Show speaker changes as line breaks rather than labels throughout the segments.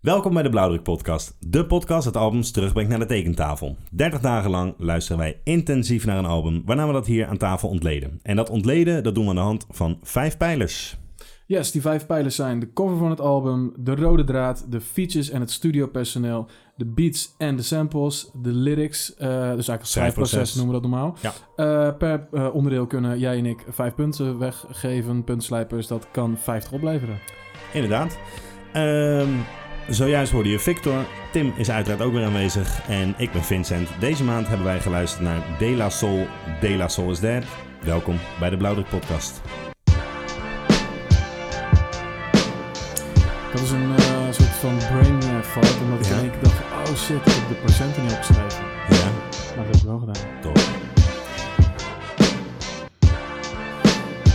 Welkom bij de Blauwdruk Podcast, de podcast dat albums terugbrengt naar de tekentafel. 30 dagen lang luisteren wij intensief naar een album, waarna we dat hier aan tafel ontleden. En dat ontleden, dat doen we aan de hand van vijf pijlers.
Yes, die vijf pijlers zijn de cover van het album, de rode draad, de features en het studiopersoneel, de beats en de samples, de lyrics, eh, dus eigenlijk het schrijfproces
Schrijfproces.
noemen we dat normaal.
Ja.
Eh, per eh, onderdeel kunnen jij en ik vijf punten weggeven, puntslijpers, dat kan 50 opleveren.
Inderdaad. Ehm, zojuist hoorde je Victor, Tim is uiteraard ook weer aanwezig en ik ben Vincent. Deze maand hebben wij geluisterd naar De La Soul, De La Soul is Dead. Welkom bij de Blauwdruk Podcast.
Dat is een eh, soort van brain eh, fart, omdat ik
Ja.
in één keer dacht, oh shit, ik heb de procenten niet opgeschreven.
Ja,
Maar dat heb ik wel gedaan.
Top.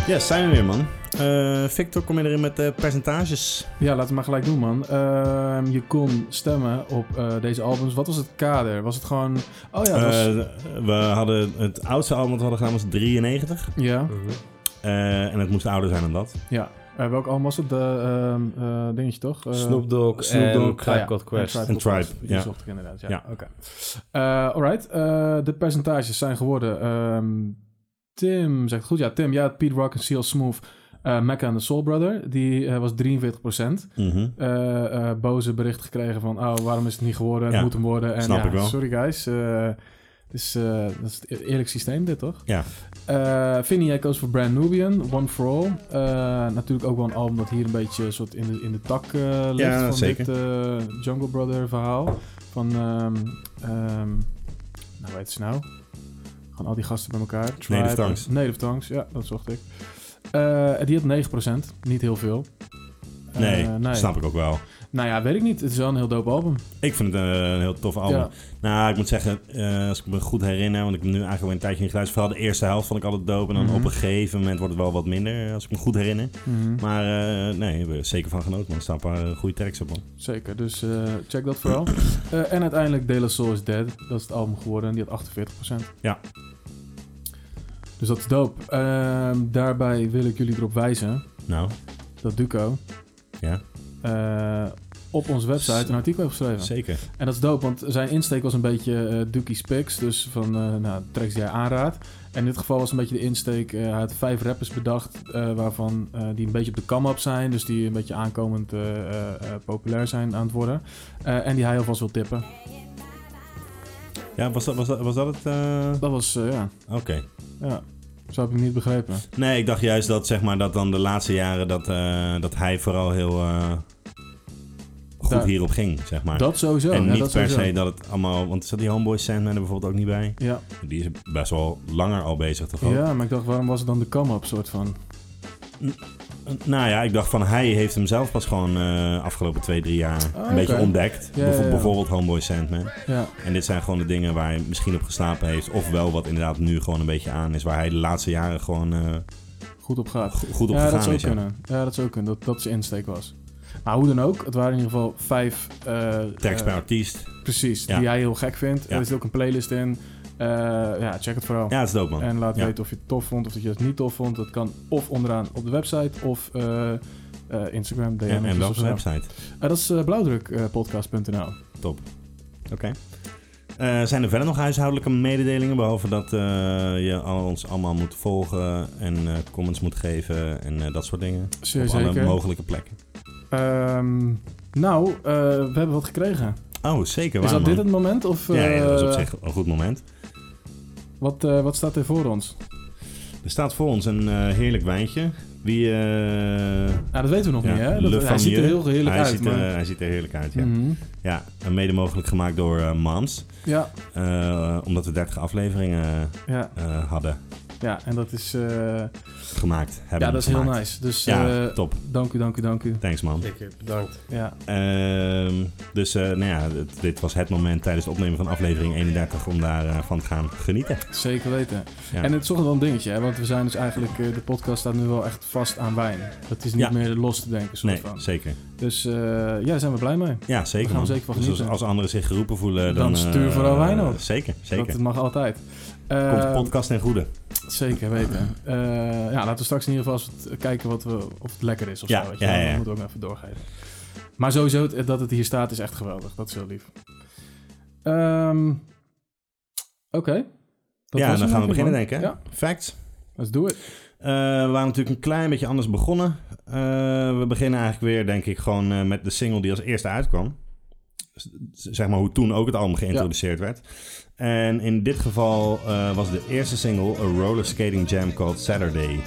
Yes, zijn we weer, man. Eh, Victor, kom je erin met de percentages?
Ja, laten we maar gelijk doen, man. Ehm, je kon stemmen op eh, deze albums. Wat was het kader? Was het gewoon... Oh ja, het was...
Eh, we hadden het oudste album dat we hadden gedaan was 93.
ja.
Eh, en het moest ouder zijn dan dat.
Ja. Eh, welk album was het? De ehm, eh, dingetje toch? Eh,
Snoop Dogg
Snoop
en
Dogg.
Tribe
Ah, ja.
Called Quest.
en
En
Tribe. Called
Tribe,
Quest.
ja.
Die zocht ik inderdaad, ja.
Ja.
Oké. Eh, alright. eh, de percentages zijn geworden... ehm, Tim zegt het goed. Ja, Tim. Ja, Pete Rock en Seal Smooth. eh Mecca en de Soul Brother. Die eh, was 43
Mhm.
eh, eh, boze bericht gekregen van... Oh, waarom is het niet geworden? Het
Ja,
moet hem worden. En,
snap
ja,
ik wel.
Sorry guys. eh, het is, eh, dat is het eerlijk systeem dit, toch?
Ja.
Eh Vinnie, jij koos voor Brand Nubian, One For All. Eh, natuurlijk ook wel een album dat hier een beetje soort in de, in de tak eh, ligt.
Ja,
van
zeker.
dit eh, Jungle Brother verhaal. Van, ehm ehm nou weet je nou. Gewoon al die gasten bij elkaar. Tribe,
Native Tongues.
Native Tongues, ja, dat zocht ik. Eh, die had 9%, niet heel veel. Eh,
Nee, snap ik ook wel.
nou ja, weet ik niet. Het is wel een heel dope album.
Ik vind het een, eh, een heel tof album.
Ja.
Nou, ik moet zeggen, eh, als ik me goed herinner, want ik heb nu eigenlijk al een tijdje niet geluisterd. Vooral de eerste helft vond ik altijd dope. En dan
Mhm.
op een gegeven moment wordt het wel wat minder, eh, als ik me goed herinner.
Mhm.
Maar eh, nee, we hebben er zeker van genoten, man. Er staan een paar eh, goede tracks op, man.
Zeker, dus eh, check dat vooral. Eh, en uiteindelijk De La Soul is Dead. Dat is het album geworden en die had 48%.
Ja.
Dus dat is dope. Ehm, daarbij wil ik jullie erop wijzen
Nou,
dat Duco
ja,
eh, op onze website een artikel heeft geschreven.
zeker.
En dat is dope, want zijn insteek was een beetje eh Dookie's Picks. Dus van eh nou, tracks die hij aanraadt. En in dit geval was een beetje de insteek. eh, hij had vijf rappers bedacht. eh, waarvan eh, die een beetje op de come-up zijn. Dus die een beetje aankomend eh, eh, eh, populair zijn aan het worden. Eh, en die hij alvast wil tippen.
Ja, was dat, was dat, was dat het? eh,
Dat was, eh, ja,
Oké.
ja. Zo heb ik hem niet begrepen.
Nee, ik dacht juist dat, zeg maar, dat dan de laatste jaren dat, eh, dat hij vooral heel eh, goed
Daar-
hierop ging, zeg maar.
Dat sowieso.
en
ja,
niet
dat
per
sowieso.
se dat het allemaal... Want zat die Homeboy Sandman er bijvoorbeeld ook niet bij?
Ja.
Die is best wel langer al bezig, toch ook?
ja, maar ik dacht, waarom was het dan de come-up soort van?
Nou ja, ik dacht van hij heeft hem zelf pas gewoon eh afgelopen twee, drie jaar een
Ah, oké.
beetje ontdekt.
Ja, ja,
Bijvo-
ja.
Bijvoorbeeld Homeboy Sandman.
Ja,
En dit zijn gewoon de dingen waar hij misschien op geslapen heeft. Of wel wat inderdaad nu gewoon een beetje aan is. Waar hij de laatste jaren gewoon eh,
goed op gaat.
go- goed op
ja, dat
gegaan
zou
is. ja.
kunnen. Ja, dat zou kunnen. Dat, dat zijn insteek was. Maar hoe dan ook, het waren in ieder geval vijf... eh,
Tracks
eh,
per artiest.
Precies,
Ja.
die jij heel gek vindt.
Ja.
Er zit ook een playlist in. Eh, ja, check het vooral.
Ja, dat is dope man.
En laat
Ja.
weten of je het tof vond of dat je het niet tof vond. Dat kan of onderaan op de website of eh, eh, Instagram, DM.
En, en
of
welke
zo.
website?
Eh, dat is eh, blauwdrukpodcast.nl.
Oké. Eh, zijn er verder nog huishoudelijke mededelingen? Behalve dat eh, je al- ons allemaal moet volgen en eh, comments moet geven en eh, dat soort dingen.
Zeer
op alle
zeker.
mogelijke plekken.
Ehm, nou, eh, we hebben wat gekregen.
Oh, zeker.
is
waar,
dat dit
man.
het moment? Of,
Ja, ja, dat is op
eh,
zich een goed moment.
Wat, eh, wat staat er voor ons?
Er staat voor ons een eh, heerlijk wijntje. Wie, eh,
Nou, dat weten we nog
Ja,
niet, hè?
Le
Dat, hij ziet er
Famille.
heel heerlijk
hij,
uit.
ziet er,
maar...
hij ziet er heerlijk uit, ja.
Mhm.
Ja, en mede mogelijk gemaakt door eh, Mams.
ja,
Eh, omdat we 30 afleveringen
ja,
eh, hadden
ja, en dat is, eh,
gemaakt. Hebben
ja, dat is heel
gemaakt.
nice. Dus
Ja,
eh,
top.
dank u, dank u, dank u.
Thanks, man.
Zeker, bedankt.
Ja,
Ehm, dus eh, nou ja, het- dit was het moment tijdens het opnemen van aflevering 31 om daarvan van te gaan genieten.
zeker weten.
Ja.
En het is toch wel een dingetje, hè? Want we zijn dus eigenlijk... eh, de podcast staat nu wel echt vast aan wijn. Dat is niet
Ja.
meer los te denken, soort
nee,
van.
zeker.
Dus eh, ja, daar zijn we blij mee.
Ja, zeker.
gaan
man.
zeker van
dus als,
genieten.
als anderen zich geroepen voelen, dan.
Dan stuur vooral
eh,
wijn op.
Zeker, zeker.
Dat mag altijd. Eh,
Komt de podcast ten goede.
Zeker weten. Eh, ja, laten we straks in ieder geval eens kijken wat we, of het lekker is of
Ja,
zo. Weet
ja,
wel.
ja.
Dat moeten we ook even doorgeven. Maar sowieso het- dat het hier staat is echt geweldig. Dat is heel lief. Ehm, Oké. Dat
ja,
was
dan gaan
hem,
we
denk ik,
beginnen,
man.
denk ik. Hè?
Ja,
Facts.
let's do it.
Eh, we waren natuurlijk een klein beetje anders begonnen. Eh, we beginnen eigenlijk weer, denk ik, gewoon eh, met de single die als eerste uitkwam. Z- Zeg maar hoe toen ook het album geïntroduceerd werd. En in dit geval eh, was de eerste single A Roller Skating Jam Called Saturday.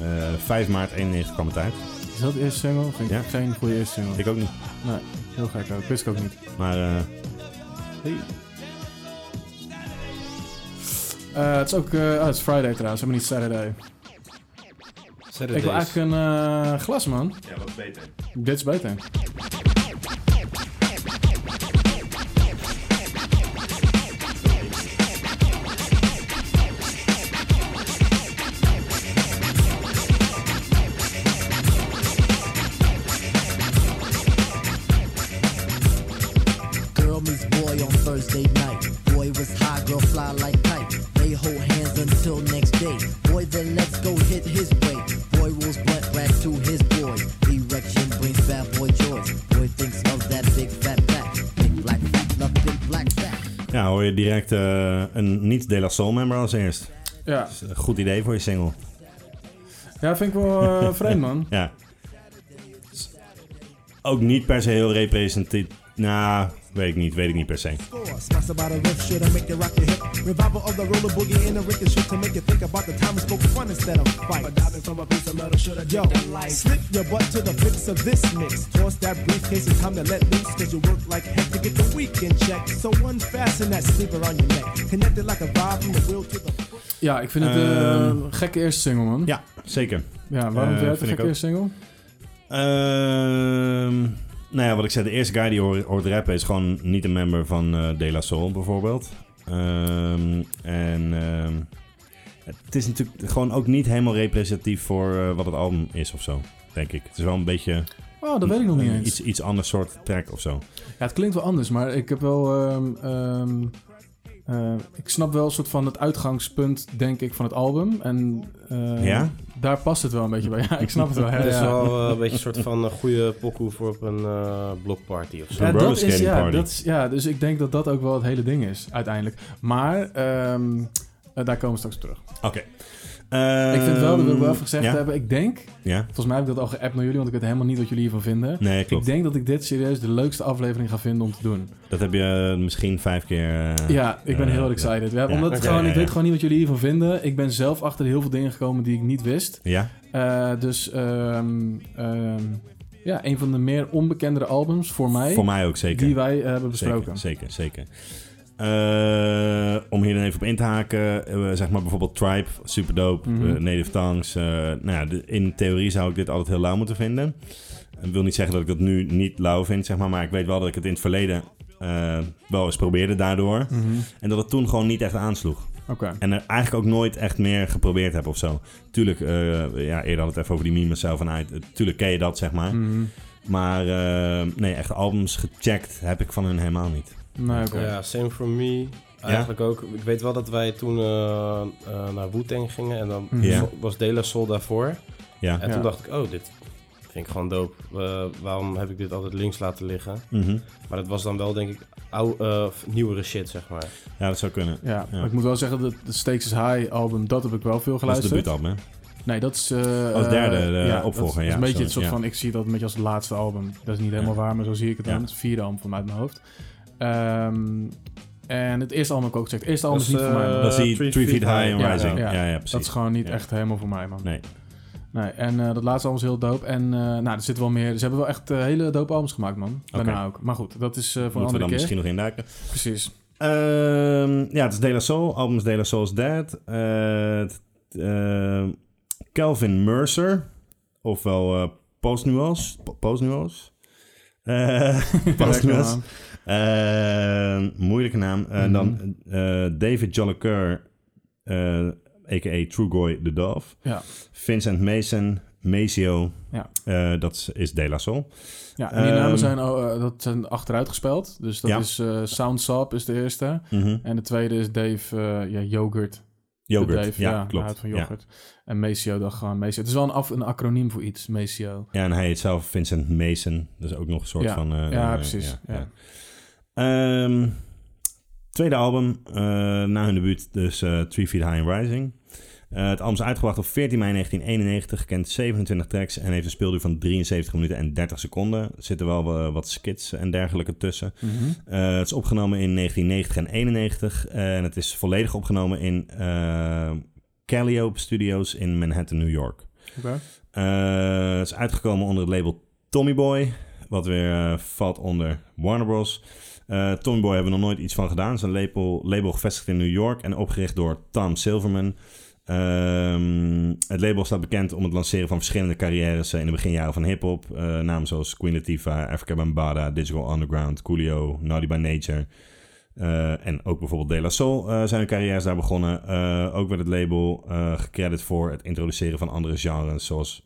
Eh 5 maart 91 kwam het uit.
Is dat de eerste single? Vind ik
Ja.
geen goede eerste single.
Ik ook niet.
Heel gek ook. Wist ik ook niet.
Maar eh,
Eh, het is ook... eh, oh, het is Friday trouwens. Helemaal niet Saturday.
Saturday.
ik wil eigenlijk een eh, glas, man.
Ja, wat beter.
Dit is beter.
Girl meets boy on Thursday night. Boy was high, girl fly like kite. They hold hands until next day. Boy, then let's go hit his way. Boy rules blunt rack to his boy. Erection brings bad boy joy. Boy thinks of that big fat back. Big black fat, love big black fat.
Ja, hoor je direct eh, een niet De La Soul member als eerst.
Ja,
Dus een goed idee voor je single.
ja vind ik wel eh, vreemd, man.
Ja. Ook niet per se heel representatief. Nou, weet ik niet, weet ik niet per se.
score. Smash about a riff, sure to make you rock your hip. Revival of the roller boogie in the ricochet to make you think about the time we spoke fun instead of fight. Adopted from a piece of metal, should have Yo, slip your butt to the fix of this mix. Toss that briefcase, it's time to let loose, cause you work like heck to get the weekend check. So unfasten that sleep around your neck. Connected like a vibe from the wheel to the
Ja, ik vind het eh, een gekke eerste single, man.
Ehm, Ja, zeker.
Ja, waarom
Eh,
vind jij het een
vind ik
gekke
ook.
eerste single?
Ehm, nou ja, wat ik zei, de eerste guy die hoort, hoort rappen is gewoon niet een member van eh De La Soul bijvoorbeeld. Ehm, en ehm, het is natuurlijk gewoon ook niet helemaal representatief voor eh, wat het album is of zo, denk ik. Het is wel een beetje
Oh, dat weet ik nog niet
een
eens.
Eh, Iets, iets ander soort track of zo.
Ja, het klinkt wel anders, maar ik heb wel. ehm, ehm, eh, ik snap wel een soort van het uitgangspunt, denk ik, van het album. En eh,
Ja?
daar past het wel een beetje bij. Ja, ik snap het wel. Ja,
Het is
ja.
wel eh, een beetje een soort van een goede pokoe voor op een eh, blokparty of zo.
Een
Ja, dat is,
rollerskating
ja,
party.
dat is, ja, dus ik denk dat dat ook wel het hele ding is, uiteindelijk. Maar ehm, eh, daar komen we straks op terug.
Oké.
ik vind wel, dat wil ik wel even
Ehm,
gezegd
ja?
hebben, ik denk...
Ja?
Volgens mij heb ik dat al geappt naar jullie, want ik weet helemaal niet wat jullie hiervan vinden.
Nee,
Ik
klopt.
denk dat ik dit serieus de leukste aflevering ga vinden om te doen.
Dat heb je eh, misschien vijf keer. eh,
Ja, ik ben
eh,
heel excited. Ja,
ja.
omdat het
Oké,
gewoon,
ja,
ik
ja.
weet gewoon niet wat jullie hiervan vinden. Ik ben zelf achter heel veel dingen gekomen die ik niet wist.
Ja,
Eh, dus ehm, ehm, ja, een van de meer onbekendere albums voor mij,
voor mij ook zeker.
die wij eh, hebben besproken.
zeker, zeker, zeker. Eh, om hier dan even op in te haken, eh, zeg maar bijvoorbeeld Tribe, super dope,
Mhm.
Native Tongues. eh, nou ja, de- in theorie zou ik dit altijd heel lauw moeten vinden. Ik wil niet zeggen dat ik dat nu niet lauw vind, zeg maar, maar ik weet wel dat ik het in het verleden eh, wel eens probeerde daardoor.
Mhm.
En dat het toen gewoon niet echt aansloeg.
Oké.
En er eigenlijk ook nooit echt meer geprobeerd heb of zo. Tuurlijk, eh, ja, eerder had het even over die meme zelf en uit. Tuurlijk ken je dat, zeg maar.
Mhm.
Maar eh, nee, echt albums gecheckt heb ik van hun helemaal niet.
Nee, Nou, oké.
Ja, same for me. Eigenlijk ook. Ik weet wel dat wij toen eh, eh, naar Wu-Tang gingen en dan
Mhm. Ja.
zo- was De La Soul daarvoor.
Ja.
En
Ja.
toen dacht ik, oh, dit vind ik gewoon dope. Eh, waarom heb ik dit altijd links laten liggen?
Mhm.
Maar dat was dan wel, denk ik, oude, eh, nieuwere shit, zeg maar.
ja, dat zou kunnen.
Ja,
Ja.
maar ik moet wel zeggen dat het Stakes is High album, dat heb ik wel veel
Dat is
geluisterd.
de debuutalbum, hè?
Nee, dat is... eh,
Als derde,
eh,
de
dat
opvolger,
is- Dat is
ja,
een beetje
sorry,
het soort
ja.
van, ik zie dat een beetje als het laatste album. Dat is niet helemaal
Ja.
waar, maar zo zie ik het dan.
Ja.
Het is vierde album vanuit mijn hoofd. Ehm, en het eerste album heb ik ook gezegd. Het eerste album is,
Dat
niet
is,
voor mij.
eh,
man.
dat is die Three
Three
Feet,
Feet
High and
Ja,
Rising. Ja,
ja.
ja,
dat
precies.
is gewoon niet
Ja.
echt helemaal voor mij, man.
Nee.
Nee, en eh, dat laatste album is heel dope. En eh, nou, er zit wel meer... Ze hebben wel echt eh, hele dope albums gemaakt, man.
Oké.
Daarna ook. Maar goed, dat is eh, voor een
Moeten we
andere
dan
keer.
misschien nog induiken.
Precies.
Ehm, ja, het is De La Soul. Album is De La Soul's Dead. Eh, het- eh, Calvin Mercer. Ofwel eh Postnuance. Po- Postnuance. Eh, Postnuance.
Lekker, man.
Eh, moeilijke naam. Eh,
Mhm.
Dan eh, David Jollicoeur, eh a.k.a. Trugoy the Dove.
Ja.
Vincent Mason, Maceo.
Ja.
Eh, dat is De La Soul.
Ja, en die namen
Ehm,
zijn, oh, eh, dat zijn achteruit gespeld. Dus dat
Ja.
is eh Sound Sap is de eerste.
Mhm.
En de tweede is Dave eh, ja, Yogurt.
Yoghurt.
bedrijf.
ja,
hij
klopt.
houdt van
ja.
yoghurt. En Maceo dacht gewoon Maceo. Het is wel een, af, een acroniem voor iets, Maceo.
ja, en hij heet zelf Vincent Mason. Dat is ook nog een soort
Ja.
van... eh,
Ja,
eh,
precies, ja.
Ehm, tweede album, eh, na hun debuut, dus eh Three Feet High and Rising. Eh, het album is uitgebracht op 14 mei 1991, kent 27 tracks en heeft een speelduur van 73 minuten en 30 seconden. Er zitten wel eh, wat skits en dergelijke tussen.
Mhm.
Eh, het is opgenomen in 1990 en 91 en het is volledig opgenomen in eh Calliope Studios in Manhattan, New York.
Oké.
Eh, het is uitgekomen onder het label Tommy Boy. Wat weer eh, valt onder Warner Bros. Eh, Tommy Boy hebben we nog nooit iets van gedaan. Het is een label, label gevestigd in New York en opgericht door Tom Silverman. Ehm, het label staat bekend om het lanceren van verschillende carrières eh, in de beginjaren van hip-hop. Eh, namen zoals Queen Latifah, Africa Bambada, Digital Underground, Coolio, Naughty by Nature. eh, en ook bijvoorbeeld De La Soul eh, zijn hun carrières daar begonnen. Eh, ook werd het label eh gecredit voor het introduceren van andere genres, zoals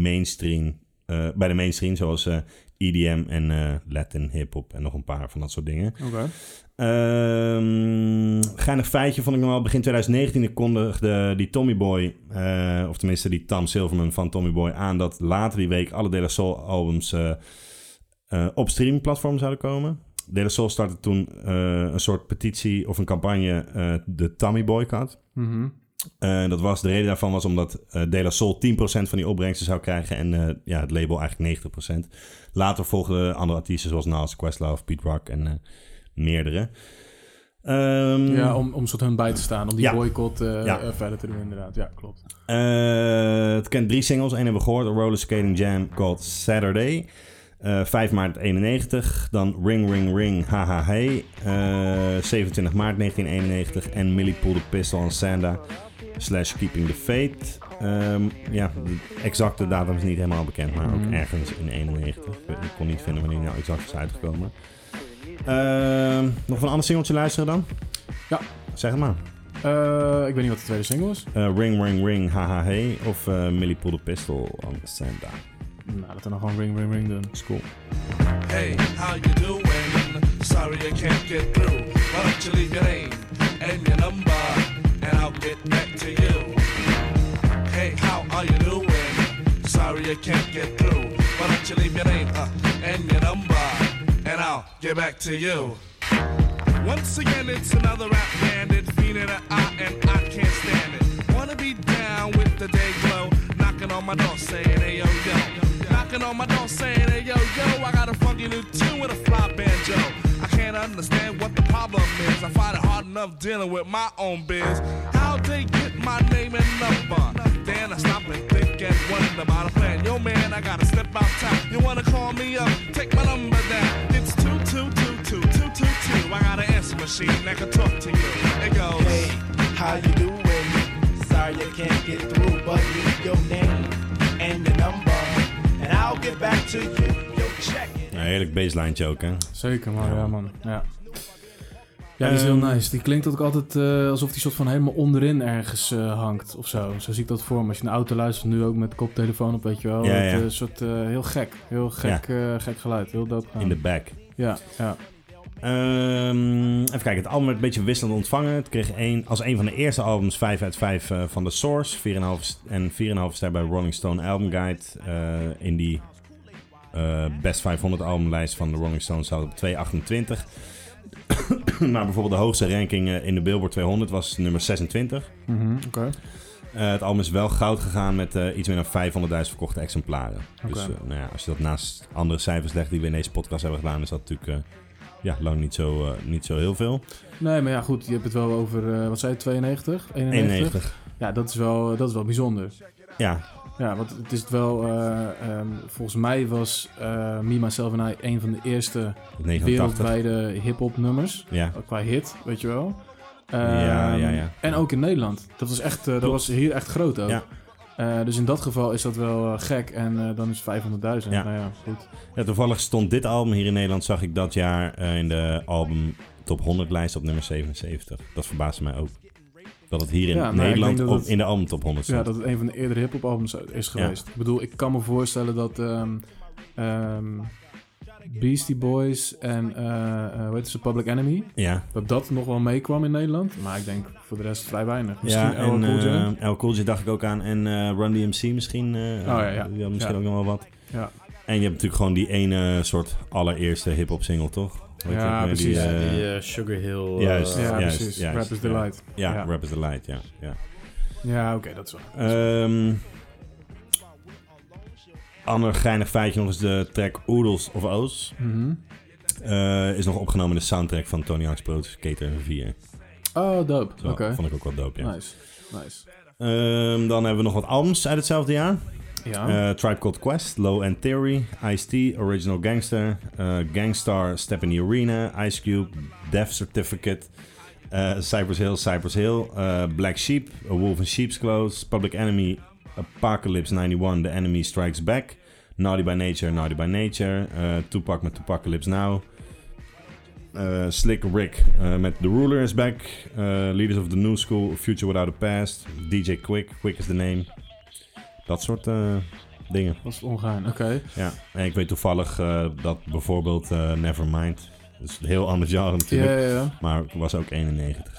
mainstream, eh, bij de mainstream, zoals eh, EDM en eh, Latin hip-hop en nog een paar van dat soort dingen.
Oké.
Ehm geinig feitje vond ik nog wel. Begin 2019 kondigde die Tommy Boy, eh, of tenminste die Tam Silverman van Tommy Boy, aan dat later die week alle De La Soul albums eh, eh, op streamingplatformen zouden komen. De La Soul startte toen eh, een soort petitie of een campagne, eh, de Tommy Boycott.
Mhm.
Eh, dat was, de reden daarvan was omdat eh De La Soul 10% van die opbrengsten zou krijgen en eh, ja, het label eigenlijk 90%. Later volgden andere artiesten zoals Nas, Questlove, Pete Rock en eh, meerdere. Ehm,
Ja, om, om soort hun bij te staan. Om die
Ja.
boycott eh,
Ja.
eh, verder te doen, inderdaad. Ja, klopt.
eh, het kent drie singles. Eén hebben we gehoord, A Roller Skating Jam called Saturday. Eh 5 maart 91, dan Ring Ring Ring Haha Hey, Eh, 27 maart 1991 en Millie Pool the Pistol en Sanda slash Keeping the Fate. Ehm, ja, de exacte datum is niet helemaal bekend, maar ook
Mhm.
ergens in 91. Ik ik kon niet vinden wanneer die nou exact is uitgekomen. Ehm, nog een ander singeltje luisteren dan?
Ja.
Zeg het maar.
Eh, ik weet niet wat de tweede single is.
Eh, ring Ring Ring Haha Hey of eh Millie Pool the Pistol on Santa.
Nou, dat we dan gewoon ring, ring, ring doen.
Is cool.
Hey, how you doing? Sorry I can't get through. Why don't you leave your name and your number, and I'll get back to you. Hey, how are you doing? Sorry I can't get through. Why don't you leave your name uh, and your number, and I'll get back to you. Once again, it's another rap bandit, feeling an eye, and I can't stand it. Wanna be down with the day glow, knocking on my door saying, hey yo yo. Knocking on my door saying, hey yo yo, I got a funky new tune with a fly banjo. I can't understand what the problem is, I find it hard enough dealing with my own biz. How they get my name and number? Then I stop and think and wonder about a plan. Yo man, I gotta step out top. You wanna call me up? Take my number down. It's two two two two two two two. I got an answer machine that can talk to you. It goes.
Hey, how you doing? Sorry I can't get through, but leave your name and your number, and I'll get back to you. Yo, check it.
Ja, heerlijk baseline joke, hè?
Zeker, maar ja, man. Ja. Ja, die is heel
Ehm,
nice. Die klinkt ook altijd eh, alsof die soort van helemaal onderin ergens eh, hangt of zo. Zo zie ik dat voor me. Als je een auto luistert, nu ook met koptelefoon op, weet je wel.
Ja,
Het,
ja.
eh, soort, eh, heel gek. Heel gek, eh, gek geluid. Heel dood.
In de back.
Ja, ja.
Ehm, even kijken, het album werd een beetje wisselend ontvangen. Het kreeg een, als een van de eerste albums 5 uit 5 eh, van The Source. 4,5 st- en 4,5 ster bij Rolling Stone Album Guide. Eh, in die eh, Best 500 albumlijst van de Rolling Stones staat op 228. maar bijvoorbeeld de hoogste ranking eh, in de Billboard 200 was nummer 26.
Mhm, Oké.
Eh, het album is wel goud gegaan met eh, iets meer dan 500.000 verkochte exemplaren. Dus
Oké.
eh, nou ja, als je dat naast andere cijfers legt die we in deze podcast hebben gedaan, is dat natuurlijk eh, ja, lang niet zo, eh, niet zo heel veel.
Nee, maar ja, goed. Je hebt het wel over, eh, wat zei je, 92? 91?
91.
Ja, dat is, wel, eh, dat is wel bijzonder.
Ja,
Ja, want het is wel... eh, ehm, volgens mij was eh Me, Myself en I een van de eerste
89.
wereldwijde hip-hop nummers.
Ja.
qua hit, weet je wel.
Ja,
Ehm,
ja, ja.
En ook in Nederland. Dat was, echt, eh, dat
Klopt.
was hier echt groot ook.
Ja.
Eh, dus in dat geval is dat wel eh, gek. En eh, dan is 500.000.
Ja.
Nou ja, goed.
ja, toevallig stond dit album hier in Nederland, zag ik dat jaar eh, in de album top 100 lijst op nummer 77. Dat verbaasde mij ook. Dat het hier in
Ja, nou, ik
Nederland
denk dat
op,
het-
in de album top 100
Ja,
stond.
dat het een van de eerdere hip-hop albums is geweest. Ik bedoel, ik kan me voorstellen dat ehm, ehm, Beastie Boys en eh, eh, hoe heet ze, Public Enemy.
Ja.
Dat dat nog wel meekwam in Nederland. Maar ik denk voor de rest vrij weinig. Misschien
Ja,
ja,
en
Cool J. Oh,
eh, LL Cool J dacht ik ook aan. En eh, Run DMC misschien. eh
ja, ja.
die had misschien
Ja.
ook nog wel wat.
Ja.
En je hebt natuurlijk gewoon die ene soort allereerste hip-hop single, toch? Hoe heet
Ja,
die ook weer? Die,
precies.
Ja,
eh,
die eh, Sugar Hill. eh,
Juist,
Ja,
juist,
precies.
juist.
Rap is
Ja.
Delight.
ja,
Ja.
Rap is the Light, ja. ja.
Ja, oké, dat is wel.
Ehm ander geinig feitje nog eens de track Oodles of O's.
Mhm.
eh, is nog opgenomen in de soundtrack van Tony Hawk's Pro Skater 4.
Oh, dope. Oké.
Zo, Vond ik ook wel dope, ja.
Nice. Nice.
Ehm, dan hebben we nog wat albums uit hetzelfde jaar.
Ja.
Eh, Tribe Called Quest, Low End Theory, Ice-T, Original Gangster, eh, Gangstar, Step in the Arena, Ice Cube, Death Certificate, eh, Cypress Hill, Cypress Hill, eh, Black Sheep, A Wolf in Sheep's Clothes, Public Enemy, Apocalypse 91, The Enemy Strikes Back, Naughty by Nature, Naughty by Nature, eh, Tupac met Tupacalypse Now, eh, Slick Rick eh, met The Ruler is Back, eh, Leaders of the New School, Future Without a Past, DJ Quick, Quick is the Name. Dat soort eh, dingen.
Dat is ongein. Oké.
Ja, en ik weet toevallig eh, dat bijvoorbeeld eh, Nevermind, dat is een heel ander genre
Ja,
natuurlijk,
ja, ja.
maar het was ook 91.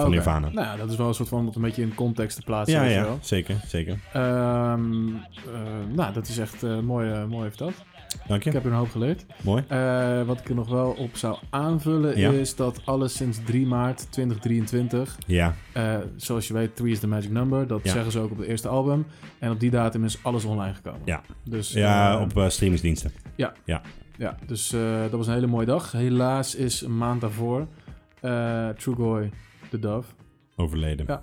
Van
oké.
Nirvana.
Nou, ja, dat is wel een soort van om het een beetje in context te plaatsen.
Ja,
weet je
ja,
wel.
zeker, zeker.
Ehm, eh, nou, dat is echt eh, mooi, eh, mooi verteld.
Dank je,
Ik heb er een hoop geleerd.
mooi.
Eh, wat ik er nog wel op zou aanvullen
Ja.
is dat alles sinds 3 maart 2023,
Ja,
eh, zoals je weet, 3 is the magic number. Dat
Ja.
zeggen ze ook op het eerste album. En op die datum is alles online gekomen.
Ja.
Dus,
ja
eh,
op eh, streamingsdiensten.
Ja, dus eh, dat was een hele mooie dag. Helaas is een maand daarvoor eh Trugoy de Dove.
Overleden.
Ja.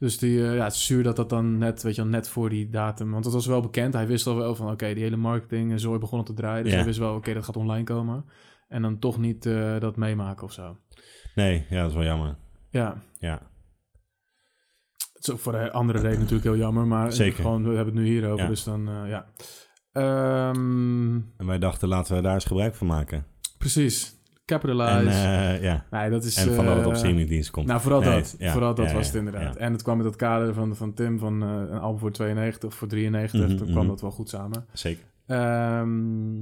Dus die, eh, ja, het is zuur dat dat dan net, weet je wel, net voor die datum... Want dat was wel bekend. Hij wist al wel van, oké, die hele marketing en zooi begonnen te draaien. Dus
Ja.
hij wist wel, oké, dat gaat online komen. En dan toch niet eh, dat meemaken of zo.
Nee, ja, dat is wel jammer.
Ja,
Ja,
het is ook voor de andere reden natuurlijk heel jammer. Maar
Zeker.
gewoon, we hebben het nu hierover,
Ja.
dus dan, eh, ja. Ehm,
en wij dachten laten we daar eens gebruik van maken.
precies.
En
Capitalize.
eh, ja,
nee, dat is...
en van dat het op
eh,
streamingdiensten komt.
Nou, vooral
Nee,
dat.
ja,
vooral dat
ja,
was
ja,
het inderdaad.
ja.
En het kwam met dat kader van, van Tim van eh, een album voor 92 of voor 93.
Mhm,
Toen
mhm.
kwam dat wel goed samen.
Zeker.
Ehm,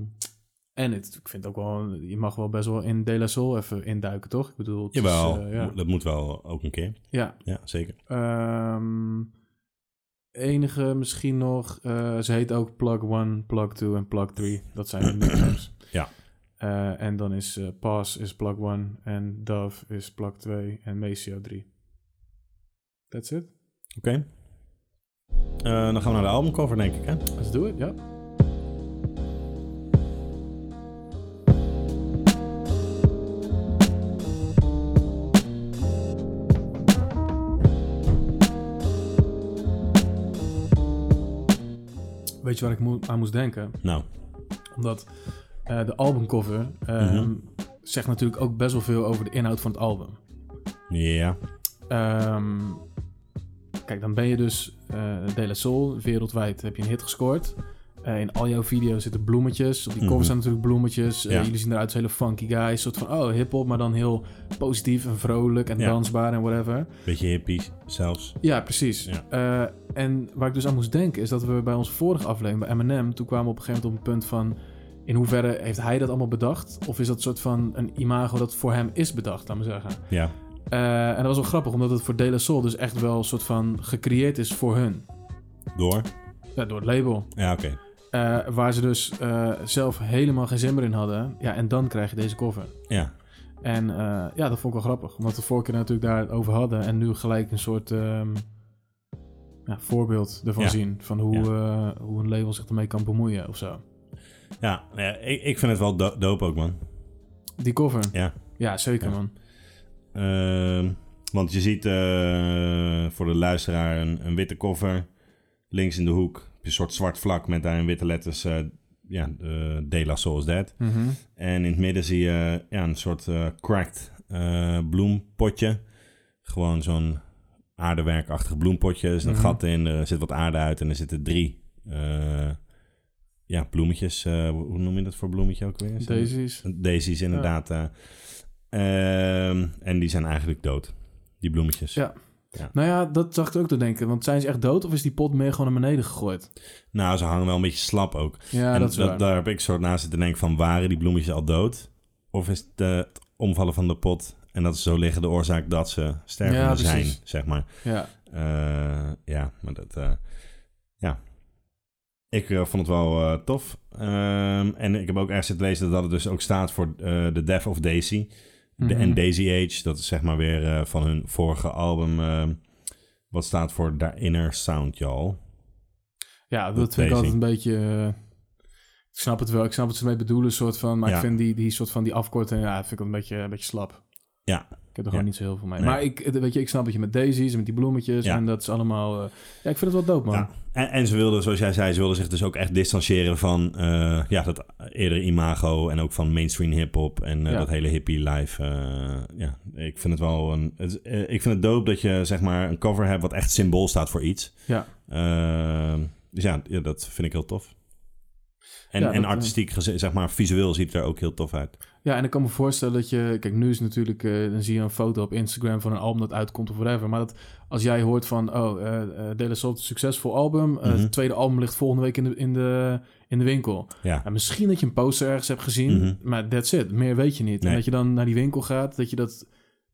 en het, ik vind ook wel, je mag wel best wel in De La Soul even induiken, toch? Ik bedoel, het is,
Jawel,
eh, ja.
mo- dat moet wel ook een keer.
ja.
Ja, zeker.
Ehm, enige misschien nog, eh, ze heet ook Plug 1, Plug 2 en Plug 3. Dat zijn de nicknames.
Ja.
Eh, en dan is eh Pass is Plug 1 en Dove is Plug 2 en Maceo 3. That's it.
Oké. Eh, dan gaan we naar de albumcover, denk ik, hè?
Let's do it, ja. Weet je waar ik moe- aan moest denken?
Nou,
Omdat eh, de albumcover ehm,
Mhm.
zegt natuurlijk ook best wel veel over de inhoud van het album.
ja.
Ehm, kijk, dan ben je dus eh De La Soul. Wereldwijd heb je een hit gescoord. Eh, in al jouw video's zitten bloemetjes. Op die
Mhm.
cover staan natuurlijk bloemetjes. Eh,
Ja.
jullie zien eruit als hele funky guys. Een soort van, oh, hiphop, maar dan heel positief en vrolijk en
Ja.
dansbaar en whatever.
Beetje hippies zelfs.
Ja, precies.
Ja.
Eh, en waar ik dus aan moest denken is dat we bij onze vorige aflevering bij Eminem... toen kwamen we op een gegeven moment op een punt van... in hoeverre heeft hij dat allemaal bedacht? Of is dat een soort van een imago dat voor hem is bedacht, laat maar zeggen.
Ja,
Eh, en dat was wel grappig, omdat het voor De La Soul dus echt wel een soort van gecreëerd is voor hun.
door.
Ja, door het label.
Ja, oké.
Eh, waar ze dus eh, zelf helemaal geen zin meer in hadden. Ja, en dan krijg je deze cover.
Ja.
En eh, ja, dat vond ik wel grappig. Omdat we vorige keer natuurlijk daar het over hadden. En nu gelijk een soort ehm, ja, voorbeeld ervan
Ja.
zien. Van hoe, eh, hoe een label zich ermee kan bemoeien of zo.
Ja, nou ja, ik, ik vind het wel do- dope ook, man.
Die cover.
Ja.
Ja, zeker
Ja.
man.
Ehm, want je ziet eh, voor de luisteraar een, een witte koffer. Links in de hoek heb je een soort zwart vlak met daarin witte letters. eh, ja, eh De La Soul is Dead.
Mhm.
En in het midden zie je ja, een soort eh, cracked eh, bloempotje. Gewoon zo'n aardewerkachtig bloempotje. Er is een
Mhm.
gat in, er zit wat aarde uit en er zitten drie eh, ja, bloemetjes. eh, hoe noem je dat voor bloemetje ook weer?
Daisies.
Daisies, inderdaad. eh. Ehm, en die zijn eigenlijk dood, die bloemetjes.
Ja.
Ja.
Nou ja, dat zag ik ook te denken. Want zijn ze echt dood of is die pot meer gewoon naar beneden gegooid?
Nou, ze hangen wel een beetje slap ook.
Ja,
en
dat is waar.
daar heb ik zo naast zitten denken van, waren die bloemetjes al dood? Of is het eh, het omvallen van de pot en dat ze zo liggen de oorzaak dat ze stervende
Ja, precies.
zijn, zeg maar.
Ja,
Eh, ja, maar dat... eh, ja. Ik eh, vond het wel eh, tof. Ehm, en ik heb ook ergens zitten lezen dat het dus ook staat voor eh The Death of Daisy. De,
Mhm.
En Daisy Age, dat is zeg maar weer eh, van hun vorige album. ehm, wat staat voor The Inner Sound, y'all.
ja dat,
Dat
vind ik
weet
altijd een beetje... eh, ik snap het wel, ik snap wat ze mee bedoelen, soort van. Maar
Ja.
ik vind die, die soort van die afkorting, ja, vind ik wel een beetje, een beetje slap.
Ja,
Ik heb er gewoon
Ja.
niet zo heel veel mee.
Nee.
Maar ik, eh, weet je, ik snap wat je met daisies en met die bloemetjes
Ja.
en dat is allemaal... eh, ja, ik vind het wel dood, man.
Ja. En, en ze wilden, zoals jij zei, ze wilden zich dus ook echt distancieren van eh, ja, dat eerdere imago en ook van mainstream hip-hop en eh,
Ja.
dat hele hippie life. eh, ja, ik vind het wel een. het is- eh, ik vind het dope dat je zeg maar een cover hebt wat echt symbool staat voor iets.
Ja.
Eh, dus ja, ja, dat vind ik heel tof. En,
Ja,
en
dat, eh,
artistiek, geze- zeg maar visueel, ziet het er ook heel tof uit.
Ja, en ik kan me voorstellen dat je... Kijk, nu is het natuurlijk... eh, dan zie je een foto op Instagram van een album dat uitkomt of whatever. Maar dat als jij hoort van... Oh, eh eh, De La Soul, succesvol album. eh,
Mhm.
Het tweede album ligt volgende week in de, in de, in de winkel.
Ja.
En misschien dat je een poster ergens hebt gezien.
Mhm.
Maar that's it. Meer weet je niet.
Nee.
En dat je dan naar die winkel gaat. Dat je dat...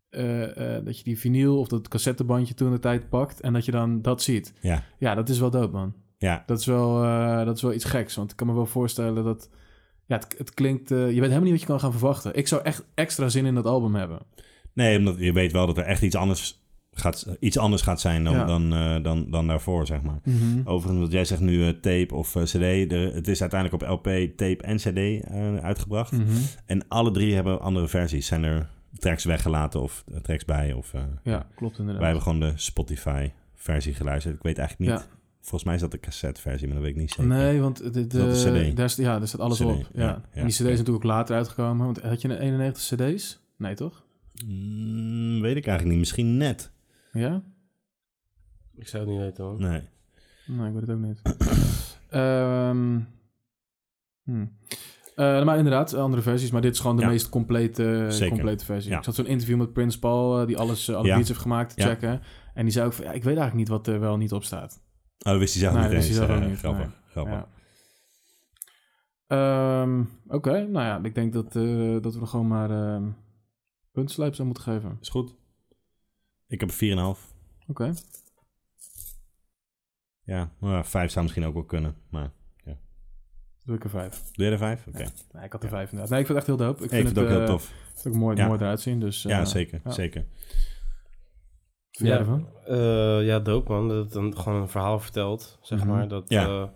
eh, eh, dat je die vinyl of dat cassettebandje toen de tijd pakt. En dat je dan dat ziet.
Ja.
Ja, dat is wel dood, man.
Ja.
Dat is wel, eh, dat is wel iets geks. Want ik kan me wel voorstellen dat... Ja, het, het klinkt... eh, je weet helemaal niet wat je kan gaan verwachten. Ik zou echt extra zin in dat album hebben.
Nee, omdat je weet wel dat er echt iets anders gaat, iets anders gaat zijn dan,
Ja.
dan, eh, dan, dan daarvoor, zeg maar. Overigens, wat jij zegt nu eh, tape of eh, cd. Er- het is uiteindelijk op LP, tape en cd eh, uitgebracht.
Mhm.
En alle drie hebben andere versies. Zijn er tracks weggelaten of eh, tracks bij? Of, eh,
Ja, klopt
Wij
inderdaad.
hebben gewoon de Spotify versie geluisterd. Ik weet eigenlijk niet. Volgens mij is dat de cassette versie, maar dat weet ik niet zeker.
Nee, want de, de,
Dat is CD.
Daar, is- ja, daar staat alles
CD,
op. Ja.
ja, ja.
En die cd is natuurlijk ook later uitgekomen. Want had je een 91 cd's? Nee, toch?
Mm, weet ik eigenlijk niet. Misschien net.
Ja?
Ik zou het niet weten, hoor.
Nee.
Nee, ik weet het ook niet. Ehm, hm. Eh, maar inderdaad, andere versies. Maar dit is gewoon de
Ja.
meest complete, eh,
Zeker.
complete versie.
Ja.
Ik zat zo'n interview met Prince Paul, eh, die alles, eh, alle
Ja.
beats heeft gemaakt, te
Ja.
checken. En die zei ook van, ja, ik weet eigenlijk niet wat er wel niet op staat.
Oh, dat wist hij zelf
Nee,
niet
dat
eens.
wist hij zelf
Eh,
ook niet,
Grappig.
nee.
grappig.
Ja. Ehm, Oké, nou ja, ik denk dat, eh, dat we gewoon maar ehm puntslijps aan moeten geven.
Is goed. Ik heb een 4,5.
Oké.
Ja, maar 5 zou misschien ook wel kunnen. Maar
Doe ik er vijf.
doe jij er 5? Oké.
Nee, ik had er vijf inderdaad. Nee, ik vind het echt heel dope. Ik
Ik vind het ook heel
eh,
tof.
Ik vind het ook mooi,
Ja.
mooi eruit zien. Dus,
Ja,
eh,
zeker.
ja.
zeker.
wat vind jij
Ja.
ervan?
Eh, ja, dope man. Dat het een, gewoon een verhaal vertelt, zeg
Mhm.
maar. Dat
Ja.
eh,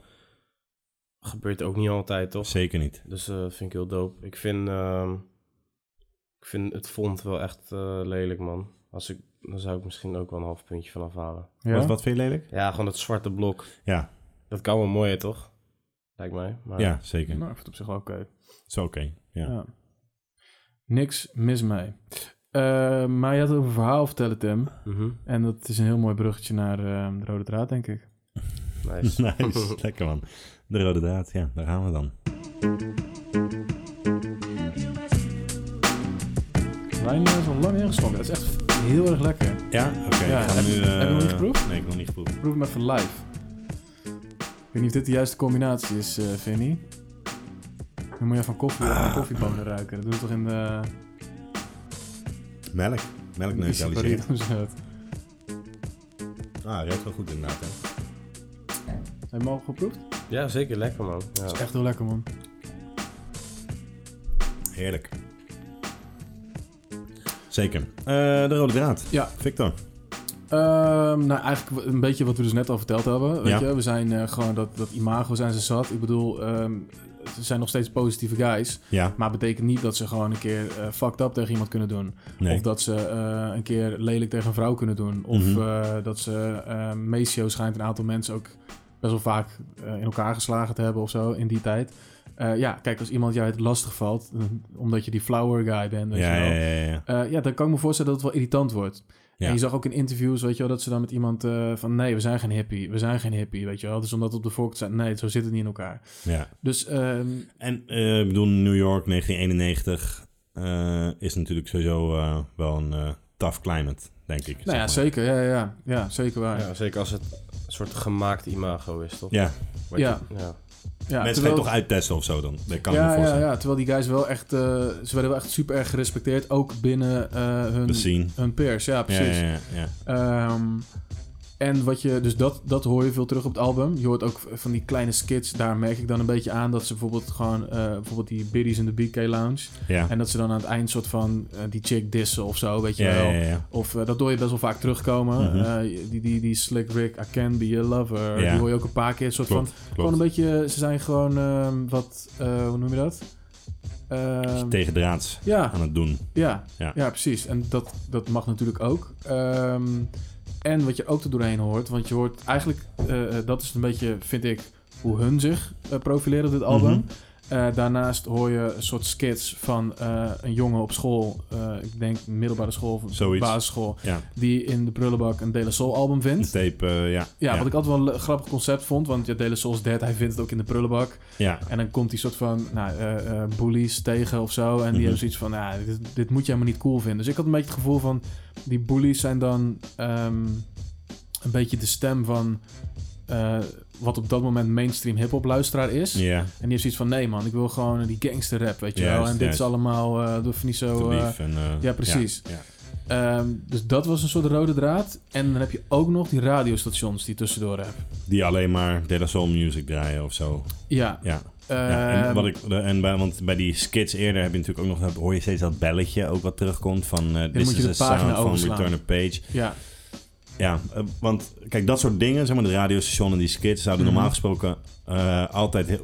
gebeurt ook niet altijd, toch?
Zeker niet.
Dus eh, dat vind ik heel dope. Ik vind, ehm, ik vind het font wel echt eh, lelijk, man. Als ik, dan zou ik misschien ook wel een half puntje van afhalen.
Ja?
Wat, wat vind je lelijk?
Ja, gewoon dat zwarte blok.
Ja.
Dat kan wel mooier, toch? Lijkt mij. Maar,
Ja, zeker.
Nou, ik vind het op zich wel oké.
Is oké. Ja.
Ja. Niks mis mee. Eh, maar je had over een verhaal vertellen, Tim.
Mhm.
En dat is een heel mooi bruggetje naar eh, de rode draad, denk ik.
Nice.
nice. Lekker man. De rode draad. Ja, daar gaan we dan.
De Lijn is al lang ingestoken. Dat is echt heel erg lekker.
Ja? Oké.
Ja,
ik ga
heb-
nu... eh,
heb je nog niet geproefd?
Nee, ik heb nog niet geproefd.
Proef hem even live. Ik weet niet of dit de juiste combinatie is, eh Vinny. Dan moet je van koffie aan
Ah.
koffiebonen ruiken. Dat doe je toch in de...
Melk. Melk
in de
neutraliseert.
burrito's uit.
Ah, ruikt wel goed inderdaad. Hè.
Heb je hem al geproefd? Dat
Ja, zeker. Lekker, man. Ja.
is echt heel lekker, man.
Heerlijk. Zeker. Eh, de rode draad.
Ja.
Victor.
Ehm, nou, eigenlijk w- een beetje wat we dus net al verteld hebben. Weet
Ja.
je? We zijn eh, gewoon dat, dat imago zijn ze zat. Ik bedoel, ehm, ze zijn nog steeds positieve guys.
Ja.
Maar betekent niet dat ze gewoon een keer eh, fucked up tegen iemand kunnen doen.
Nee.
Of dat ze eh, een keer lelijk tegen een vrouw kunnen doen. Of
Mhm.
eh, dat ze... eh Maceo schijnt een aantal mensen ook best wel vaak eh, in elkaar geslagen te hebben of zo in die tijd. Eh, ja, kijk, als iemand jou het lastig valt, eh, omdat je die flower guy bent, weet
Ja,
je
ja,
wel.
ja, ja, ja.
Eh, ja, dan kan ik me voorstellen dat het wel irritant wordt.
Ja.
En je zag ook in interviews, weet je wel, dat ze dan met iemand eh, van... nee, we zijn geen hippie, we zijn geen hippie, weet je wel. Dus omdat we op de voorkant staat, nee, zo zit het niet in elkaar.
Ja.
Dus ehm,
En eh, ik bedoel, New York 1991 eh, is natuurlijk sowieso eh, wel een eh, tough climate, denk ik. zeg
Nou ja,
maar.
zeker. Ja, ja, ja. ja zeker waar. Ja,
Ja, zeker als het een soort gemaakt imago is, toch?
Ja,
Wat
Ja.
je- ja.
mensen
terwijl-
gaan toch uittesten of zo dan. Dat kan ik me
ja, ja,
voorstellen.
ja, terwijl die guys wel echt, eh, ze werden wel echt super erg gerespecteerd, ook binnen eh, hun,
De scene.
hun peers. Ja,
Ja,
precies.
ja, ja, ja.
Ehm, en wat je, dus dat, dat hoor je veel terug op het album. Je hoort ook van die kleine skits, daar merk ik dan een beetje aan dat ze bijvoorbeeld gewoon, eh, bijvoorbeeld die biddies in de BK Lounge.
ja.
En dat ze dan aan het eind soort van eh, die chick dissen of zo, weet je
Ja,
wel.
ja, ja.
Of eh, dat hoor je best wel vaak terugkomen.
Mhm.
Eh, die, die, die Slick Rick, I Can Be Your Lover.
Ja.
Die hoor je ook een paar keer. Soort
Klopt,
van, gewoon
klopt.
een beetje, ze zijn gewoon ehm, wat, eh, hoe noem je dat? Ehm,
Tegen draads
ja,
aan het doen.
ja,
Ja.
ja. precies. En dat, dat mag natuurlijk ook. Ehm, en wat je ook er doorheen hoort, want je hoort eigenlijk, eh, eh, dat is een beetje, vind ik, hoe hun zich eh, profileren op dit album.
Mhm.
Eh, daarnaast hoor je een soort skits van eh, een jongen op school, eh, ik denk middelbare school of
Zoiets.
basisschool,
Ja.
die in de prullenbak een De La Soul album
Een
vindt.
tape, eh, ja.
Ja,
ja.
wat ik altijd wel een le- grappig concept vond, want ja, De La Soul's dead, hij vindt het ook in de prullenbak.
ja.
En dan komt die soort van nou, eh, eh, bullies tegen of zo. En die
Mhm.
hebben zoiets van, nou, dit, dit moet je helemaal niet cool vinden. Dus ik had een beetje het gevoel van, die bullies zijn dan ehm, een beetje de stem van eh, wat op dat moment mainstream hip-hop luisteraar is.
Ja,
En die heeft zoiets van, nee man, ik wil gewoon die gangster rap, weet je
Juist,
wel. En dit
juist.
is allemaal, eh dat niet
te
zo... eh,
lief. en, eh,
ja, precies.
ja, ja.
ehm, dus dat was een soort rode draad. En dan heb je ook nog die radiostations die je tussendoor hebt.
Die alleen maar De La Soul music draaien of zo.
Ja.
Ja. Ja, en,
ehm,
wat ik, en bij, want bij die skits eerder heb je natuurlijk ook nog, hoor je steeds dat belletje ook wat terugkomt van eh This
moet je
is
de
a
pagina
sound van
overslaan.
Return of Page.
ja.
Ja, eh, want kijk, dat soort dingen, zeg maar de radiostation en die skits, zouden
Mhm.
normaal gesproken eh, altijd heel,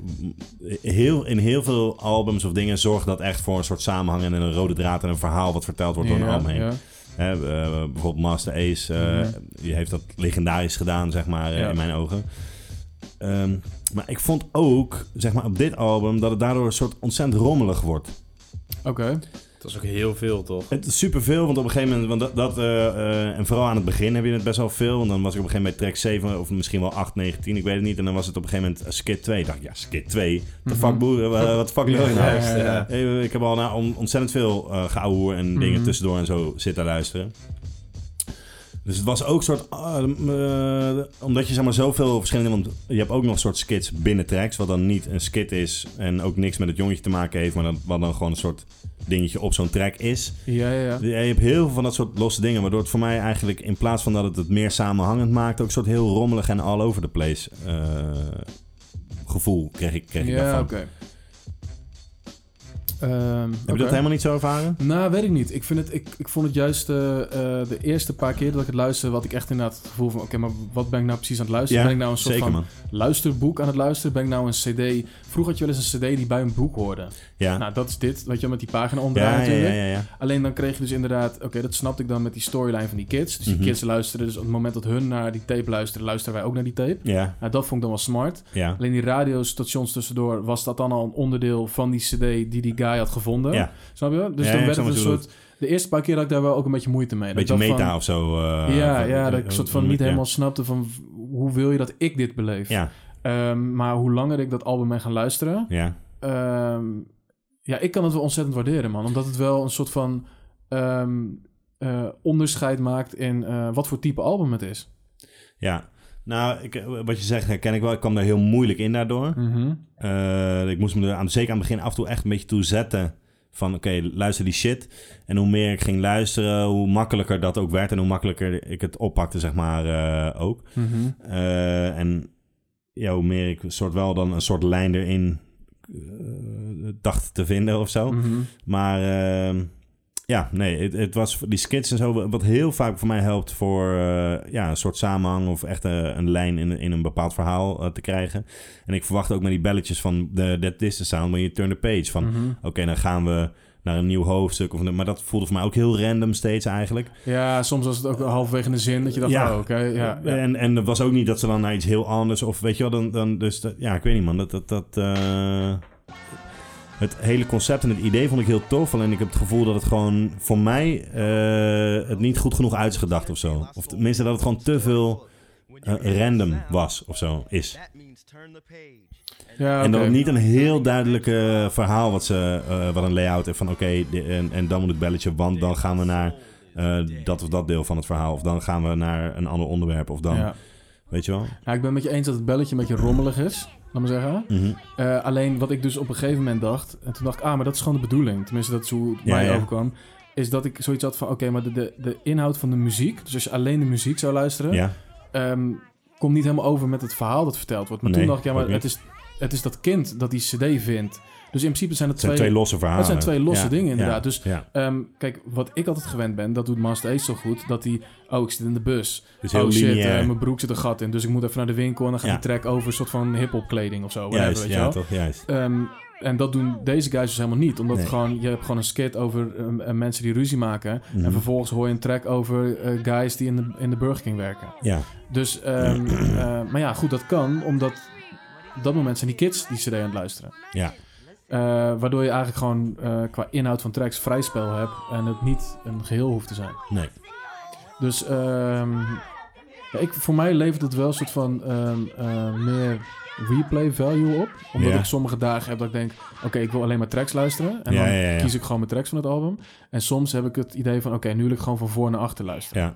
heel, in heel veel albums of dingen zorgt dat echt voor een soort samenhang en een rode draad en een verhaal wat verteld wordt door een
ja,
album heen.
ja.
Hè, eh, bijvoorbeeld Master Ace, eh,
Mhm.
die heeft dat legendarisch gedaan, zeg maar, eh,
Ja.
in mijn ogen. Ehm, maar ik vond ook, zeg maar, op dit album dat het daardoor een soort ontzettend rommelig wordt.
Oké.
Het was ook heel veel, toch?
Het is superveel, want op een gegeven moment, want dat, dat eh, eh, en vooral aan het begin heb je het best wel veel. Want dan was ik op een gegeven moment bij track 7 of misschien wel 8, 9, 10, ik weet het niet. En dan was het op een gegeven moment eh, skit 2. Ik dacht, ja, skit 2. De fuck,
Mhm.
boer, eh, wat de fuck wil je nou?
Juist, ja.
Eh, Ik heb al nou on- ontzettend veel eh geouwehoer en dingen
Mhm.
tussendoor en zo zitten luisteren. Dus het was ook een soort... ah, eh, omdat je zeg maar zoveel verschillende... Want je hebt ook nog een soort skits binnen tracks. Wat dan niet een skit is en ook niks met het jongetje te maken heeft. Maar dan, wat dan gewoon een soort dingetje op zo'n track is.
Ja, ja, ja.
Je hebt heel veel van dat soort losse dingen. Waardoor het voor mij eigenlijk in plaats van dat het het meer samenhangend maakt... ook een soort heel rommelig en all over the place eh, gevoel kreeg ik, kreeg ik
ja,
daarvan.
oké. Ehm,
Heb
oké.
je dat helemaal niet zo ervaren?
Nou, weet ik niet. Ik, vind het, ik, ik vond het juist eh, eh, de eerste paar keer dat ik het luisterde... wat ik echt inderdaad het gevoel van... oké, maar wat ben ik nou precies aan het luisteren? ben ik nou een soort
zeker,
van
man.
luisterboek aan het luisteren? Ben ik nou een cd... Vroeger had je wel eens een cd die bij een boek hoorde.
Ja.
Nou, dat is dit. Weet je, wel, met die pagina omdraaien
ja, ja,
natuurlijk.
ja, ja, ja.
Alleen dan kreeg je dus inderdaad... Oké, dat snapte ik dan met die storyline van die kids. Dus die
Mhm.
kids luisteren. Dus op het moment dat hun naar die tape luisteren... luisteren wij ook naar die tape.
Ja,
Nou, dat vond ik dan wel smart.
ja.
Alleen die radiostations tussendoor, was dat dan al een onderdeel van die cd die die guy had gevonden?
Ja.
Snap je? Dus
Ja, ja,
dan
ik
werd
snap
het een
wat je
soort... De eerste paar keer had ik daar wel ook een beetje moeite mee.
Een
Dat
beetje
ik dacht
meta
van-
of zo. eh,
ja,
van-
ja,
eh,
dat ik
eh,
soort van
eh,
niet
ja.
helemaal snapte van... v- hoe wil je dat ik dit beleef?
Ja,
Ehm, maar hoe langer ik dat album ben gaan luisteren...
ja.
ehm, ja, ik kan het wel ontzettend waarderen, man. Omdat het wel een soort van... ehm, eh, onderscheid maakt in eh, wat voor type album het is.
ja. Nou, ik, eh, wat je zegt herken ik wel. Ik kwam daar heel moeilijk in daardoor.
Mhm.
Eh, ik moest me er aan, zeker aan het begin af en toe echt een beetje toe zetten. Van oké, luister die shit. En hoe meer ik ging luisteren, hoe makkelijker dat ook werd. En hoe makkelijker ik het oppakte, zeg maar, eh, ook.
Mhm.
Eh, en ja, hoe meer ik een soort wel dan een soort lijn erin eh, dacht te vinden of zo.
Mhm.
Maar ehm, ja, nee, het, het was voor die skits en zo, wat heel vaak voor mij helpt voor eh, ja, een soort samenhang of echt eh, een lijn in, in een bepaald verhaal eh, te krijgen. En ik verwacht ook met die belletjes van de That Is The Sound, when you turn the page, van
Mhm.
oké, dan gaan we naar een nieuw hoofdstuk. Of, maar dat voelde voor mij ook heel random steeds eigenlijk.
Ja, soms was het ook halverwege een zin dat je dacht,
Ja. Eh,
oh, oké, ja, ja.
En, en het was ook niet dat ze dan naar iets heel anders of weet je wel, dan, dan dus dat- ja, ik weet niet man, dat dat, dat eh, het hele concept en het idee vond ik heel tof, alleen ik heb het gevoel dat het gewoon voor mij eh, het niet goed genoeg uit is gedacht of zo, of tenminste dat het gewoon te veel eh, random was of zo is.
Ja,
En
oké.
dan niet een heel duidelijke verhaal wat ze, eh, wat een layout heeft van oké, di- en, en dan moet het belletje, want dan gaan we naar eh, dat of dat deel van het verhaal. Of dan gaan we naar een ander onderwerp. Of dan,
Ja.
weet je wel.
Ja, ik ben met je eens dat het belletje een beetje rommelig is, laat maar zeggen.
Mhm.
Eh, alleen wat ik dus op een gegeven moment dacht, en toen dacht ik, ah, maar dat is gewoon de bedoeling. Tenminste, dat is hoe het
Ja,
mij
ja.
overkwam. Is dat ik zoiets had van, oké, maar de, de, de inhoud van de muziek, dus als je alleen de muziek zou luisteren,
Ja,
ehm, komt niet helemaal over met het verhaal dat verteld wordt. Maar
Nee,
toen dacht ik, ja,
ook
maar
niet.
het is, het is dat kind dat die cd vindt. Dus in principe zijn het,
het zijn twee losse verhalen.
het zijn twee losse
Ja,
dingen
ja,
inderdaad. Dus
ja.
ehm, kijk, wat ik altijd gewend ben, dat doet Master Ace zo goed, dat hij, oh, ik zit in de bus.
Dus heel
oh shit,
lineair.
eh, mijn broek zit een gat in, dus ik moet even naar de winkel en dan gaat
Ja.
die track over een soort van hip-hop kleding of zo. Whatever,
Juist,
weet je
ja,
wel?
toch, juist.
Ehm, en dat doen deze guys dus helemaal niet. Omdat
Nee.
gewoon, je hebt gewoon een skit over ehm, eh, mensen die ruzie maken. En
Mhm.
vervolgens hoor je een track over eh, guys die in de, in de Burger King werken.
Ja,
Dus, ehm, eh, maar ja, goed, dat kan. Omdat op dat moment zijn die kids die cd aan het luisteren.
ja.
Eh, waardoor je eigenlijk gewoon eh, qua inhoud van tracks vrij spel hebt. En het niet een geheel hoeft te zijn.
Nee.
Dus ehm, ja, ik, voor mij levert het wel een soort van ehm, eh, meer replay value op. Omdat
Ja.
ik sommige dagen heb dat ik denk... oké, ik wil alleen maar tracks luisteren. En
Ja,
dan
ja, ja, ja.
kies ik gewoon mijn tracks van het album. En soms heb ik het idee van... oké, nu wil ik gewoon van voor naar achter luisteren.
Ja.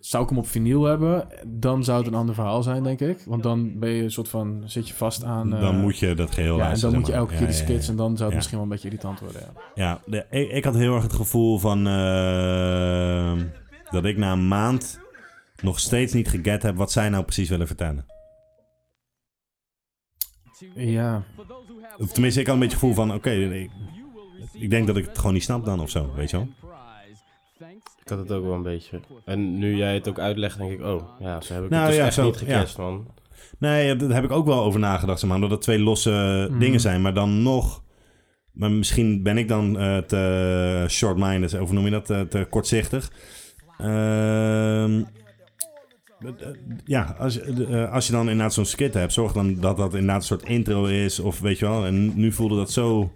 Zou ik hem op vinyl hebben, dan zou het een ander verhaal zijn, denk ik. Want dan ben je een soort van... zit je vast aan... eh,
Dan moet je dat geheel
ja, en
luisteren,
dan moet je
zeg maar.
elke keer die
Ja, ja,
skits... en dan zou het
Ja.
misschien wel een beetje irritant worden, ja.
Ja, de- ik, ik had heel erg het gevoel van eh, dat ik na een maand nog steeds niet geget heb wat zij nou precies willen vertellen.
Ja,
Of tenminste, ik had een beetje het gevoel van, oké, ik, ik denk dat ik het gewoon niet snap dan of zo, weet je wel?
Ik had het ook wel een beetje. En nu jij het ook uitlegt, denk ik, oh, ja, ze hebben ik
Nou
het dus
ja,
echt
zo,
niet gecast, man.
Nee, daar heb ik ook wel over nagedacht, zeg maar, omdat dat twee losse
Mhm.
dingen zijn, maar dan nog... Maar misschien ben ik dan eh, te short-minded, of hoe noem je dat, eh, te, te kortzichtig. Ehm, eh, ja, als, je- eh, als je dan inderdaad zo'n skit hebt, zorg dan dat dat inderdaad een soort intro is, of weet je wel. En nu voelde dat zo...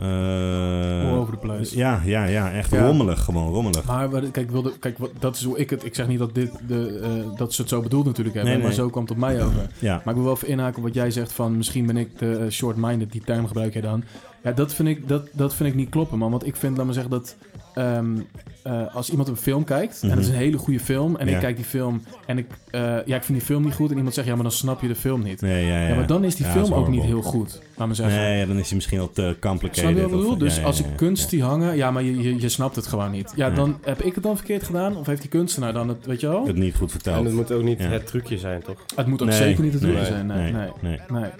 eh,
all over the place.
ja, ja, ja, echt
Ja.
rommelig gewoon, rommelig.
Maar wat- kijk, wilde, kijk wat, dat is hoe ik het. Ik zeg niet dat, dit de, eh, dat ze het zo bedoeld natuurlijk hebben,
Nee, nee.
maar zo kwam het op mij over.
Ja,
Maar ik wil wel even inhaken op wat jij zegt van misschien ben ik de eh, short-minded, die term gebruik jij dan. Ja, dat vind ik, dat, dat vind ik niet kloppen, man. Want ik vind, laat maar zeggen, dat ehm, eh, als iemand een film kijkt, en het is een hele goede film, en
Mhm. Ja.
ik kijk die film en ik, eh, ja, ik vind die film niet goed, en iemand zegt ja, maar dan snap je de film niet.
nee, ja, ja.
Ja, maar dan is die
Ja,
film
dat
ook niet
horrible.
heel goed, laat maar zeggen.
Nee, ja, dan is hij misschien al te complicated.
Snap je wat ik
of-
bedoel? Dus
ja, ja,
als ik
ja, ja.
kunst die hangen, ja, maar je, je, je snapt het gewoon niet. Ja, dan heb ik het dan verkeerd gedaan, of heeft die kunstenaar dan het, weet je wel?
het niet goed verteld.
En het moet ook niet
Ja.
het trucje zijn, toch?
Het moet ook
Nee,
zeker niet het
nee,
doel zijn. Nee, nee,
nee,
nee. Oh.
nee.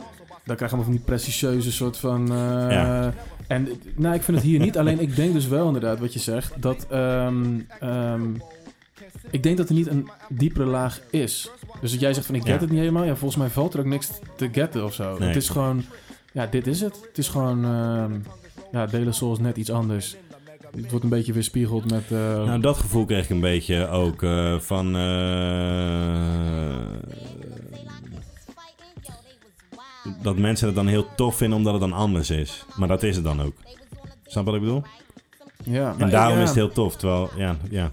Dan krijg je allemaal van die prestigieuze soort van. eh,
Ja.
En nou, ik vind het hier niet. Alleen ik denk dus wel inderdaad wat je zegt. Dat. ehm, ehm, ik denk dat er niet een diepere laag is. Dus dat jij zegt van ik get
Ja.
het niet helemaal. Ja, volgens mij valt er ook niks te getten of zo.
Nee.
Het is gewoon. Ja, dit is het. Het is gewoon. ehm ja, Delen Soul is net iets anders. Het wordt een beetje weerspiegeld met. eh,
Nou, dat gevoel kreeg ik een beetje ook eh, van... eh, dat mensen het dan heel tof vinden omdat het dan anders is. Maar dat is het dan ook. Snap wat ik bedoel?
ja,
En
maar-
daarom
ja.
is het heel tof. Terwijl, ja, ja.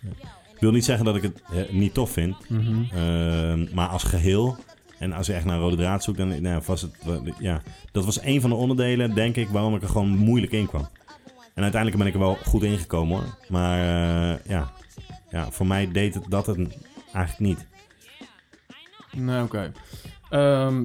Ja. Ik wil niet zeggen dat ik het eh, niet tof vind.
Mhm.
Ehm, maar als geheel. En als je echt naar een rode draad zoekt, dan nou, ja, was het. wel- Ja, dat was een van de onderdelen, denk ik, waarom ik er gewoon moeilijk in kwam. En uiteindelijk ben ik er wel goed in gekomen hoor. Maar eh, ja. ja, voor mij deed het dat het eigenlijk niet.
Nee, oké. Ehm,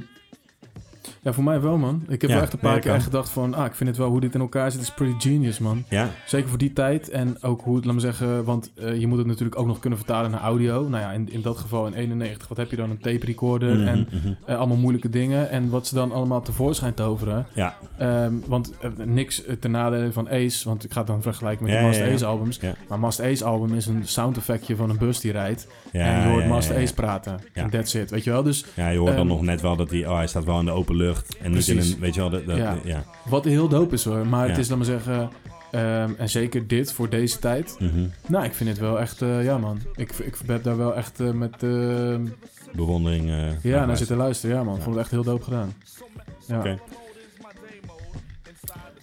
ja, voor mij wel, man. Ik heb
Ja,
wel echt een paar
nee,
keer
kan.
echt gedacht van... Ah, ik vind het wel hoe dit in elkaar zit. is pretty genius, man.
Ja,
Zeker voor die tijd. En ook hoe het, laat me zeggen... Want eh, je moet het natuurlijk ook nog kunnen vertalen naar audio. Nou ja, in, in dat geval in 91. Wat heb je dan? Een tape recorder
Mhm,
en
mhm.
eh, allemaal moeilijke dingen. En wat ze dan allemaal tevoorschijn toveren.
ja,
Ehm, want eh, niks eh, ten nadele van Ace. Want ik ga het dan vergelijken met
Ja,
de
ja,
Master
ja.
Ace albums.
Ja.
Maar Master Ace album is een sound effectje van een bus die rijdt.
ja.
en je hoort
ja,
Master
ja, ja.
Ace praten.
Ja.
En that's it. Weet je wel? Dus...
Ja, je hoort dan
Ehm,
nog net wel dat hij. Oh, hij staat wel in de open lucht. En niet in
Precies.
een. Weet je wel, dat, dat- ja.
Ja. Wat heel dope is hoor. Maar het
Ja.
is, laat maar zeggen... ehm, en zeker dit voor deze tijd.
Mhm.
Nou, ik vind het wel echt... eh, ja man, ik, ik ben daar wel echt eh, met... eh,
Bewondering. eh,
ja, nou naar
naar
zitten luisteren. Ja man, ik vond het echt heel dope gedaan. Ja.
Oké.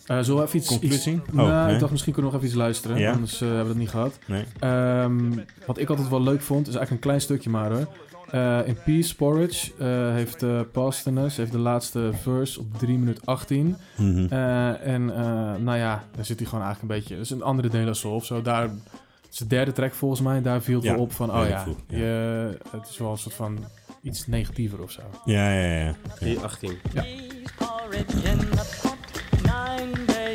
Eh, zullen we even iets...
Conclusie?
iets-
Oh,
nou,
nee.
ik dacht misschien kunnen we nog even iets luisteren.
Ja.
Anders eh, hebben we dat niet gehad.
Nee.
Ehm, wat ik altijd wel leuk vond, is eigenlijk een klein stukje maar hoor. Eh, in Peace Porridge eh, heeft eh Pasternas heeft de laatste verse op 3 minuten 18.
Mhm.
Eh, en eh, nou ja, daar zit hij gewoon eigenlijk een beetje... Dat is een andere De La Soul of zo. Daar, het is de derde track volgens mij. Daar viel het
Ja.
wel op van,
Ja,
oh
ik
ja,
voel- ja.
Je, het is wel een soort van iets negatiever of zo.
ja, ja, ja.
Die 18.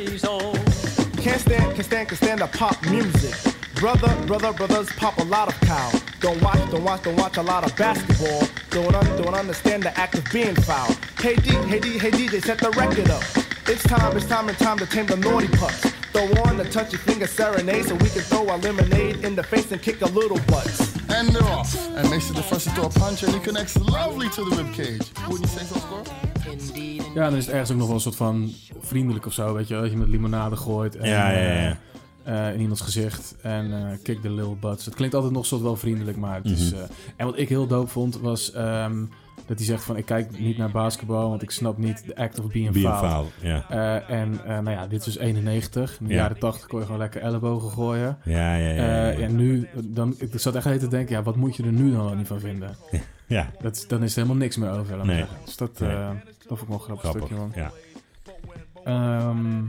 Can't stand, can't stand, can't stand the pop music. Brother, brother, brothers pop a lot of cow. Don't watch, don't watch, don't watch a lot of basketball. Don't, un, don't understand the act of being foul. Hey D, hey D, hey DJ, set the record up. It's time, it's time, and time to tame the naughty pups. Throw on the touchy finger serenade so we can throw our lemonade in the face and kick a little butts.
And they're off. And makes it the first to a punch and he connects lovely to the ribcage. Wouldn't you say so, score?
Ja, dan is het ergens ook nog wel een soort van vriendelijk of zo, weet je wel. Dat je met limonade gooit en,
Ja, ja, ja.
eh, in iemands gezicht en eh, kick the little butts. Het klinkt altijd nog soort wel vriendelijk, maar het is...
Mhm.
eh, en wat ik heel dope vond was ehm, dat hij zegt van ik kijk niet naar basketbal, want ik snap niet de act of being,
Be
foul.
foul. Ja,
Eh, en eh, nou ja, dit is 91. In de
Ja.
jaren 80 kon je gewoon lekker ellebogen gooien.
ja, ja.
Eh,
ja, ja.
En nu, dan, ik zat echt de hele tijd te denken, ja, wat moet je er nu dan wel niet van vinden?
ja
Dat, is- dan is er helemaal niks meer over. laat maar
Nee.
zeggen. Dus dat,
Nee.
eh, dat vond ik wel een grappig,
grappig.
stukje, man.
Ja.
Ehm,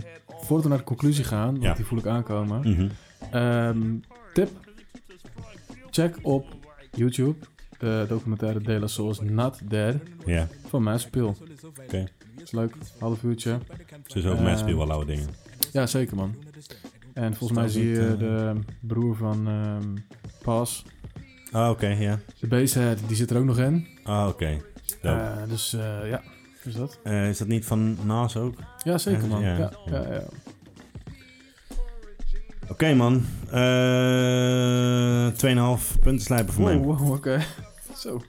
voordat we naar de conclusie gaan, want
Ja.
die voel ik aankomen.
Mhm.
Ehm, tip. Check op YouTube de documentaire De La Soul's Not Dead
ja.
van Maspil. Oké.
Oké.
Is leuk. Half uurtje.
Ze is ook
Eh,
mensen die wel oude dingen.
Ja, zeker man. En volgens mij
Staat
zie je
niet, eh,
de broer van ehm Pas.
Oh, oké, ja.
De basehead, die zit er ook nog in.
Oh, oké. Dope.
Eh, dus eh, ja, is dat?
Eh, is dat niet van Nas ook? Oké,
Ja, zeker man.
Ja,
Ja,
ja.
ja, ja.
man. Eh 2,5 punten slijpen voor mij.
Wow, wow, oké. Zo.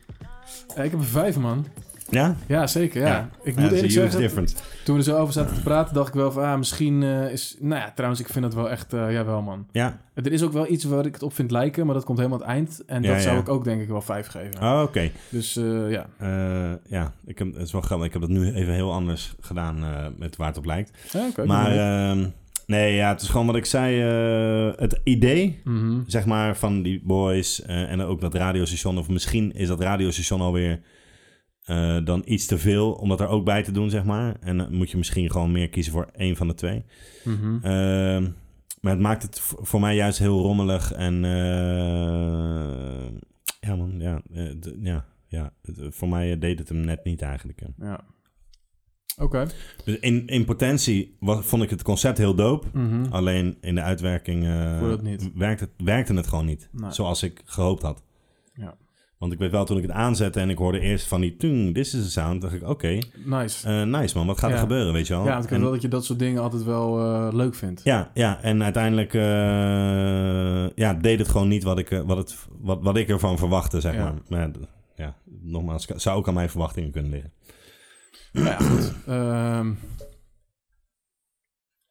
Eh, ik heb er vijf man.
Ja?
Ja, zeker. Ja.
Ja.
Ik
Ja,
moet
dat is
eerlijk
een huge
zeggen,
difference.
toen we er zo over zaten te praten, dacht ik wel van, ah, misschien eh, is... Nou ja, trouwens, ik vind het wel echt, eh, ja jawel man.
Ja,
Er is ook wel iets waar ik het op vind lijken, maar dat komt helemaal aan het eind. En
Ja,
dat zou
ja.
ik ook denk ik wel vijf geven.
oh, oké.
Dus eh, ja.
Eh, ja, ik heb, het is wel grappig. Ik heb dat nu even heel anders gedaan eh, met waar het op lijkt.
Ja, oké.
maar
Mhm.
ehm, nee, ja, het is gewoon wat ik zei. eh, het idee,
Mhm.
zeg maar, van die boys eh, en ook dat radiostation. Of misschien is dat radiostation alweer eh, dan iets te veel om dat er ook bij te doen, zeg maar. En dan moet je misschien gewoon meer kiezen voor één van de twee.
Mhm.
Ehm, maar het maakt het v- voor mij juist heel rommelig. En eh, ja, man, ja, eh, d- ja, ja het- eh, voor mij eh, deed het hem net niet eigenlijk. hè.
Ja. Oké.
Dus in, in potentie wa- vond ik het concept heel dope.
Mhm.
Alleen in de uitwerking eh,
Voelde het niet.
Werkte, het, werkte het gewoon niet.
Nee.
Zoals ik gehoopt had.
Ja.
Want ik weet wel, toen ik het aanzette en ik hoorde eerst van die... Toen, this is a sound. dacht ik, oké,
Nice.
eh, nice man. Wat gaat er
Ja.
gebeuren, weet je wel?
ja, want ik weet
En-
wel dat je dat soort dingen altijd wel eh, leuk vindt.
Ja, ja, en uiteindelijk eh, ja, deed het gewoon niet wat ik, eh, wat het, wat, wat ik ervan verwachtte, zeg
Ja.
maar. Maar ja, d- ja, nogmaals, k- zou ook aan mijn verwachtingen kunnen liggen.
Nou ja, goed. Ehm,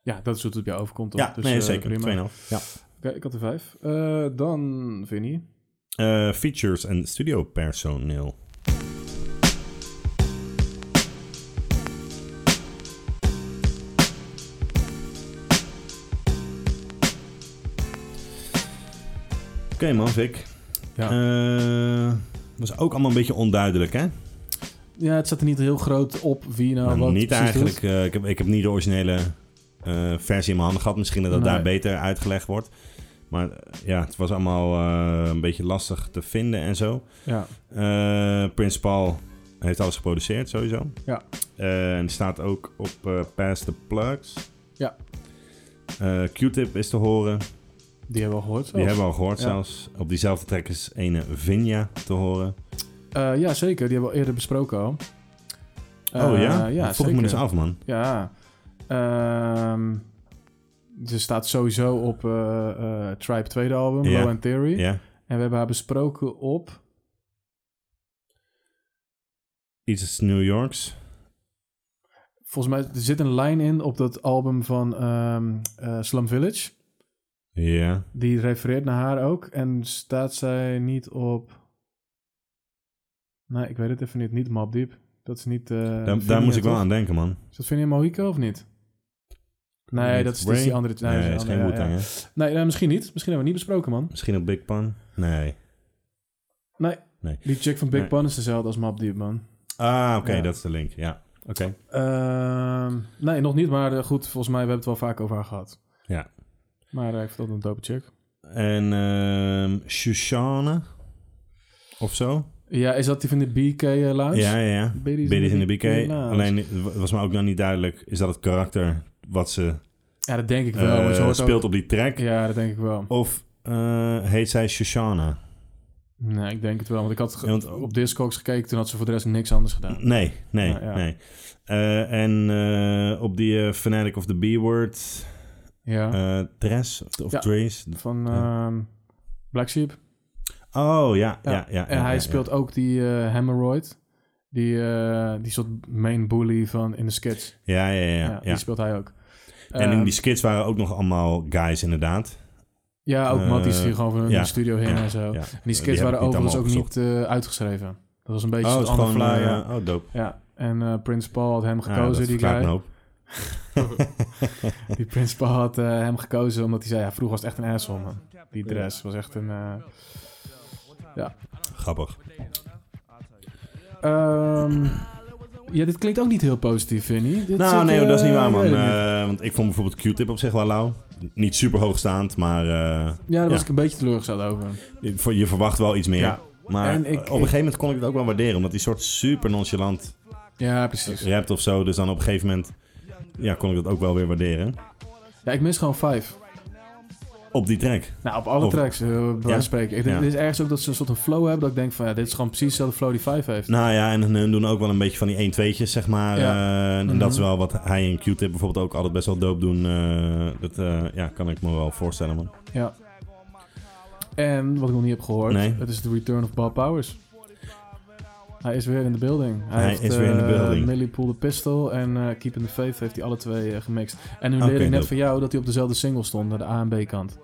ja, dat is hoe het op jou overkomt. toch?
ja,
Dus,
nee,
eh,
zeker.
prima.
2,5. Ja.
Oké, ik had er vijf. Eh, dan, Vinnie.
Eh, features en studiopersoneel. Oké man, Vic.
Ja.
Eh, was ook allemaal een beetje onduidelijk, hè?
Ja, het staat er niet heel groot op wie nou
Nou,
wat
niet
precies
eigenlijk.
doet.
eh, ik, heb, ik heb niet de originele eh, versie in mijn handen gehad. Misschien dat dat
Nee.
daar beter uitgelegd wordt. Maar eh, ja, het was allemaal eh, een beetje lastig te vinden en zo.
Ja,
Eh Prince Paul heeft alles geproduceerd, sowieso.
Ja.
Eh, en staat ook op eh Past the Plugs.
Ja.
Eh, Q-tip is te horen.
die hebben we al gehoord.
Die
zelfs.
hebben we al gehoord
Ja.
zelfs. Op diezelfde track is ene Vinja te horen.
Eh, ja, zeker. Die hebben we al eerder besproken al.
oh
Eh,
ja?
ja
Dat vroeg ik me
zeker.
dus af, man.
Ja. Ehm, ze staat sowieso op eh, eh, Tribe tweede album,
Ja.
Low and Theory.
Ja.
En we hebben haar besproken op...
Iets is New Yorks.
Volgens mij er zit een lijn in op dat album van ehm, eh, Slum Village.
Ja.
Eh, Die refereert naar haar ook. En staat zij niet op... Nee, ik weet het even niet. Niet Mob Deep. Dat is niet... eh,
Daar,
Vinia,
daar moest ik wel
toch?
aan denken, man.
Is dat Vinnie Mohico of niet? Nee,
Niet
dat is, dat
Ray?
is die andere.
Nee,
dat
is
een
geen
andere,
wu
ja, eh, ja. Nee, nee, misschien niet. Misschien hebben we het niet besproken, man.
Misschien op Big Pan? Nee.
Nee,
Nee.
Die chick van Big
Nee.
Pun is dezelfde als Map Deep, man.
Ah, oké,
Ja.
dat is de link. Ja, oké.
Ehm, nee, nog niet, maar eh, goed, volgens mij we hebben het wel vaak over haar gehad.
Ja.
Maar eh, ik vond dat een dope chick.
En ehm Shoshana of zo?
Ja, is dat die van de BK eh, Lounge?
Ja, ja, ja.
Biddies
Biddies in
in
de
the
BK.
BK Lounge.
Alleen het was me ook nog niet duidelijk, is dat het karakter wat ze
Ja, dat denk ik wel. want je
eh,
hoort
speelt
ook-
op die track?
Ja, dat denk ik wel.
Of eh, heet zij Shoshana?
Nee, ik denk het wel. Want ik had ge-
Ja, want-
op Discogs gekeken, toen had ze voor de rest niks anders gedaan.
Nee, nee,
Ja, ja.
nee. Eh, en eh, op die eh, Fanatic of the B-word,
Ja,
eh Dress of, of
Ja.
Trace.
van
ja.
ehm, Black Sheep.
Oh, ja, ja, ja. ja,
en
ja,
hij
ja.
speelt ook die eh Hemorrhoid. Die, eh, die soort main bully van in de skits.
Ja, ja, ja.
Ja,
ja,
Die speelt hij ook.
En in
Ehm,
die skits waren ook nog allemaal guys, inderdaad.
ja, ook Matt die is
eh,
hier gewoon van
ja,
de studio heen en zo.
Ja. Oh,
En die
Die
skits
heb
waren
ik niet
overigens ook
allemaal
niet eh, uitgeschreven. Dat was een beetje
Oh, het
zo'n
is
on the
gewoon...
fly.
eh,
ja.
oh, dope.
Ja, en eh Prince Paul had hem
Ah,
gekozen,
dat
die
verklaart
guy.
een hoop.
Die Prince Paul had eh, hem gekozen omdat hij zei, ja, vroeger was het echt een asshole, man. Die dress was echt een... eh,
Grappig.
Ehm, ja, dit klinkt ook niet heel positief, Vinny. Dit
Nou,
soort,
nee,
eh,
dat is niet waar, man.
weet ik niet.
Eh, want ik vond bijvoorbeeld Q-tip op zich wel lauw. Niet super hoogstaand, maar eh,
ja, daar was
ja.
ik een beetje teleurgesteld over.
je je verwacht wel iets meer.
Ja.
Maar
En ik-
op een gegeven moment kon ik het ook wel waarderen, omdat die soort super nonchalant
Ja, precies.
rapt of zo. Dus dan op een gegeven moment ja, kon ik dat ook wel weer waarderen.
Ja, ik mis gewoon vijf.
Op die track.
Nou, op alle
Of-
tracks, eh, bij wijze van
Oh. Ja?
spreken. Ik denk,
Ja.
dit is ergens ook dat ze een soort van flow hebben, dat ik denk van, ja, dit is gewoon precies dezelfde flow die vijf heeft.
Nou ja, en hun doen ook wel een beetje van die 1 tjes zeg maar.
Ja.
Eh, en
Mhm.
dat is wel wat hij en Q-tip bijvoorbeeld ook altijd best wel dope doen. Eh, dat eh, ja, kan ik me wel voorstellen, man.
Ja. En wat ik nog niet heb gehoord,
Nee.
het is de return of Bob Powers. Hij is weer in de building. Hij,
Hij
heeft,
is weer in de
eh,
building.
Millie Pool the Pistol en eh, Keep in the Faith heeft hij alle twee eh, gemixt. En nu
Oké,
leerde ik net
dope.
van jou dat hij op dezelfde single stond, aan de A en B kant.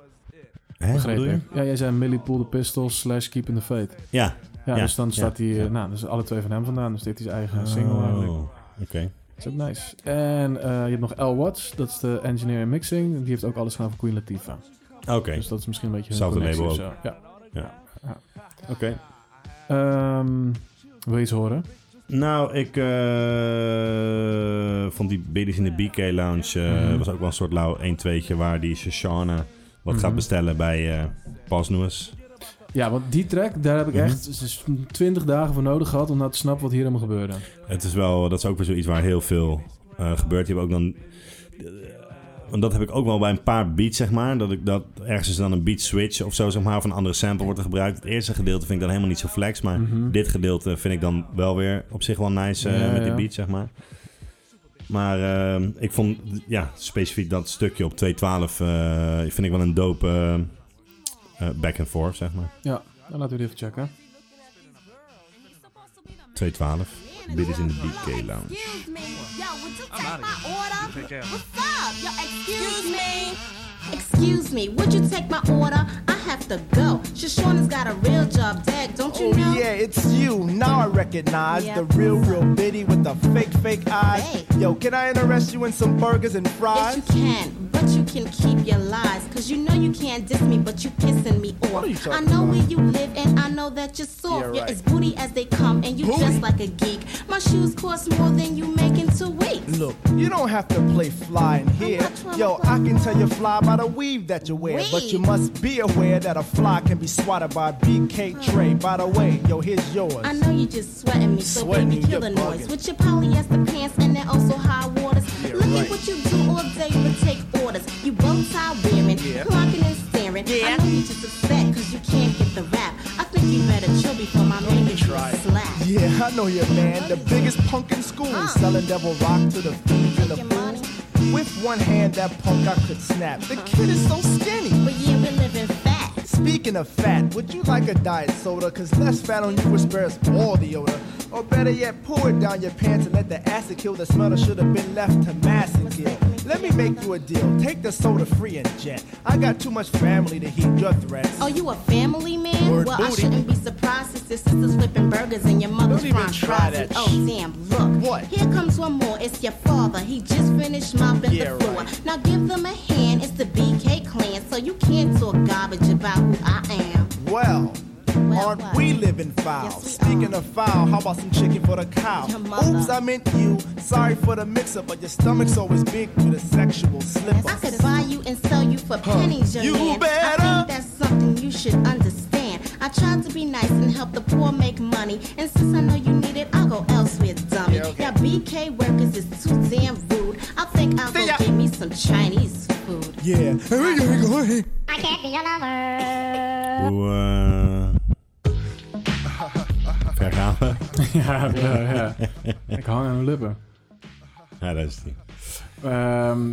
Hè, wat
Begreep
bedoel je?
ik. Ja, jij zei Millie Pool the Pistol slash Keep in the Faith.
Ja.
Ja,
Ja,
dus dan
ja,
staat hij, eh,
ja.
nou, dus alle twee van hem vandaan. Dus dit is eigen single eigenlijk.
Oh, Oké.
Dat is ook nice. En eh, je hebt nog L Watts, dat is de engineer in mixing. Die heeft ook alles gedaan voor Queen Latifah.
Oké.
Dus dat is misschien een beetje hun
Hetzelfde
connectie
label
of zo. Ja.
Oké.
Ehm, wil je iets horen?
Nou, ik eh, vond die Biddies in de BK Lounge eh,
Mhm.
was ook wel een soort lauw 1-2'tje waar die Shoshana wat gaat
Mhm.
bestellen bij eh Pas Noes.
Ja, want die track, daar heb ik
Mhm.
echt s- s- 20 dagen voor nodig gehad om nou te snappen wat hier helemaal gebeurde.
Het is wel, dat is ook weer zoiets waar heel veel eh, gebeurt. Je hebt ook dan. eh, Want dat heb ik ook wel bij een paar beats, zeg maar. Dat ik dat ergens is dan een beat switch of zo, zeg maar. Van een andere sample wordt er gebruikt. Het eerste gedeelte vind ik dan helemaal niet zo flex. Maar
Mhm.
dit gedeelte vind ik dan wel weer op zich wel nice eh,
Ja,
met die
ja.
beat, zeg maar. Maar ehm, ik vond ja, specifiek dat stukje op 212 eh, vind ik wel een dope eh, eh, back and forth, zeg maar.
Nou, laten we die even checken.
212. Dit is in de BK Lounge.
Excuse me. Yo, would you
outta
take my order?
Take care.
What's up? Yo, excuse me. Excuse me, would you take my order? I have to go. Shoshana's got a real job, Dag, don't you
Oh
know?
yeah, it's you. Now I recognize
Yeah.
the real, real bitty with the fake, fake eyes.
Hey.
Yo, can I interest you in some burgers and
Yes,
fries?
you can, but you can keep your lies. Cause you know you can't diss me, but you pissing me off.
are you talking
I know
about?
where you live and I know that you're soft.
Yeah,
You're
right.
as booty as they come and you
Booty?
dress like a geek. My shoes cost more than you make in two weeks.
Look, you don't have to play fly in here.
not trying
Yo,
to
I
fly.
can tell you fly by the weave that you wear. But you
Weave?
must be aware that a fly can be swatted by a BK tray. By the way, yo, here's yours.
I know you just sweating me, so
Sweating,
baby, kill the
you're
noise.
bugging.
With your polyester pants and then also high waters.
Yeah,
Look
right.
at what you do all day but take orders. You bow tie wearing,
Yeah.
clocking and staring.
Yeah.
I know you just upset cause you can't get the rap. I think you better chill before my man gets
try.
slap.
Yeah, I know you, man. The biggest punk in school.
Huh.
Selling devil rock to the thieves and the
Making
fools. With one hand, that punk I could snap. The kid is so skinny.
But yeah, we're living fat.
Speaking of fat, would you like a diet soda? Cause less fat on you spares all the odor. Or better yet, pour it down your pants and let the acid kill the smell that should have been left to mass and kill. Let me make you a deal. Take the soda free and jet. I got too much family to heed your threats.
Oh, you a family man?
Word
well,
booty.
I shouldn't be surprised since your sister's flipping burgers and your mother's
Don't even
frying
try
fries.
that
Oh,
shit.
damn, look.
What?
Here comes one more. It's your father. He just finished mopping
Yeah,
the floor.
right.
Now give them a hand. It's the BK clan, so you can't talk garbage about who I am.
Well,
Well,
aren't we living foul?
Yes, we
Speaking
are.
of foul, how about some chicken for the cow?
Your mother.
Oops, I meant you. Sorry for the mix up, but your stomach's always big with a sexual slip
I
up.
could buy you and sell you for pennies, young
You
man. I
better.
think that's something you should understand. I tried to be nice and help the poor make money. And since I know you need it, I'll go elsewhere, dummy.
Yeah, okay.
Yeah, BK workers is too damn rude. I think I'll
See
go
ya.
get me some Chinese food.
Yeah.
I can't be your lover.
Hoe. eh, Ver gaan we?
ja, ja, ja. Ik hang aan mijn lippen.
Ja, dat is het niet.
Ehm,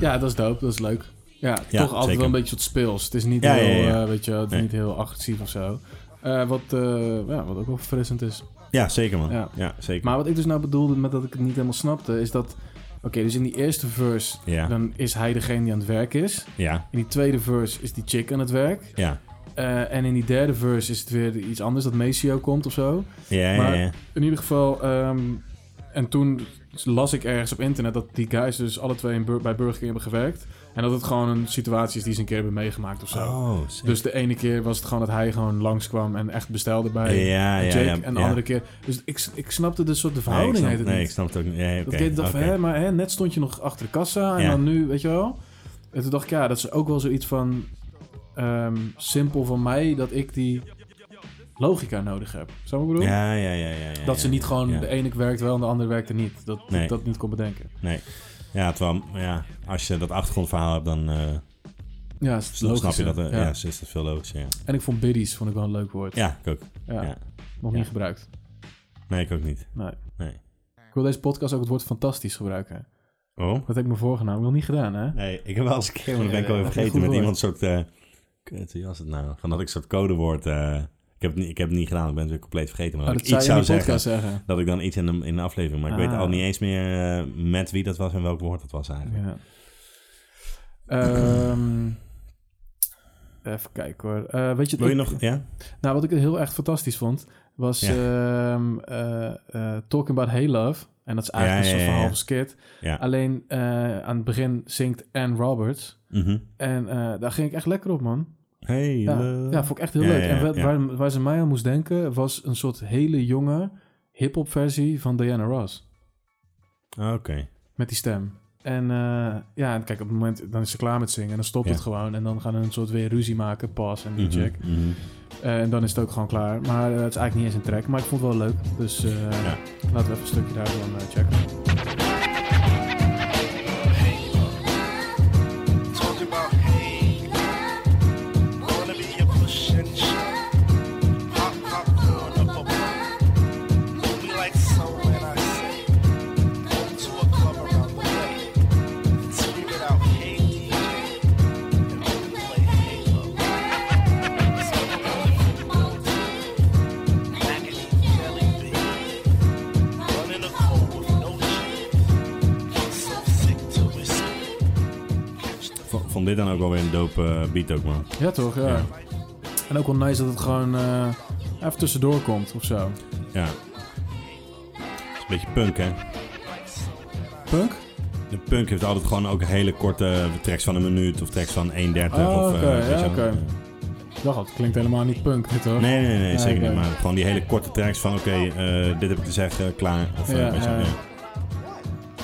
ja, dat is dope. Dat is leuk. Ja, toch
Ja,
altijd
zeker.
wel een beetje wat speels. Het is niet,
Ja,
heel,
ja, ja.
eh, weet je, wel, het is
Nee.
niet heel agressief of zo. Eh, wat, eh, ja, wat ook wel verfrissend is.
Ja, zeker man. Ja,
Ja.
zeker.
Maar wat ik dus nou bedoelde met dat ik het niet helemaal snapte, is dat... Oké, dus in die eerste verse,
Ja.
dan is hij degene die aan het werk is.
Ja,
In die tweede verse is die chick aan het werk.
ja.
Eh, en in die derde verse is het weer iets anders, dat Maceo komt of zo.
Ja, ja,
Maar
ja.
in ieder geval, ehm, en toen las ik ergens op internet dat die guys dus alle twee in Bur- bij Burger King hebben gewerkt. En dat het gewoon een situatie is die ze een keer hebben meegemaakt of zo.
Oh, zeker.
Dus de ene keer was het gewoon dat hij gewoon langskwam en echt bestelde bij
Ja, ja,
Jake.
ja,
en de
ja.
andere keer... Dus ik, ik snapte de soort
Nee,
de
ik
verhouding
snap,
heet het
nee,
niet.
ik snap het ook niet. Nee,
Dat
oké,
ik dacht van,
oké.
hè, maar hè, net stond je nog achter de kassa en
Ja.
dan nu, weet je wel. En toen dacht ik, ja, dat is ook wel zoiets van ehm, simpel van mij dat ik die logica nodig heb. Zou ik bedoelen?
Ja, ja, ja, ja, ja.
Dat ze
ja,
niet gewoon,
ja.
de e- ene werkt wel en de andere werkt er niet. Dat
Nee.
ik dat niet kon bedenken.
Nee. Ja, terwijl, ja, als je dat achtergrondverhaal hebt, dan eh,
Ja, het is
snap-
logisch.
snap je dat. eh,
hè?
ja,
Ja.
is dat veel logischer. Ja,
En ik vond biddies vond ik wel een leuk woord.
ja ik ook.
Ja.
ja.
Nog
Ja.
niet gebruikt.
Nee, ik ook niet.
Nee.
Nee.
Ik wil deze podcast ook het woord fantastisch gebruiken.
Oh?
Dat heb ik me voorgenomen. Ik wil niet gedaan, hè?
Nee, ik heb wel eens een keer, maar dat ben ik
Ja,
alweer
ja,
vergeten,
goed
met
woord.
iemand een soort... eh kut, wie was het nou? Van dat ik een soort codewoord... eh, ik, heb het niet, ik heb het niet gedaan, ik ben het weer compleet vergeten. Maar
Maar
dat,
Oh, dat
ik
zou
iets
je in
zou
die
zeggen,
podcast zeggen.
dat ik dan iets in een, in een aflevering... Maar ik weet
Ah.
al niet eens meer eh, met wie dat was en welk woord dat was eigenlijk.
Ja. Ehm, even kijken hoor. Eh, weet je,
Wil je
ik-
nog... Ja?
Nou, wat ik heel echt fantastisch vond, was
Ja.
ehm, eh, eh, Talking About Hey Love. En dat is eigenlijk
Ja,
een
ja,
soort
ja, ja.
van halve skit.
Ja.
Alleen eh, aan het begin zingt Anne Roberts.
Mhm.
En eh, daar ging ik echt lekker op, man.
Hey, eh,
Ja,
love.
ja vond ik echt heel
Ja,
leuk.
ja,
en wat-
ja.
Waar, waar ze mij aan moest denken, was een soort hele jonge hip-hop versie van Diana Ross.
Oké.
Met die stem. En eh, ja, en kijk, op het moment dan is ze klaar met zingen. En dan stopt
Ja.
het gewoon. En dan gaan ze een soort weer ruzie maken. Pas en die
Mhm,
check.
mhm.
Eh, en dan is het ook gewoon klaar. Maar eh, het is eigenlijk niet eens een track. Maar ik vond het wel leuk. Dus eh,
Ja.
laten we even een stukje daarvan eh, checken.
Talking about hey, wanna be a push and shove. Pop popcorn up a blunt. Move me like soul when I say. Go to a club around the way. Scream it out, hey DJ. And make me play Halo. Talking about the football team. Mac and Jelly Bean. Running the cold with no jeans. Get so sick to whiskey.
Vond, vond dit dan ook wel weer een dope eh, beat ook, man.
Ja, toch? Ja.
Ja.
En ook wel nice dat het gewoon eh, even tussendoor komt of zo.
Ja. Het is een beetje punk, hè?
Punk?
De punk heeft altijd gewoon ook hele korte eh, tracks van een minuut of tracks van 1,30
Oh,
of... eh,
oké,
weet je
ja,
wel.
oké. Ik dacht al, het klinkt helemaal niet punk, dit hoor.
Nee, nee, nee,
Ja,
zeker
oké.
niet. Maar gewoon die hele korte tracks van, oké, eh, dit heb ik te zeggen, klaar. Of, eh,
Ja,
weet je wel,
ja.
ja.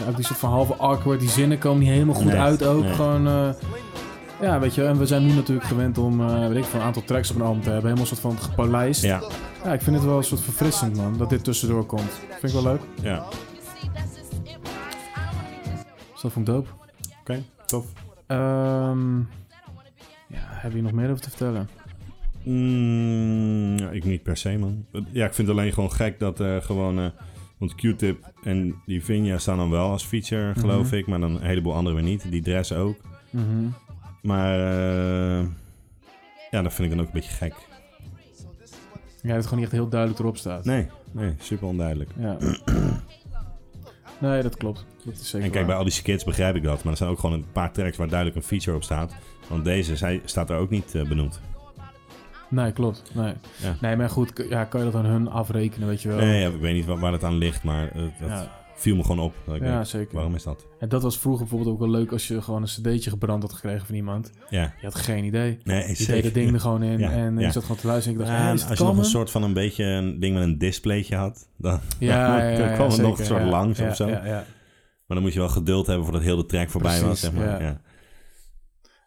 Ja, ook die soort van halve awkward, die zinnen komen niet helemaal goed
Nee,
uit ook.
nee.
Gewoon, eh, ja, weet je, en we zijn nu natuurlijk gewend om, eh, weet ik veel, een aantal tracks op een album te hebben. Helemaal een soort van gepolijst.
Ja,
Ja, ik vind het wel een soort verfrissend, man, dat dit tussendoor komt. Vind ik wel leuk.
ja.
Dus dat vond ik dope.
Oké, tof.
Ehm, ja, heb je nog meer over te vertellen?
Mm, ja, ik niet per se, man. Ja, ik vind het alleen gewoon gek dat eh, gewoon... eh, want Q-Tip en die Vinja staan dan wel als feature, geloof
Mhm.
ik. Maar dan een heleboel anderen weer niet. Die Dress ook.
Mhm.
Maar eh, ja, dat vind ik dan ook een beetje gek.
Ja, dat het gewoon niet echt heel duidelijk erop staat.
Nee, nee, super onduidelijk.
Ja. nee, dat klopt. Dat is zeker
En kijk, bij
waar.
al die skits begrijp ik dat. Maar er zijn ook gewoon een paar tracks waar duidelijk een feature op staat. Want deze zij, staat er ook niet eh, benoemd.
Nee, klopt. Nee.
Ja.
nee, maar goed, k- ja, kan je dat aan hun afrekenen, weet je wel?
Nee, ja, ik weet niet wa- waar, dat aan ligt, maar eh, dat
Ja.
Viel me gewoon op. Dat ik
Ja,
denk,
zeker.
Waarom is dat?
En dat was vroeger bijvoorbeeld ook wel leuk als je gewoon een cd'tje gebrand had gekregen van iemand.
Ja.
Je had geen idee.
Nee,
Je
zeker.
deed dat ding er gewoon in
Ja,
en
ja.
ik zat gewoon te luisteren en ik dacht,
Ja,
hey,
en
is het
als je nog een
Kammen?
soort van een beetje een ding met een displaytje had, dan,
Ja, ja,
dan
ja, ja,
kwam het nog
zeker,
een soort
ja.
langs
Ja,
of zo.
Ja, ja.
Maar dan moest je wel geduld hebben voordat heel de track voorbij was.
Precies,
Zeg maar. ja.
ja.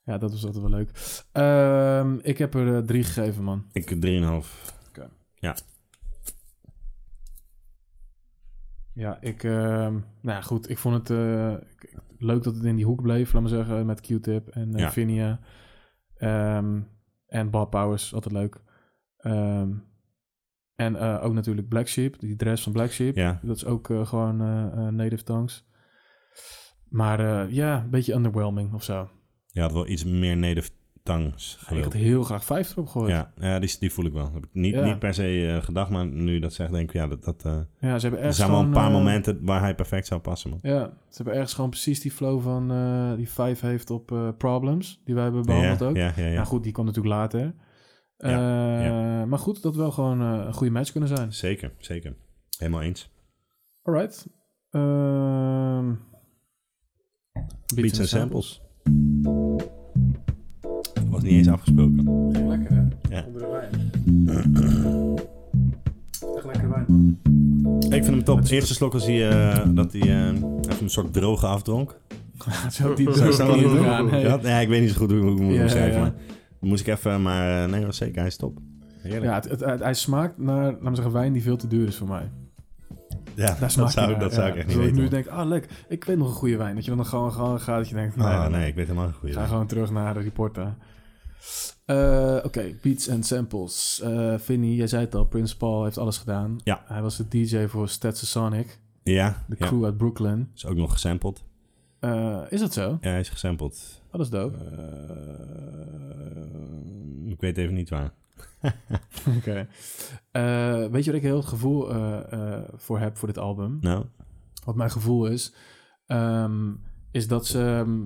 Ja, dat was altijd wel leuk. Ehm, ik heb er eh, drie gegeven, man.
Ik heb 3,5.
Ja, ik... ehm, nou ja, goed, ik vond het eh, ik- leuk dat het in die hoek bleef, laat maar zeggen, met Q-Tip en eh
Ja.
Vinia. Ehm, en Bob Powers, altijd leuk. Ehm, en eh, ook natuurlijk Black Sheep, die dress van Black Sheep.
Ja.
Dat is ook eh, gewoon eh, eh, native tongues. Maar eh, ja, een beetje underwhelming of zo.
Je had wel iets meer native tongues
Ik had
gewild.
heel graag vijf erop gegooid.
Ja, ja die, die voel ik wel. Heb ik niet,
Ja.
niet per se eh, gedacht, maar nu je dat zegt, denk ik, ja, dat, dat, eh,
Ja, ze hebben
er
echt
zijn wel een paar
gewoon, eh,
momenten waar hij perfect zou passen. Man.
Ja, ze hebben ergens gewoon precies die flow van eh, die vijf heeft op eh, Problems, die wij hebben behandeld
ja,
ook.
Ja, ja, ja.
Nou goed, die komt natuurlijk later.
Ja,
Eh,
ja.
Maar goed, dat wel gewoon eh, een goede match kunnen zijn.
Zeker, zeker. Helemaal eens.
Alright. Ehm
Beats and samples. Dat was niet eens afgesproken.
Lekker hè?
Ja.
Onder de wijn. Echt lekker wijn man.
Ik vind hem top. Eerste slok was hij eh, dat hij eh, even een soort droge afdronk.
Zo die
Zo is dat
die-
wel
ja,
doen.
nee.
Ja, nee, ik weet niet zo goed hoe, hoe ik moet
Ja,
beschrijven.
ja.
Maar moest ik even, maar eh, nee, was zeker. Hij is top. Heerlijk.
Ja,
Ja,
het, het- het- hij smaakt naar, laten we zeggen, wijn die veel te duur is voor mij.
dat,
Daar smaakt hij
zou, ik-
naar,
dat
ja.
zou ik echt niet
Zodat
weten.
ik nu denk, ah leuk, ik weet nog een goede wijn. Dat je dan gewoon, gewoon gaat dat je denkt,
man.
nee,
Ah,
nee,
nee, ik weet helemaal niet goed.
Ga gewoon terug naar de reporter. Oké, beats en samples. Eh Vinny, jij zei het al, Prince Paul heeft alles gedaan.
Ja.
Hij was de DJ voor Stetson Sonic,
Ja,
de
ja.
crew uit Brooklyn.
is ook nog gesampled.
Eh, is dat zo?
Ja, hij is gesampled.
Dat is dope.
Eh, ik weet even niet waar.
Oké. Eh, weet je wat ik heel het gevoel eh, eh, voor heb voor dit album?
Nou,
Wat mijn gevoel is, ehm, is dat ze... ehm,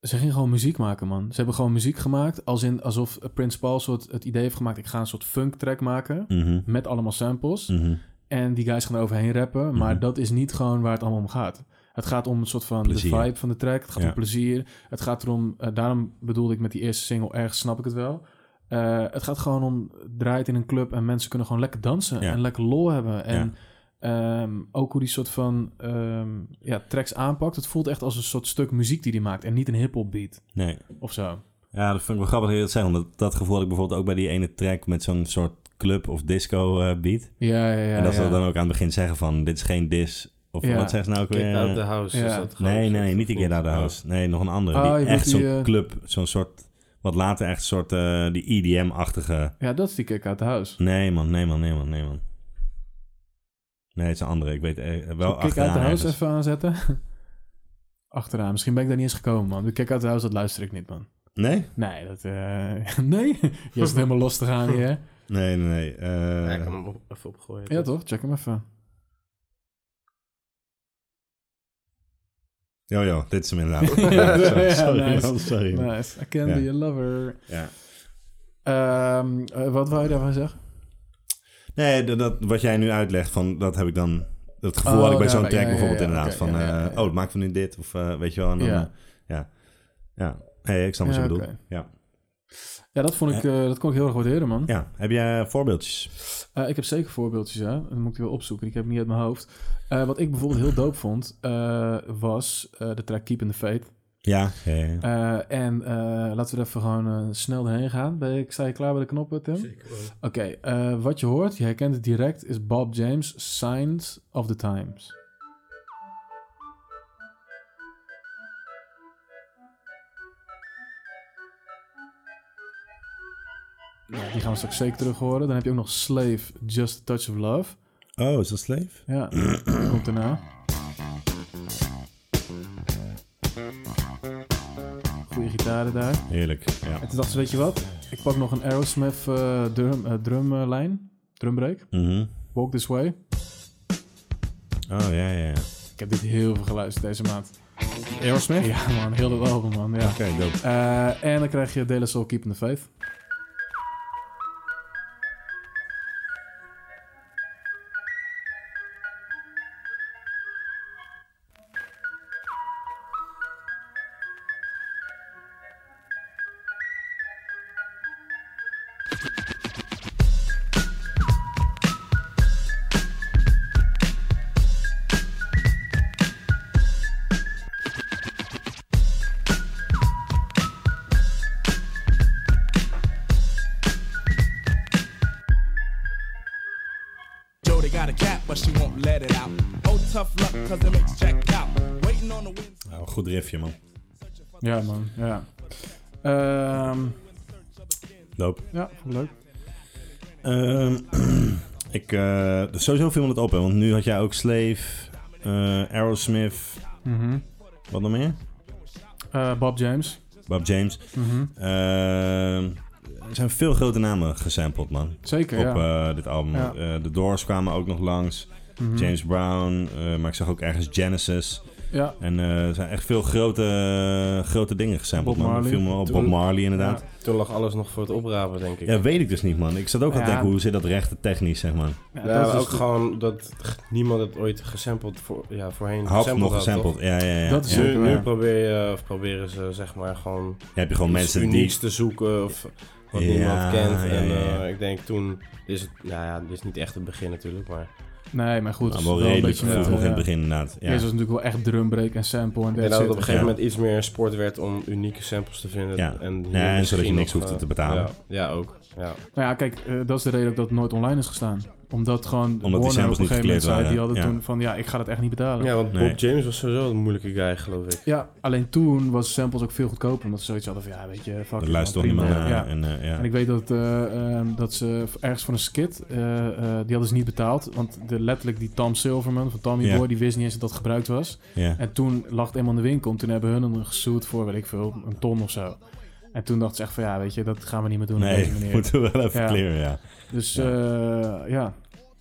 ze gingen gewoon muziek maken, man. Ze hebben gewoon muziek gemaakt, als in, alsof Prince Paul soort het idee heeft gemaakt... ik ga een soort funk track maken
mhm,
met allemaal samples...
mhm.
En die guys gaan er overheen rappen. Maar
Mhm.
dat is niet gewoon waar het allemaal om gaat. Het gaat om een soort van
Plezier.
de vibe van de track. Het gaat
Ja.
om plezier. Het gaat erom... eh, daarom bedoelde ik met die eerste single... ergens snap ik het wel. Eh, het gaat gewoon om... het draait in een club en mensen kunnen gewoon lekker dansen...
Ja.
en lekker lol hebben. En ehm, ook hoe die soort van ehm, ja, tracks aanpakt... het voelt echt als een soort stuk muziek die die maakt... en niet een hip-hop beat
Nee.
of zo.
Ja, dat vind ik wel grappig dat je dat zegt. Want dat, dat gevoel had ik bijvoorbeeld ook bij die ene track met zo'n soort club of disco eh, beat.
Ja, ja, ja.
en dat ze
ja.
dat dan ook aan het begin zeggen van, dit is geen dis. Of
Ja.
wat zeggen ze nou ook
Get
weer?
out the house.
Ja.
Is dat gewoon
Nee,
zo?
nee, nee, niet die Get Out of House. Nee, nog een andere.
Oh, je
die
bedoelt
echt
die,
zo'n
eh,
club, zo'n soort... Wat later echt een soort eh, die EDM-achtige...
Ja, dat is die kick uit de house.
Nee man, nee man, nee man, nee man. Nee, het is een andere. Ik weet eh, wel
Zal ik Kick
achteraan
Out The House
ergens.
even aanzetten? Achteraan. Misschien ben ik daar niet eens gekomen, man. De Kick Out The House, dat luister ik niet, man.
Nee?
Nee, dat... eh, nee? Je is helemaal los te gaan hier, hè?
Nee, nee, nee. eh,
Ja, ik kan hem op- even opgooien.
Ja, toch? Check hem even.
Jo, jo, dit is hem inderdaad.
Ja,
ja, sorry,
ja,
sorry,
nice.
man, sorry. man.
Nice. I can
Ja.
be your lover.
Ja.
Ehm, eh, wat wou je daarvan zeggen?
Nee, dat, dat- wat jij nu uitlegt, van, dat heb ik dan... Dat gevoel had ik
Oh,
bij
ja,
zo'n
ja,
track
ja, ja,
bijvoorbeeld
ja,
inderdaad.
oké,
van,
ja, ja,
eh,
ja.
oh, maakt we nu dit? Of eh, weet je wel. En dan,
Ja.
ja. Ja. Nee, ik snap wat
Ja,
je bedoelt.
oké.
Ja.
Ja, dat vond ik... eh, dat kon ik heel erg waarderen, man.
ja. Heb jij voorbeeldjes?
Eh, ik heb zeker voorbeeldjes, ja. Dan moet ik die wel opzoeken. Ik heb het niet uit mijn hoofd. Eh, wat ik bijvoorbeeld heel dope vond, eh, was eh, de track Keep in the Faith.
Ja. ja, ja, ja.
Eh, en eh, laten we er even gewoon eh, snel doorheen gaan. Ben je, sta je klaar bij de knoppen, Tim?
Zeker wel.
Oké, eh, wat je hoort, je herkent het direct, is Bob James' Signs of the Times. Ja, die gaan we straks zeker terug horen. Dan heb je ook nog Slave, Just a Touch of Love.
Oh, is dat Slave?
Ja, die komt daarna. Goeie gitaren daar.
Heerlijk, ja.
En toen dacht ze, weet je wat? Ik pak nog een Aerosmith eh, drum, eh, drumlijn. Drumbreak.
Mhm.
Walk This Way.
Oh, ja, ja, ja.
Ik heb dit heel veel geluisterd deze maand.
Aerosmith?
Ja man, heel dat album man. Ja.
Oké, dope.
Eh, en dan krijg je De La Soul Keep in the Faith.
won't let it out. Oh, tough luck, cause it makes check out. Waiting on the wind.
Nou, goed riffje, man.
Ja, man. Ja. Ehm,
Doop.
ja, vond ik leuk.
Ehm, ik, eh, sowieso viel me het op, hè, want nu had jij ook Slave, eh, Aerosmith,
Mhm.
wat nog meer?
Eh, Bob James.
Bob James.
Mhm.
Ehm, er zijn veel grote namen gesampled, man.
Zeker,
Op
ja.
eh, dit album.
Ja.
Eh, de Doors kwamen ook nog langs.
Mhm.
eh, James Brown. eh, maar ik zag ook ergens Genesis.
Ja.
En eh, er zijn echt veel grote, grote dingen gesampled,
Bob
man.
Marley.
Viel me op. Bob
Toen-
Marley, inderdaad.
Toen lag alles nog voor het oprapen, denk ik.
Ja. weet ik dus niet, man. Ik zat ook aan het
Ja.
denken, hoe zit dat rechten technisch, zeg maar.
Ja,
Ja,
dat is
maar
dus
ook
de-
gewoon dat niemand het ooit gesampled voor, ja, voorheen
Had nog
had,
gesampled.
toch? Dus
Ja, ja, ja.
Dat is
ja.
het.
Nu,
Zeker,
nu
ja.
probeer je, of proberen ze zeg maar gewoon
Dan heb je gewoon
iets
mensen die...
unieks te zoeken of wat
Ja,
niemand kent.
ja,
en
ja, ja.
eh, ik denk toen is het, nou ja, dit is niet echt het begin natuurlijk, maar
Nee, maar goed.
Nou,
het is
wel
een
redelijk
beetje
vroeg
met,
nog in
eh,
het begin, inderdaad. Ja.
Eerst was het natuurlijk wel echt drumbreak en sample en
ik denk
dat
dat
soort
het op een
Ja.
gegeven moment iets meer een sport werd om unieke samples te vinden.
Ja.
en hier
Ja, en zodat je
misschien
niks
nog,
hoeft
eh,
te betalen.
Ja, ja, ook. Ja.
Nou ja, kijk, eh, dat is de reden ook dat het nooit online is gestaan. Omdat gewoon
die
Warner
samples
op een
niet
gegeven moment
gecleared
zei, die
waren,
hadden
ja.
toen van, ja, ik ga dat echt niet betalen. Ja.
ja, want
Nee.
Bob James was sowieso een moeilijke guy, geloof ik.
alleen toen was samples ook veel goedkoper. Omdat ze zoiets hadden van, ja, weet je, fuck.
Er
it,
luistert toch
man,
niemand
prima.
naar.
Ja.
En, eh, ja.
En ik weet dat, eh, ehm, dat ze ergens voor een skit, eh, eh, die hadden ze niet betaald. Want de, letterlijk die Tom Silverman van Tommy
Ja.
Boy, die wist niet eens dat dat gebruikt was.
ja.
En toen lag het eenmaal in de winkel. En toen hebben hun hem gesuurd voor, weet ik veel, een ton of zo. En toen dachten ze echt van, ja, weet je, dat gaan we niet meer doen op
Nee,
deze manier.
moeten we wel even
Ja.
clearen, ja.
Dus
Ja.
ja. ja.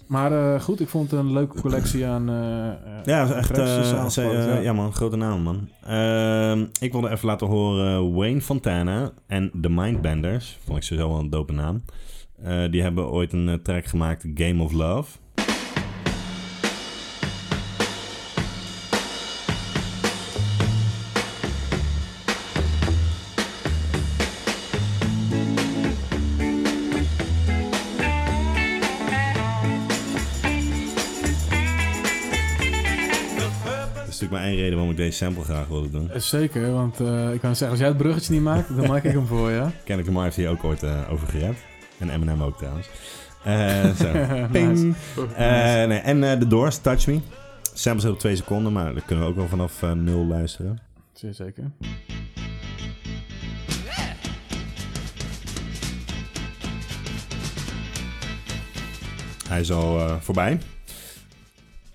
Maar eh, goed, ik vond het een leuke collectie aan. eh, eh,
Ja, dat is echt.
tracks die
eh,
samengevat,
ze- eh, ja. man, grote naam, man. Ehm, ik wilde even laten horen Wayne Fontana en The Mindbenders. Vond ik sowieso wel een dope naam. Eh, die hebben ooit een eh, track gemaakt, Game of Love. Dat is natuurlijk maar één reden waarom ik deze sample graag wilde doen.
Eh, Zeker, want eh, ik kan zeggen, als jij het bruggetje niet maakt, dan maak ik hem voor je.
Kendrick Lamar heeft hier ook ooit eh, over gered. En Eminem ook trouwens. Eh, zo. Ping.
Nice.
Eh, nee, en eh, The Doors, Touch Me. Samples hebben twee seconden, maar daar kunnen we ook wel vanaf eh, nul luisteren.
Zeer zeker.
Hij is al eh, voorbij.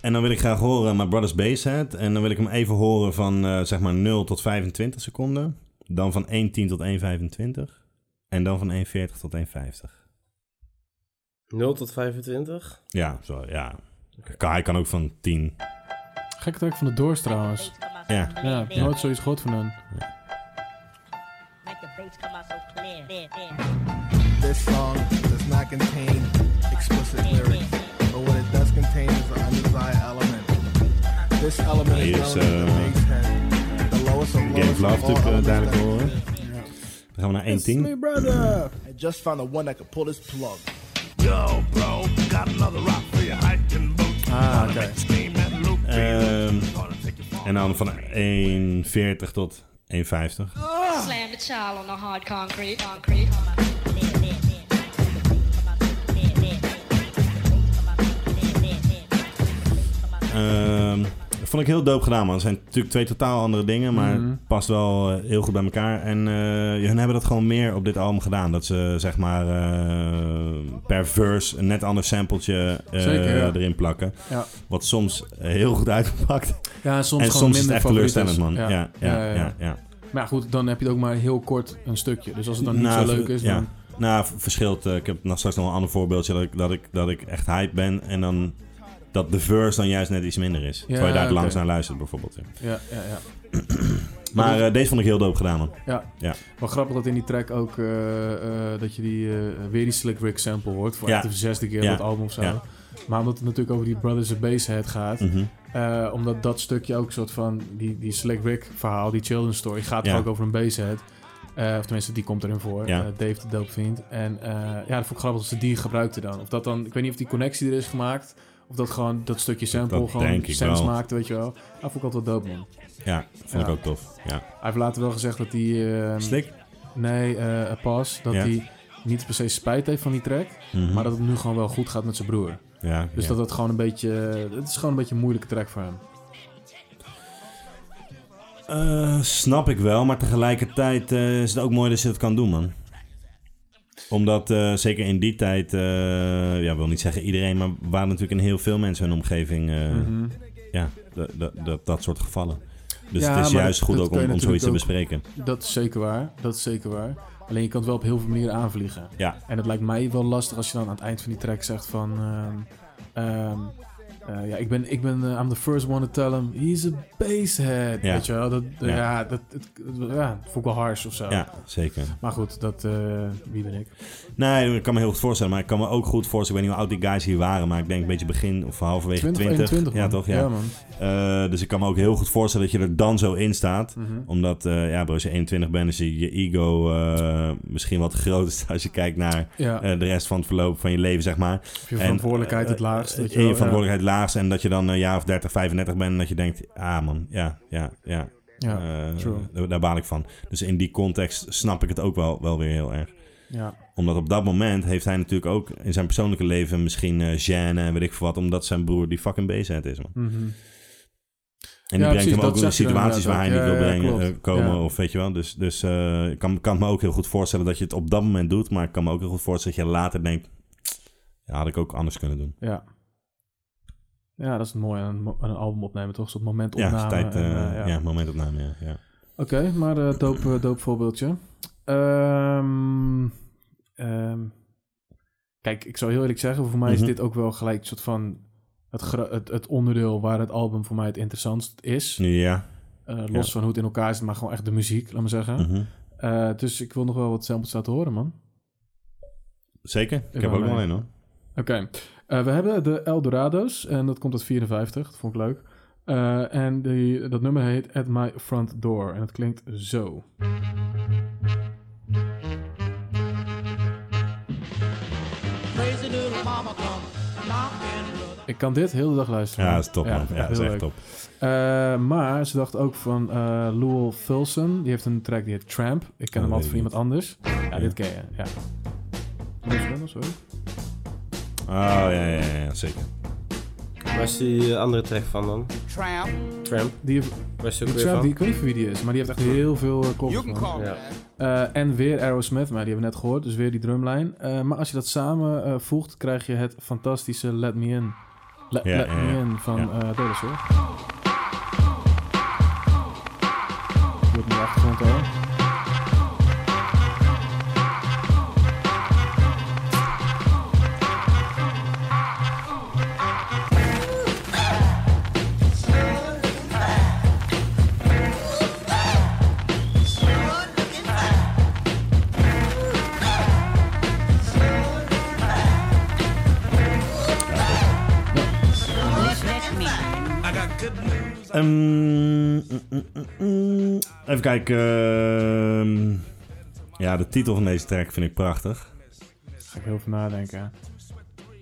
En dan wil ik graag horen My Brother's Basehead. En dan wil ik hem even horen van eh, zeg maar 0 tot 25 seconden. Dan van 1.10 tot 1.25. En dan van 1.40 tot 1.50.
0 tot 25?
Ja, zo, ja. Kan- Hij kan ook van 10.
Gekke track van de Doors trouwens.
Ja.
Ja, ik heb nooit zoiets gehoord van hen.
This song does not contain explicit lyrics, but what it does contain is an undesired element. This element
Hij
is
is,
known as the
eh,
bass head, the lowest of
Game of
lowest
Love
of all
natuurlijk eh,
elements
duidelijk
that-
horen. Dan gaan we naar 1.10.
brother!
I just found the one that could pull this plug.
Yo, bro, got another rock for your hiking boot.
Ah, oké.
Ehm, en dan van 1.40 tot 1.50.
Ah. Slam the child on the hard concrete. concrete.
Ehm, dat vond ik heel dope gedaan, man. Het zijn natuurlijk twee totaal andere dingen, maar
Mhm.
het past wel eh, heel goed bij elkaar. En eh hun hebben dat gewoon meer op dit album gedaan. Dat ze zeg maar eh, per verse een net ander sampletje eh,
Zeker, ja.
erin plakken.
Ja.
Wat soms heel goed uitpakt.
Ja, en soms
en soms is het
gewoon minder
echt
favoriet
teleurstellend, man. Ja, ja, ja.
ja,
ja,
ja. Maar ja, goed, dan heb je het ook maar heel kort een stukje. Dus als het dan niet
Nou,
zo leuk is,
ja.
dan...
Nou, v- verschilt. eh, ik heb nog straks nog een ander voorbeeldje dat ik, dat ik, dat ik echt hype ben. En dan dat de verse dan juist net iets minder is. terwijl je daar
oké.
langs naar luistert, bijvoorbeeld. ja.
Ja, ja, ja.
Maar eh, deze vond ik heel dope gedaan, man.
Ja.
Ja.
Wel grappig dat in die track ook eh, eh, dat je die, eh, weer die Slick Rick sample hoort. Voor
Ja.
echt de zesde keer
Ja.
op het album of zo.
Ja.
Maar omdat het natuurlijk over die Brothers of Basehead gaat.
Mhm.
eh, omdat dat stukje ook een soort van die, die Slick Rick verhaal, die children's story, gaat
Ja.
ook over een Basehead. Eh, of tenminste, die komt erin voor.
Ja.
eh, Dave de Dope Vriend. En eh, ja, dat vond ik grappig dat ze die gebruikte dan. Of dat dan, ik weet niet of die connectie er is gemaakt. Of dat gewoon dat stukje sample
Dat
gewoon
denk ik
sens
wel.
maakte, weet je wel. Dat vond ik altijd wel dope, man.
Ja, vond ik
Ja.
ook tof. Ja.
Hij heeft later wel gezegd dat hij... eh,
Slik?
Nee, eh Pas. Dat
Ja.
hij niet per se spijt heeft van die track. Maar dat het nu gewoon wel goed gaat met zijn broer.
Ja,
Dus
ja.
dat dat gewoon een beetje... eh, Het is gewoon een beetje een moeilijke track voor hem.
Eh, snap ik wel, maar tegelijkertijd eh, is het ook mooi dat je dat kan doen, man. Omdat eh, zeker in die tijd, eh, ja, wil niet zeggen iedereen, maar waren natuurlijk in heel veel mensen in hun omgeving, eh,
Mhm.
ja, dat- dat- dat- dat soort gevallen. Dus
Ja,
het is
maar
juist
dat-
goed
dat
ook
kan
om,
je
om zoiets te
natuurlijk
bespreken.
Dat is zeker waar. Dat is zeker waar. Alleen je kan het wel op heel veel manieren aanvliegen.
Ja.
En het lijkt mij wel lastig als je dan aan het eind van die track zegt van... ehm, ehm, eh, ja, ik ben, ik ben eh, I'm the first one to tell him he's a basshead.
Ja.
Weet je wel? Dat,
Ja.
ja. dat, het, ja, vond ik wel harsh of zo.
Ja, zeker.
Maar goed, dat, eh, wie ben ik?
Nee, ik kan me heel goed voorstellen, maar ik kan me ook goed voorstellen, ik weet niet hoe oud die guys hier waren, maar ik denk een beetje begin of halverwege 20.
21,
ja,
man.
toch? Ja.
man.
Eh, dus ik kan me ook heel goed voorstellen dat je er dan zo in staat.
Mhm.
Omdat, eh, ja, bro, als je 21 bent, is je, je ego eh, misschien wat groter als je kijkt naar
Ja,
eh, de rest van het verloop van je leven, zeg maar.
of je verantwoordelijkheid het laagst.
En
weet
eh, je
je wel.
verantwoordelijkheid laagst. En dat je dan een jaar of 30, 35 bent en dat je denkt, ah man, ja, ja, ja.
Ja, ja.
eh,
true.
daar, daar baal ik van. Dus in die context snap ik het ook wel, wel weer heel erg.
ja.
Omdat op dat moment heeft hij natuurlijk ook in zijn persoonlijke leven misschien eh gêne en weet ik veel wat. Omdat zijn broer die fucking bezig is, man. En
Mhm. Ja,
die brengt
precies,
hem
dat
ook in
zegt hij
situaties waar hij niet
inderdaad
wil
ook. Ja, ja,
brengen,
klopt.
eh, komen.
Ja.
Of weet je wel. Dus, dus eh, ik kan, kan het me ook heel goed voorstellen dat je het op dat moment doet. Maar ik kan me ook heel goed voorstellen dat je later denkt... Ja, had ik ook anders kunnen doen.
Ja. Ja, dat is mooi aan een, mo- aan een album opnemen, toch? Een soort
Ja,
momentopname.
is tijd,
en,
eh,
eh,
ja. momentopname, ja. ja.
Oké, maar eh doop, eh, doop voorbeeldje. Ehm, ehm, kijk, ik zou heel eerlijk zeggen, voor mij
Mhm.
is dit ook wel gelijk een soort van het, gro- het, het onderdeel waar het album voor mij het interessantst is.
Nu ja.
Eh, los van hoe het in elkaar zit, maar gewoon echt de muziek, laat maar zeggen.
mhm.
Eh, dus ik wil nog wel wat samples laten horen, man.
Zeker. Ik, heb
wou
ook nog
mij-
één, hoor.
Oké, Eh, we hebben de Eldorado's en dat komt uit 54, dat vond ik leuk. Eh, en die, dat nummer heet At My Front Door en dat klinkt zo.
Crazy little mama come knocking.
Ik kan dit heel de dag luisteren.
Ja, dat is top, man. Ja, dat is echt
heel leuk.
top.
Eh, maar ze dacht ook van eh Lowell Fulson. Die heeft een track die heet Tramp. Ik ken
Oh,
hem
weet
altijd
ik
van iemand anders. Ja,
Ja.
dit ken je. Ja. Moet ik spelen, sorry?
Oh, ja, ja, ja, ja, zeker.
Waar is die eh, andere track van dan? Tramp. Tramp.
Die, heeft-
Waar is die
die
ook weer
Tramp,
van?
die, ik weet niet wie die is, maar die heeft echt heel veel eh, covers van.
Ja.
Eh, en weer Aerosmith, maar die hebben we net gehoord. Dus weer die drumlijn. Eh, maar als je dat samen eh, voegt, krijg je het fantastische Let Me In. Le-
Ja,
Let
ja,
Me
ja.
In van
Ja.
eh Taylor Swift. Je hoort nu de achtergrond al.
I got good news.
Ehm, mm, mm, mm, mm. Even kijken. ehm, ja, de titel van deze track vind ik prachtig.
Daar ga ik heel veel nadenken.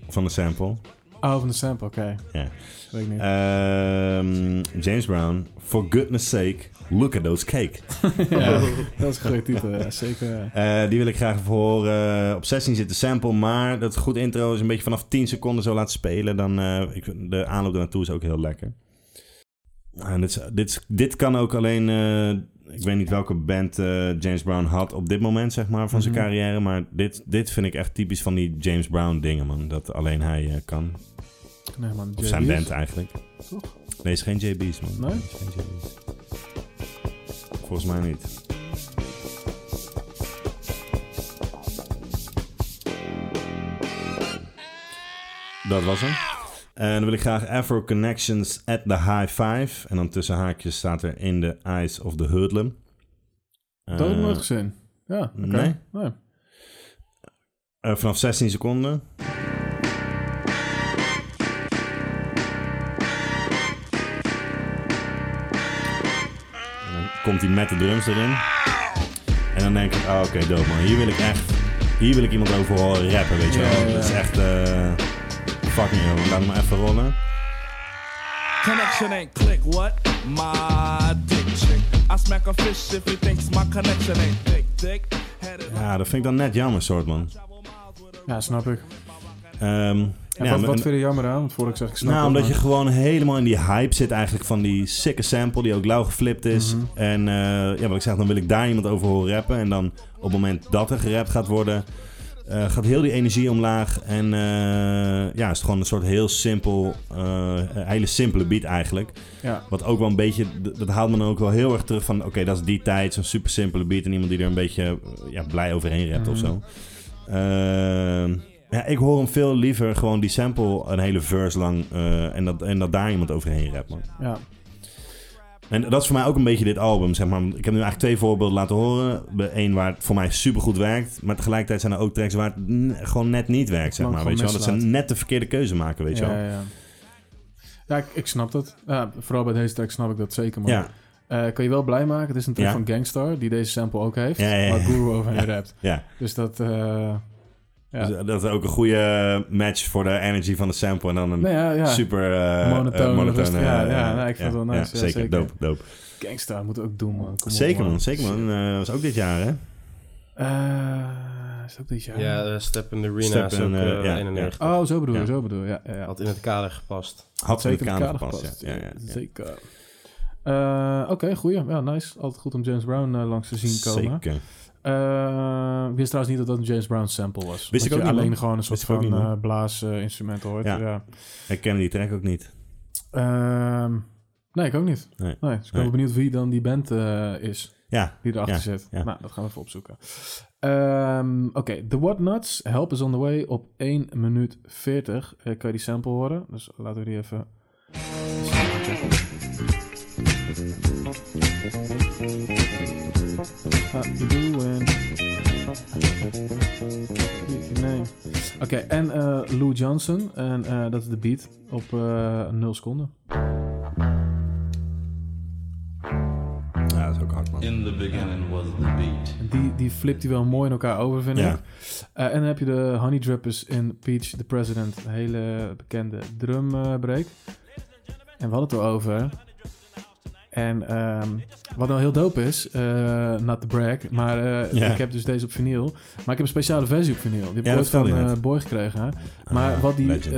Van de sample.
Oh, van de sample, oké.
Ja.
Weet ik niet.
Ehm, James Brown, for goodness sake, look at those cake.
Ja, dat is een goede titel, ja, zeker.
Eh, die wil ik graag even horen. op 16 zit de sample, maar dat goed intro is een beetje vanaf 10 seconden zo laten spelen. Dan, eh, ik, vind de aanloop ernaartoe is ook heel lekker. En dit, is- dit, is- dit kan ook alleen, eh, ik weet niet welke band eh, James Brown had op dit moment, zeg maar, van zijn
Mhm.
carrière. Maar dit, dit vind ik echt typisch van die James Brown dingen, man. Dat alleen hij eh, kan.
Nee, man,
Of
JB's.
zijn band eigenlijk.
Toch?
Nee, is geen JB's, man.
Nee?
Is geen JB's. Volgens mij niet. Dat was hem. En dan wil ik graag Afro Connections at the High Five. En dan tussen haakjes staat er In the Eyes of the Hoodlum.
Dat heb ik
Eh,
nooit gezien. Ja, oké.
nee.
Nee.
eh, vanaf 16 seconden. En dan komt hij met de drums erin. En dan denk ik, oh, oké, dope man. Hier wil ik echt, hier wil ik iemand over horen rappen, weet je wel.
Ja, ja, ja.
Dat is echt, eh fucking jongen. Laat hem maar even rollen.
Connection ain't click, what? My dick chick. I smack a fish if he thinks my connection ain't thick, dick. Headed
Ja, dat vind ik dan net jammer, soort man.
Ja, snap ik.
Ehm,
En
Ja,
wat,
maar-
wat vind je er jammer aan? Want vorige keer zeg ik snap
nou,
het,
omdat je
maar-
gewoon helemaal in die hype zit eigenlijk van die sikke sample die ook lauw geflipt is.
Mhm.
En eh, ja, wat ik zeg, dan wil ik daar iemand over horen rappen. En dan op het moment dat er gerapt gaat worden, eh, gaat heel die energie omlaag. En eh, ja, is het gewoon een soort heel simpel, eh, een hele simpele beat eigenlijk.
Ja.
Wat ook wel een beetje, d- dat haalt me dan ook wel heel erg terug van... Oké, dat is die tijd, zo'n super simpele beat. En iemand die er een beetje eh, ja, blij overheen rapt of
Mhm.
zo. Ehm, ja, ik hoor hem veel liever gewoon die sample een hele verse lang... eh, en, dat, en dat daar iemand overheen rapt, man.
Ja.
En dat is voor mij ook een beetje dit album, zeg maar. Ik heb nu eigenlijk twee voorbeelden laten horen. Eén waar het voor mij supergoed werkt. Maar tegelijkertijd zijn er ook tracks waar het n- gewoon net niet werkt, zeg
Gewoon
maar. Weet je wel? Dat ze
mislaat.
net de verkeerde keuze maken, weet je
ja,
wel.
ja, ja. Ja, ik, ik snap dat. Ja, vooral bij deze track snap ik dat zeker, man.
Ja,
Eh, kan je wel blij maken. Het is een track
Ja.
van Gangstar, die deze sample ook heeft.
Ja, ja, ja.
Waar Guru overheen rapt.
ja.
Dus dat... eh, ja.
Dus dat is ook een goede eh, match voor de energy van de sample. En dan een
nou ja, ja.
super eh
Monotone,
eh,
rustig. Ja,
eh,
ja, nou, ik vind het wel nice. Ja,
zeker,
zeker.
dope, dope.
Gangstar moet ook doen, man. Kom op,
zeker man, zeker man. Eh, was ook dit jaar hè?
Eh, is dat dit jaar?
Ja, eh, Step in the Arena
Step
is
in,
ook
eh,
eh,
ja,
91.
Oh, zo bedoel je,
Ja.
zo bedoel je. Ja, ja, ja.
Ah, Had in het kader gepast.
Had
zeker
zeker
in
de
het
kamer
kader
gepast.
gepast.
ja. Ja, ja, ja.
Zeker. Eh, Oké, goeie. Ja, nice. Altijd goed om James Brown eh, langs te zien komen.
Zeker.
Eh, ik wist trouwens niet dat dat een James Brown sample was.
Wist ik
dat
ook
je
niet,
alleen
man.
gewoon een soort
Wist ik ook
van
niet, man.
eh, blaasinstrument hoort. Ja.
Ja. Ik ken die track ook niet.
Ehm, nee, ik ook niet.
Nee.
dus ik ben wel
Nee.
benieuwd wie dan die band eh, is
Ja,
die erachter
Ja,
zit.
ja.
Nou, dat gaan we even opzoeken. Ehm, Oké, The Whatnots, Help is on the way op 1 minuut 40. Eh, kan je die sample horen? Dus laten we die even... How you doing? Nee. Oké, en eh, Lou Johnson. En eh, dat is de beat op eh 0 seconden.
ja, dat is ook hard man.
In the beginning was the beat.
En Die, die flipt hij wel mooi in elkaar over, vind
Ja.
ik. Eh, en dan heb je de Honey Drippers in Peach the President. Een hele bekende drumbreak. En we hadden het erover. En ehm, wat nou heel dope is, eh not the brag, maar eh,
Ja.
ik heb dus deze op vinyl. Maar ik heb een speciale versie op vinyl. Die heb ik
Ja, dat
ooit van
vertelde je
eh,
net.
Boy gekregen. Maar
Ah,
wat, die,
legend.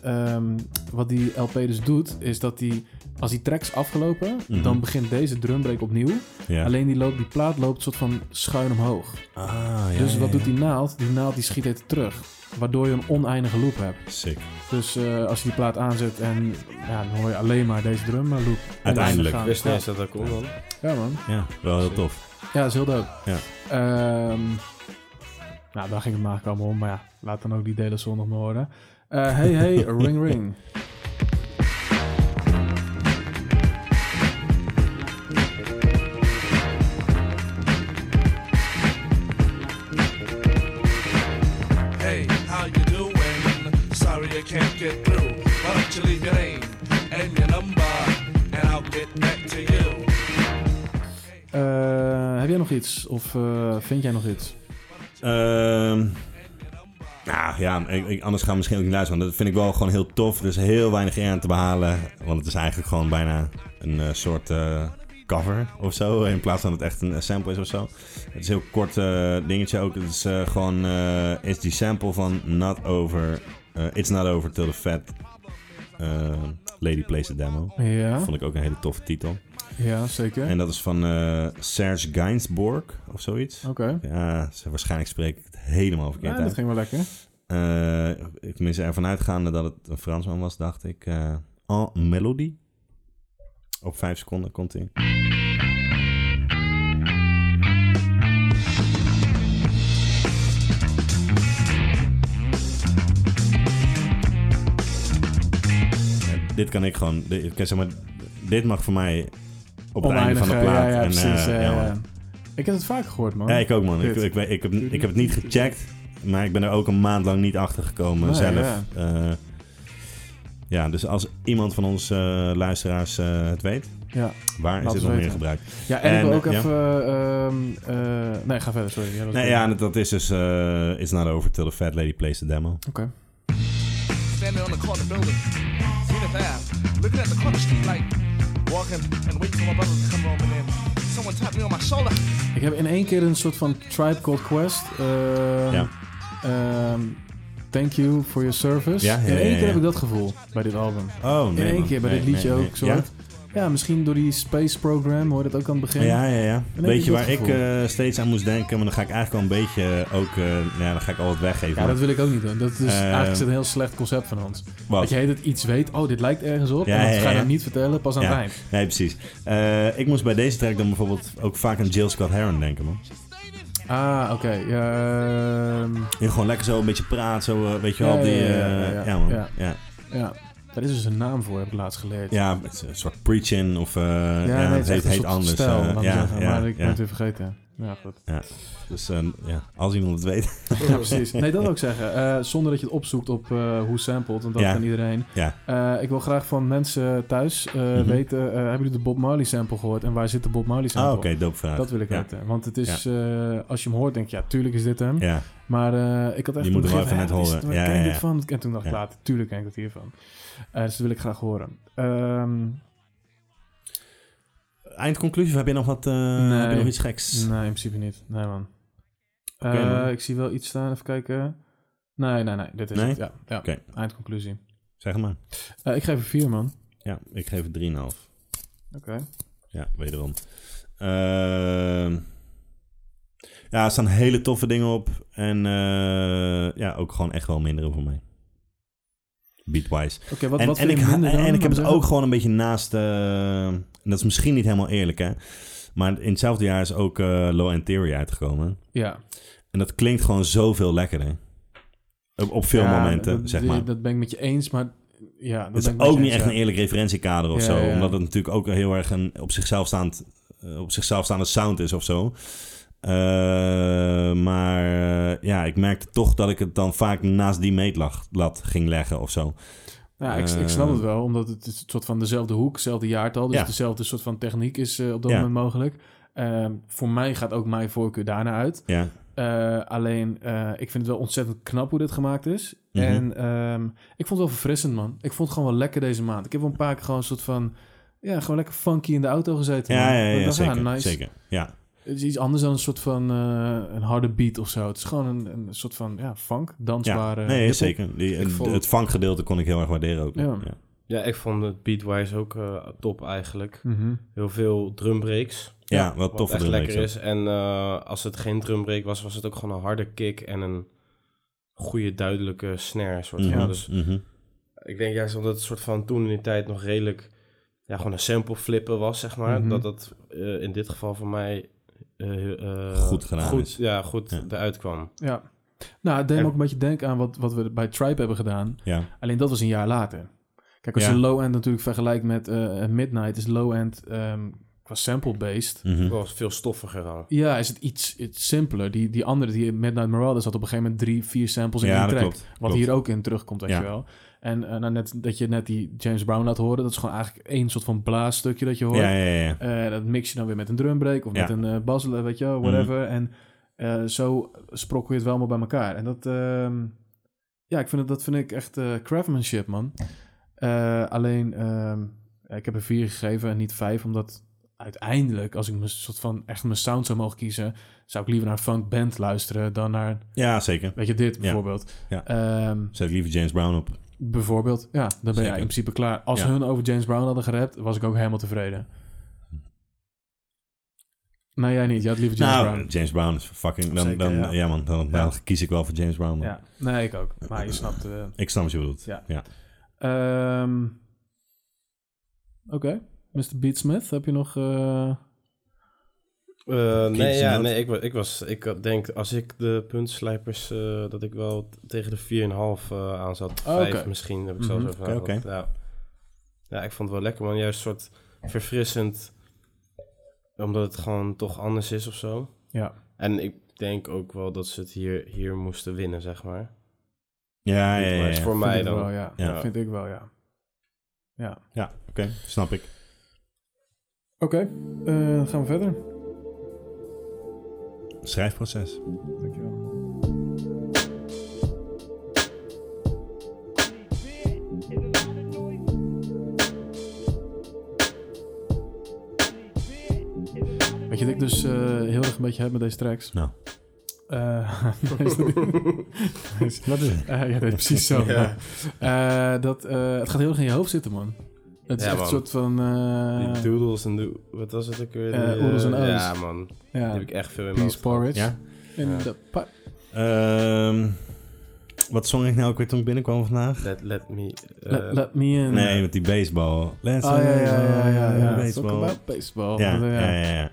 ehm, ehm, wat die LP dus doet, is dat die, als die tracks afgelopen,
Mhm.
dan begint deze drumbreak opnieuw.
Ja.
Alleen die, loopt, die plaat loopt soort van schuin omhoog.
Ah, ja,
dus
ja,
wat doet
ja.
die naald? Die naald die schiet het terug. Waardoor je een oneindige loop hebt.
Sick.
Dus eh, als je die plaat aanzet en ja, dan hoor je alleen maar deze drum eh, loop.
Uiteindelijk.
Ik
Oneindig
wist
gaan.
niet eens dat dat kon dan.
Ja man.
Ja, wel heel tof.
Ja, dat is heel dope.
Ja.
Ehm, nou, daar ging het maar allemaal om. Maar ja, laat dan ook die delen zon nog maar horen. Eh, hey, hey, ring ring.
Hey, how you doing? Sorry I can't get through. Why don't you leave your name and your number, and I'll get back to you.
Eh, heb jij nog iets? Of eh, vind jij nog iets?
Ehm nou ja, ik, ik- anders gaan we misschien ook niet luisteren. want Dat vind ik wel gewoon heel tof. Er is heel weinig eer aan te behalen. Want het is eigenlijk gewoon bijna een eh, soort eh, cover of zo. In plaats van dat het echt een eh, sample is of zo. Het is een heel kort eh, dingetje ook. Het is eh, gewoon... eh, is die sample van Not Over... eh, It's Not Over Till The Fat eh, Lady Plays The Demo.
Ja,
Vond ik ook een hele toffe titel.
ja zeker.
En dat is van eh, Serge Gainsbourg of zoiets.
Oké.
Ja, ze- waarschijnlijk spreek ik het helemaal verkeerd
Ja, dat
uit.
ging wel lekker.
Eh, ik tenminste, ervan uitgaande dat het een Fransman was, dacht ik. eh en Melody. Op vijf seconden komt hij. Dit kan ik gewoon. Dit, ik kan zeg maar, dit mag voor mij op het einde van de
Oneindig, eh,
plaat.
Ja, ja,
en, eh,
precies. eh,
ja, man.
ik heb het vaak gehoord, man.
Ja, ik ook man. Ik,
Dit.
ik, weet- ik, heb, ik heb het niet gecheckt, maar ik ben er ook een maand lang niet achter gekomen
Nee,
zelf.
ja.
Ja. ja, dus als iemand van onze eh, luisteraars eh, het weet,
Ja.
waar
Laat
is
ons
dit nog meer
weten.
gebruikt?
Ja, en, ik wil
En,
ook
ja.
even... ehm, eh, nee, ga verder, sorry. Ja, dat was
Nee,
goed.
ja, dat, dat is dus eh It's Not Over Till The Fat Lady Plays The Demo.
Oké.
Standing on the corner building, Zenith Ave, looking at the corner street light, walking and waiting for my brother to come home and then someone tapped me on my shoulder.
Ik heb in één keer een soort van Tribe Called Quest... ehm,
Ja.
ehm, thank you for your service.
Ja, ja,
In
ja,
één
ja,
keer heb
ja.
ik dat gevoel bij dit album.
Oh, nee,
In één
man.
keer bij
Nee,
dit liedje
nee, nee.
ook, soort. Ja? misschien door die space program, hoor je dat ook aan het begin.
Ja, ja, ja.
Dan heb
Weet je
dat
waar ik
gevoel.
eh, steeds aan moest denken, maar dan ga ik eigenlijk al een beetje eh, ook, eh, nou ja, dan ga ik al wat weggeven.
Ja,
maar-
dat wil ik ook niet doen. Dat is
Eh,
eigenlijk is het een heel slecht concept van ons.
Wat?
Dat je heet het iets weet, oh, dit lijkt ergens op. en dat ga je dan niet vertellen, pas aan
Ja.
het eind.
Nee, precies. Eh, ik moest bij deze track dan bijvoorbeeld ook vaak aan Jill Scott Heron denken, man.
Ah, oké. ehm,
Die gewoon lekker zo een beetje praat, zo, eh, weet je
ja,
wel, die...
ja,
eh,
ja, ja,
ja,
ja,
man.
ja.
Ja.
ja. Daar is dus een naam voor, heb ik laatst geleerd.
Ja, het is een soort preaching of... eh, ja,
nee, het
het
is
heet,
echt een
heet
soort
anders.
stijl,
eh,
laat maar
ja,
zeggen,
ja,
maar ik
ja.
ben het weer vergeten. Ja, goed.
Ja. Dus eh, ja, als iemand het weet.
Ja, precies. Nee, dat wil ik zeggen. Eh, zonder dat je het opzoekt op eh, hoe sampled, want dat
Ja.
kan iedereen.
Ja. Mhm.
Eh, ik wil graag van mensen thuis eh, weten, eh, hebben jullie de Bob Marley sample gehoord? En waar zit de Bob Marley sample?
Ah, oké, dope vraag.
Dat wil ik
Ja.
weten. Want het is, eh, als je hem hoort, denk je, ja, tuurlijk is dit hem.
Ja.
Maar eh, ik had echt
Je
een
moet hem wel even
begin van,
net
ja, wat is
horen.
dit? Waar
Ja,
ken ik
ja,
dit
ja.
van? En toen dacht ik
Ja.
later, tuurlijk ken ik dat hiervan. Eh, dus dat wil ik graag horen. Ehm,
Eindconclusie, of heb je nog wat... eh, Heb je nog iets geks?
Nee, in principe niet. Nee, man.
Oké,
Eh,
man.
ik zie wel iets staan, even kijken. Nee, nee, nee. Dit is
Nee?
het. Ja, ja.
Oké.
Eindconclusie.
Zeg maar.
Eh, ik geef er vier, man.
Ja, ik geef het 3,5.
Oké.
Ja, wederom. Ehm, ja, er staan hele toffe dingen op. En eh, ja, ook gewoon echt wel mindere voor mij. Beatwise.
Oké, wat-
en,
wat
en
vind
ik,
je minder
en,
dan?
ik heb
Wat
het
zeg
ook
je?
gewoon een beetje naast... eh, en dat is misschien niet helemaal eerlijk, hè. Maar in hetzelfde jaar is ook eh, Low End Theory uitgekomen.
Ja.
En dat klinkt gewoon zoveel lekkerder. Op, op veel
Ja,
momenten,
dat-
zeg
die-
maar.
Dat ben ik met je eens, maar ja, dat
Het
ben
is
ik met je
ook niet
eens,
echt
ja.
een eerlijk referentiekader of
Ja,
zo.
ja, ja.
Omdat het natuurlijk ook heel erg een op zichzelf, staand, eh, op zichzelf staande sound is of zo. Eh, maar eh, ja, ik merkte toch dat ik het dan vaak naast die meetlat lat ging leggen of zo.
Nou Ja, ik, ik snap het wel, omdat het is een soort van dezelfde hoek, hetzelfde jaartal, dus
Eh. Ja.
dezelfde soort van techniek is eh, op dat
Ja.
moment mogelijk. Ehm, voor mij gaat ook mijn voorkeur daarna uit.
Ja.
Eh, alleen, eh, ik vind het wel ontzettend knap hoe dit gemaakt is.
Mhm.
En ehm, ik vond het wel verfrissend, man. Ik vond het gewoon wel lekker deze maand. Ik heb wel een paar keer gewoon een soort van... Ja, gewoon lekker funky in de auto gezeten.
Ja,
man.
ja, ja,
Ik
ja,
dacht, ah,
zeker, zeker. Ja.
Het is iets anders dan een soort van eh, een harde beat of zo. Het is gewoon een, een soort van ja, funk, dansbare...
ja. Nee,
hiphop.
zeker. Die,
Ik vond-
Het vanggedeelte kon ik heel erg waarderen ook.
Ja.
Ja, ik vond het beatwise ook eh, top eigenlijk.
Mhm.
Heel veel drumbreaks.
Ja, wel
wat
toffe
echt
drumbreaks
lekker is. En eh, als het geen drumbreak was, was het ook gewoon een harde kick en een goede duidelijke snare soort van.
Mhm,
Dus
mhm.
ik denk juist omdat het soort van toen in die tijd nog redelijk ja, gewoon een sample flippen was, zeg maar.
Mhm.
Dat dat eh, in dit geval voor mij eh, eh,
Goed gedaan
goed,
is.
Ja, goed eruit kwam.
Ja. Nou, het deed me ook een beetje denken aan wat, wat we bij Tribe hebben gedaan.
Ja.
Alleen dat was een jaar later. Kijk, als
Ja.
je low-end natuurlijk vergelijkt met eh, Midnight, is low-end ehm, qua sample-based.
Mhm.
Wel veel stoffiger al.
Ja, is het iets, iets simpeler. Die, die andere, die Midnight Marauders, had op een gegeven moment drie, vier samples in
Ja,
één
dat
track.
klopt,
Wat
klopt.
hier ook in terugkomt, weet
Ja.
je wel. En eh, nou, net, dat je net die James Brown laat horen, dat is gewoon eigenlijk één soort van blaasstukje dat je hoort.
Ja, ja, ja.
Eh, dat mix je dan weer met een drumbreak of
Ja. Mhm.
met een eh bas, weet je wel, whatever. En eh, zo sprokkel je het wel maar bij elkaar. En dat, ehm, ja, ik vind het, dat vind ik echt eh, craftsmanship, man. Eh, alleen, ehm, ik heb er vier gegeven en niet vijf, omdat uiteindelijk, als ik mijn soort van echt mijn sound zou mogen kiezen, zou ik liever naar funk band luisteren dan naar,
Ja, zeker.
weet je, dit
Ja.
bijvoorbeeld.
Ja.
Ehm,
Zet ik liever James Brown op.
bijvoorbeeld, ja, dan ben je
Zeker.
in principe klaar. Als
Ja.
hun over James Brown hadden gerept, was ik ook helemaal tevreden. Nee, jij niet. Jij had liever James
nou,
Brown.
James Brown is fucking... Dan,
Zeker,
dan, ja.
ja.
man. Dan, dan kies ik wel voor James Brown. man.
Ja, nee, ik ook. Maar je snapt... eh.
Ik snap wat je bedoelt.
Ja.
ja.
Ehm, Oké, Mr. Beatsmith, heb je nog... eh,
Eh, nee,
Kritische
ja,
noot.
nee, ik, wa- ik was, ik had- denk als ik de puntslijpers, eh, dat ik wel t- tegen de 4,5 eh aan zat.
Oh,
5
oké.
misschien, heb ik
Mhm.
zelfs over
Oké, oké.
nagedacht, Ja. ja, ik vond het wel lekker, man. Juist een soort verfrissend, omdat het gewoon toch anders is of zo.
Ja.
En ik denk ook wel dat ze het hier, hier moesten winnen, zeg maar.
Ja, ja, ja,
Maar het is
ja.
voor
vind
mij
ik
dan.
Wel, ja.
Ja.
vind ik wel, ja. Ja.
Ja, oké, snap ik.
Oké, eh, gaan we verder.
Schrijfproces.
Dankjewel. Weet je wat ik dus eh, heel erg een beetje heb met deze tracks?
Nou.
Eh, nee, is dat niet? Eh, ja, nee, precies zo.
Ja.
ja. Eh, dat, eh, het gaat heel erg in je hoofd zitten, man. Het is
Ja,
echt
man.
een soort van... eh,
Die doodles en de... Wat was het ook weer?
Eh,
Die,
oedels en
eh,
ouders.
Ja, man.
Ja.
Die heb ik echt veel in mijn
Peace
hoofd gehad.
porridge.
Ja?
In
Ja.
de pa-
Ehm, wat zong ik nou ook weer toen ik binnenkwam vandaag?
Let, let me... eh,
let, let me in.
Nee, met die baseball. Let's
Oh, ja, ja, ja, ja, ja, ja. Talk
Baseball.
about baseball.
Ja,
Dat,
ja,
eh,
ja. ja.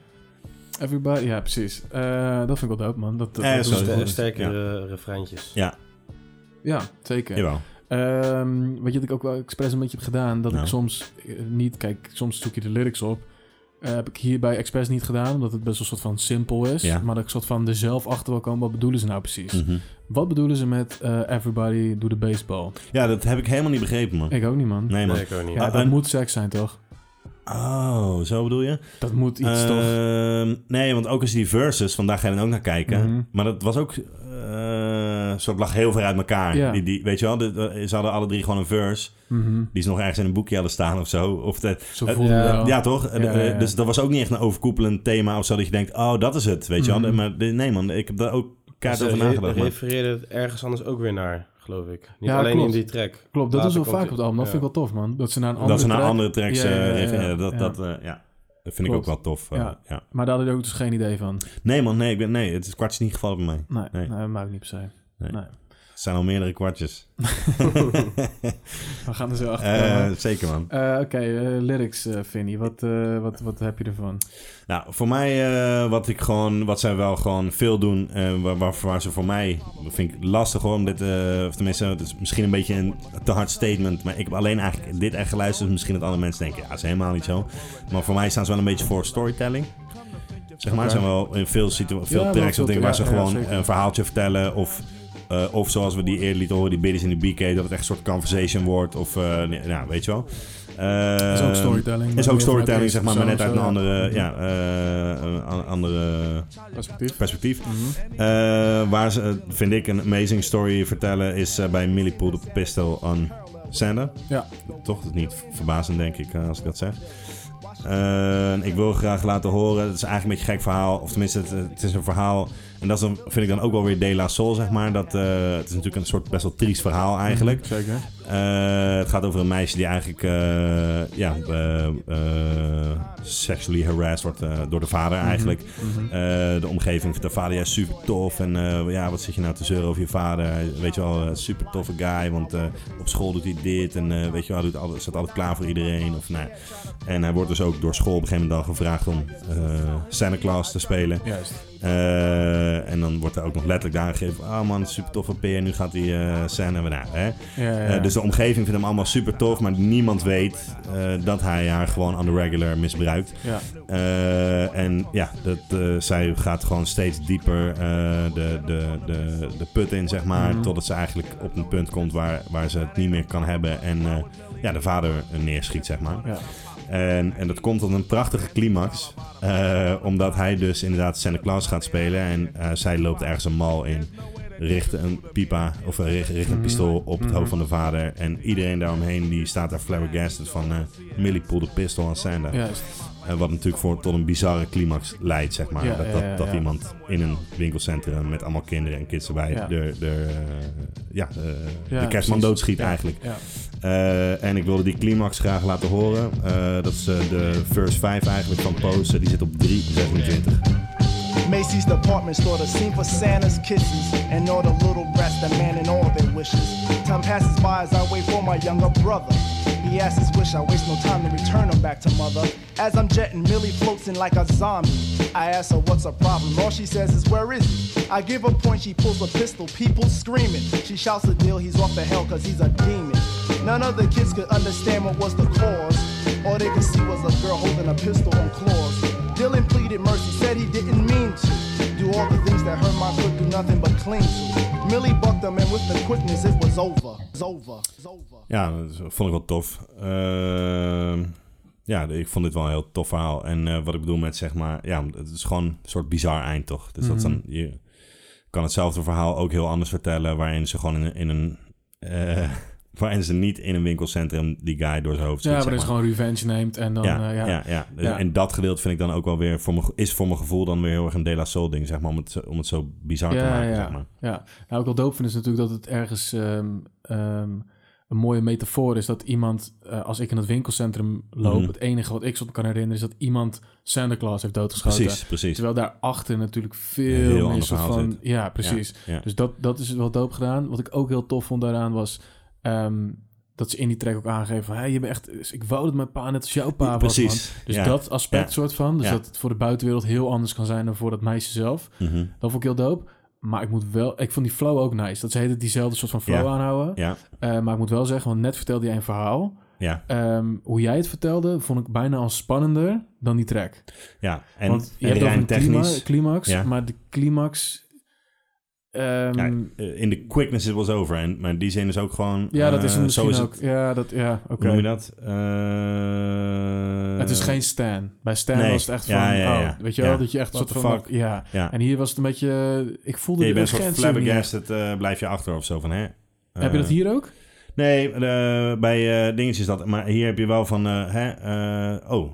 Everybody, ja, precies. Eh, dat vind ik wel dope, man. Dat, dat,
Eh,
dat
zo
is
is
wel-
het.
sterkere refreintjes.
Ja,
Ja, zeker.
jawel.
Ehm, weet je wat ik ook wel expres een beetje heb gedaan? Dat
Nou.
ik soms eh, niet... Kijk, soms zoek je de lyrics op. Eh, heb ik hierbij expres niet gedaan, omdat het best wel een soort van simpel is.
Ja.
Maar dat ik soort van er zelf achter wil komen, wat bedoelen ze nou precies?
Mhm.
Wat bedoelen ze met eh, everybody do the baseball?
Ja, dat heb ik helemaal niet begrepen, man.
Ik ook niet, man.
Nee, man.
Nee, ik ook niet.
Ja,
Ah,
dat
en-
moet seks zijn, toch?
Oh, zo bedoel je?
Dat moet iets, toch?
Ehm, Nee, want ook als je die verses, vandaag ga je dan ook naar kijken.
Mhm.
Maar dat was ook... eh soort lag heel ver uit elkaar.
Ja.
Die, die, weet je wel, de- ze hadden alle drie gewoon een verse.
Mhm.
Die ze nog ergens in een boekje hadden staan of zo. Of de,
Zo
Eh,
voelde het wel.
Ja, toch? Eh,
Ja, ja, ja.
Dus dat was ook niet echt een overkoepelend thema of zo. Dat je denkt, oh, dat is het. Weet je wel?
Mhm.
Maar de- nee, man, ik heb daar ook kaart
Ze
over
re-
nagedacht. man.
refereerde het ergens anders ook weer naar, geloof ik. Niet
Ja,
alleen
klopt.
in die track.
Klopt, dat
Later
is wel
komt
vaak op
die-
het album. Dat
ja.
vind ik wel tof, man. Dat ze naar een andere
Dat ze naar
track-
andere tracks
Ja, ja, ja,
eh,
ja,
refereren. Dat,
ja.
dat, eh, ja. dat vind ik ook
Klopt.
wel tof. eh, ja.
Ja. Maar daar had ik ook dus geen idee van.
Nee, man, nee, ik ben, nee, het is kwartjes niet gevallen bij mij.
Nee,
Nee.
nee. dat maakt niet per se.
Nee.
Nee.
Het zijn al meerdere kwartjes.
We gaan er zo achter
Eh,
komen.
zeker, man.
Eh, Oké, eh, lyrics, eh Vinnie. Wat, eh, wat, wat heb je ervan?
Nou, voor mij, eh, wat ik gewoon, wat zij wel gewoon veel doen, eh, waar, waar, waar ze voor mij, dat vind ik lastig hoor, om dit, eh, of tenminste, het is misschien een beetje een te hard statement, maar ik heb alleen eigenlijk dit echt geluisterd, dus misschien dat andere mensen denken, ja, dat is helemaal niet zo. Maar voor mij staan ze wel een beetje voor storytelling. Zeg maar,
Oké.
zijn wel in veel, situ- veel
wel
tracks of
veel-
dingen waar
ja,
ze
ja,
gewoon
zeker.
een verhaaltje vertellen of... eh, of zoals we die eerder lieten horen, die biddies in de BK, dat het echt een soort conversation wordt. Of, eh, nee, nou, weet je wel.
is ook
Eh,
storytelling.
is
maar
ook
meer
storytelling,
vanuit
zeg maar, maar net
eerste
uit een
persoon,
andere,
zo, Mhm.
ja, eh, een an- andere
Perspectief.
perspectief.
Mhm.
Eh, waar ze, eh, vind ik, een amazing story vertellen is eh, bij Millie Pool de Pistol on Sander.
Ja.
Toch dat is niet verbazend, denk ik, eh, als ik dat zeg. Eh, ik wil graag laten horen, het is eigenlijk een beetje een gek verhaal, of tenminste, het, het is een verhaal, en dat is dan, vind ik dan ook wel weer De La Soul, zeg maar. Dat, eh, het is natuurlijk een soort best wel triest verhaal eigenlijk.
Zeker.
Eh, het gaat over een meisje die eigenlijk eh, ja, eh, eh, sexually harassed wordt eh, door de vader eigenlijk.
Mhm.
Eh, de omgeving vindt de vader ja, super tof. En eh, ja, wat zit je nou te zeuren over je vader? Hij- Weet je wel, eh, super toffe guy. Want eh, op school doet hij dit. En eh, weet je wel, hij doet altijd, staat altijd klaar voor iedereen. Of, nou, ja. en hij wordt dus ook door school op een gegeven moment dan gevraagd om eh Santa Claus te spelen.
Juist.
Eh, en dan wordt er ook nog letterlijk daar aangegeven. Ah man, super toffe peer. Nu gaat hij eh Santa. Nou, hè.
Ja, ja,
Eh,
ja.
dus de omgeving vindt hem allemaal super tof, maar niemand weet eh, dat hij haar gewoon on the regular misbruikt.
ja.
Eh, en ja, dat, eh, zij gaat gewoon steeds dieper eh, de, de, de, de put in, zeg maar.
Mhm.
Totdat ze eigenlijk op een punt komt waar, waar ze het niet meer kan hebben. En eh, ja, de vader neerschiet, zeg maar.
Ja.
En, en dat komt tot een prachtige climax. eh, omdat hij dus inderdaad Santa Claus gaat spelen. En eh, zij loopt ergens een mal in. Richt een pipa of eh, richt, richt een
Mhm.
pistool op het
Mhm.
hoofd van de vader. En iedereen daaromheen die staat daar flabbergasted van... eh Millie pulled the pistol aan Santa.
Juist.
Eh, wat natuurlijk voor, tot een bizarre climax leidt, zeg maar.
Ja,
dat
ja,
dat,
ja,
dat
ja.
iemand in een winkelcentrum met allemaal kinderen en kids erbij...
Ja.
De, de, eh, ja, eh,
Ja,
de kerstman
precies.
doodschiet
Ja.
eigenlijk.
Ja.
Eh, en ik wilde die climax graag laten horen. Eh, dat is eh, de verse 5 eigenlijk van Pose. Die zit op 3,26.
Macy's department store, the scene for Santa's kisses, and all the little rats that man and all their wishes. Time passes by as I wait for my younger brother. He asks his wish, I waste no time to return him back to mother. As I'm jetting, Millie floats in like a zombie. I ask her what's her problem, all she says is, Where is he? I give a point, she pulls a pistol, people screaming. She shouts a deal, he's off the hell, cause he's a demon. None of the kids could understand what was the cause. All they could see was a girl holding a pistol on claws. Dylan pleaded mercy, said he didn't mean to. Do all the things that hurt my foot, do nothing but cling to. Millie bucked him, and with the quickness, it was over. It's over. It's over.
Ja, dat vond ik wel tof. Ehm, ja, ik vond dit wel een heel tof verhaal. En eh, wat ik bedoel met zeg maar... Ja, het is gewoon een soort bizar eind toch? Dus dat
Mhm.
is dan... Je kan hetzelfde verhaal ook heel anders vertellen... waarin ze gewoon in, een- in een... eh, Waarin ze niet in een winkelcentrum die guy door zijn hoofd schiet.
Ja, maar
zeg
dat is
maar.
gewoon revenge neemt en dan...
ja,
eh,
ja,
ja.
ja,
Ja.
En dat gedeelte vind ik dan ook wel weer, voor mijn, ge- is voor mijn gevoel dan weer heel erg een De La Soul ding, zeg maar, om het, zo- om het zo bizar te maken,
ja.
zeg maar.
Ja, nou, ook wel doop vind is natuurlijk dat het ergens ehm, ehm, een mooie metafoor is. Dat iemand, eh, als ik in het winkelcentrum loop,
Mhm.
het enige wat ik zo kan herinneren is dat iemand Santa Claus heeft doodgeschoten.
Precies, precies.
Terwijl daarachter natuurlijk
Een heel
veel
ander
meer soort
verhaal
van...
zit.
Ja, precies.
Ja, ja.
Dus dat, dat is wel doop gedaan. Wat ik ook heel tof vond daaraan was... ehm, dat ze in die track ook aangeven van... Hey, je bent echt, ik wou dat mijn pa net als jouw pa was, man.
Precies,
Dus
ja.
dat aspect
Ja.
soort van. Dus
Ja.
dat het voor de buitenwereld heel anders kan zijn dan voor dat meisje zelf.
Mhm.
Dat vond ik heel dope. Maar ik moet wel... Ik vond die flow ook nice. Dat ze hele diezelfde soort van flow
Ja.
aanhouden.
Ja.
Eh, maar ik moet wel zeggen, want net vertelde jij een verhaal.
Ja.
Ehm, hoe jij het vertelde, vond ik bijna al spannender dan die track.
Ja, en,
Want je
en
hebt over een clima-
rijmtechnisch-
climax,
Ja.
maar de climax... ehm,
Ja, eh, in de quickness it was over. En, maar in die zin is ook gewoon...
Ja, dat is
eh,
hem
zo
misschien
is
ook.
Het,
Ja, dat, ja
Hoe
oké.
noem je dat? Eh,
het is geen Stan. Bij Stan
nee.
was het echt van,
Ja, ja, ja.
oh, weet je wel,
Ja.
dat je echt een
What
soort
the
van...
fuck?
Ja.
Ja.
en hier was het een beetje... eh, Ik voelde
Ja, je
de
bent een soort
urgentie ook niet echt.
flabbergasted, eh, blijf je achter of zo van, hè?
Heb je dat
Eh,
hier ook?
Nee, eh, bij eh dingetjes dat. Maar hier heb je wel van, eh, hè? eh, oh,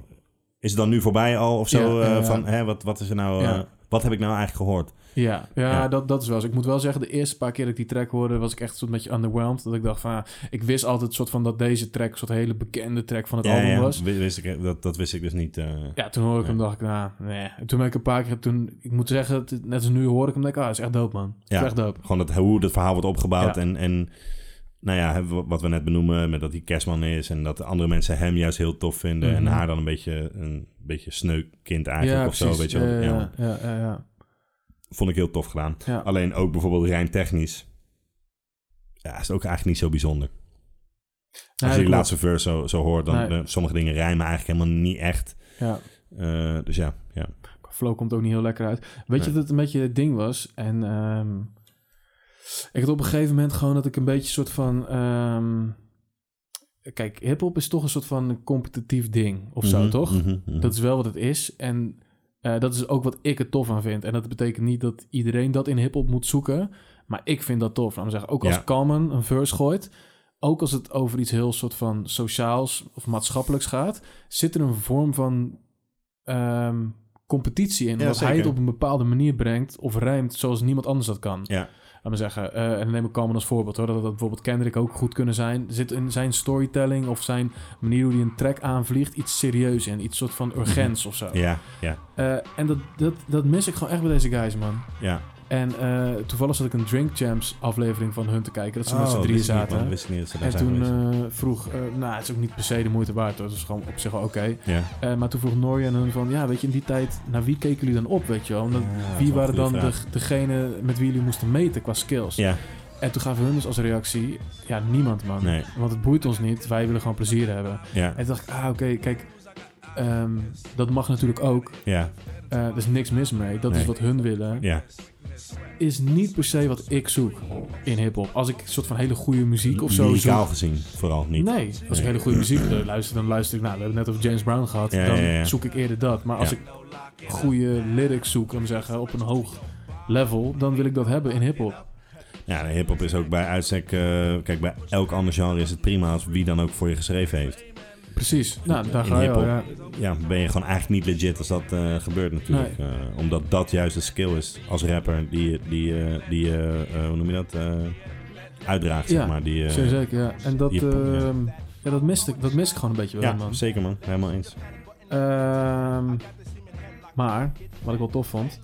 is het dan nu voorbij al of zo?
Ja, ja,
eh,
ja.
Van, hè, wat, wat is er nou...
Ja.
eh, wat heb ik nou eigenlijk gehoord?
Ja, ja,
Ja.
Dat, dat is wel zo. Ik moet wel zeggen, de eerste paar keer dat ik die track hoorde, was ik echt een beetje underwhelmed. Dat ik dacht van, ah, ik wist altijd soort van dat deze track een soort hele bekende track van het
Ja,
album
ja,
was.
wi- wist ik, dat, dat wist ik dus niet. eh.
Ja, toen hoorde ik hem, dacht ik, nou, nee. En Toen ben ik een paar keer, toen, ik moet zeggen, dat het- net als nu hoor ik hem, denk ik, ah, is echt dope, man. Het is
Ja,
echt dope.
Gewoon dat, hoe dat verhaal wordt opgebouwd.
Ja.
En, en nou ja, hè, wat- wat we net benoemen, met dat hij kerstman is. En dat de andere mensen hem juist heel tof vinden.
Mhm.
En haar dan een beetje een beetje sneu kind eigenlijk
ja,
of zo. Weet je wel.
Ja,
Ja,
ja,
man.
ja, ja, ja.
Vond ik heel tof gedaan.
Ja.
Alleen ook bijvoorbeeld rijmtechnisch. Ja, is het ook eigenlijk niet zo bijzonder. Als
dat
je
klopt.
die laatste verse zo, zo hoort, dan
Nee.
eh, sommige dingen rijmen eigenlijk helemaal niet echt.
Ja.
Eh, dus ja, ja.
Flow komt ook niet heel lekker uit. Weet je
Nee.
dat het een beetje het ding was? En ehm, ik had op een gegeven moment gewoon dat ik een beetje soort van... ehm, kijk, hiphop is toch een soort van competitief ding of zo,
Mhm,
toch?
mhm, mhm.
Dat is wel wat het is. En eh, dat is ook wat ik er tof aan vind. En dat betekent niet dat iedereen dat in hiphop moet zoeken. Maar ik vind dat tof. Laat me zeggen, ook als
Ja.
Common een verse gooit... Ook als het over iets heel soort van sociaals of maatschappelijks gaat, zit er een vorm van ehm, competitie in.
Ja,
Omdat hij
zeker.
het op een bepaalde manier brengt of rijmt zoals niemand anders dat kan.
Ja.
Laat me zeggen, eh, en dan neem ik Common als voorbeeld hoor, dat dat bijvoorbeeld Kendrick ook goed kunnen zijn. Er Zit in zijn storytelling of zijn manier hoe hij een track aanvliegt iets serieus in, iets soort van urgents of zo.
Mhm. Ja, ja,
Eh, en dat, dat, dat mis ik gewoon echt bij deze guys, man.
ja.
En eh, toevallig zat ik een Drink Champs aflevering van hun te kijken, dat ze met z'n
Oh,
drieën
wist ik niet,
zaten.
man. Wist ik niet dat ze daar
en
zijn
toen
geweest.
eh, vroeg, eh, nou, het is ook niet per se de moeite waard, hoor. dat is gewoon op zich wel oké.
Ja.
Eh, maar toen vroeg Norje aan hun van, ja, weet je, in die tijd, naar wie keken jullie dan op, weet je wel? Omdat,
dat is
wie
wel
waren
een goede
dan de,
vraag.
degene met wie jullie moesten meten qua skills?
Ja.
En toen gaven hun dus als reactie, ja, niemand man.
Nee.
Want het boeit ons niet, wij willen gewoon plezier hebben.
Ja.
En toen dacht ik, ah, oké, kijk, ehm, dat mag natuurlijk ook.
Ja.
Eh, er is niks mis mee, dat is
Nee.
wat hun willen.
Ja.
Is niet per se wat ik zoek in hiphop. Als ik een soort van hele goede muziek of zo zoek,
Lyricaal gezien, vooral niet.
Nee, als ik hele goede muziek eh, luister, dan luister ik... Nou, we hebben het net over James Brown gehad.
Ja,
dan
ja, ja.
zoek ik eerder dat. Maar als
Ja.
ik goede lyrics zoek, om te zeggen, op een hoog level... dan wil ik dat hebben in hiphop.
Ja, de hip-hop is ook bij uitstek. eh, kijk, bij elk ander genre is het prima als wie dan ook voor je geschreven heeft.
Precies. Nou, daar
In
ga je al.
hip-hop
Ja.
ja, ben je gewoon eigenlijk niet legit als dat eh, gebeurt, natuurlijk. Eh, omdat dat juist de skill is als rapper die je, die, je- die, je, eh, hoe noem je dat? eh, uitdraagt,
Ja,
zeg maar. Die, eh,
Zeer zeker, ja. En dat,
die-
ehm, ja. dat, mist ik, dat mis ik gewoon een beetje wel,
ja,
man.
zeker man, helemaal eens.
Ehm, maar, wat ik wel tof vond,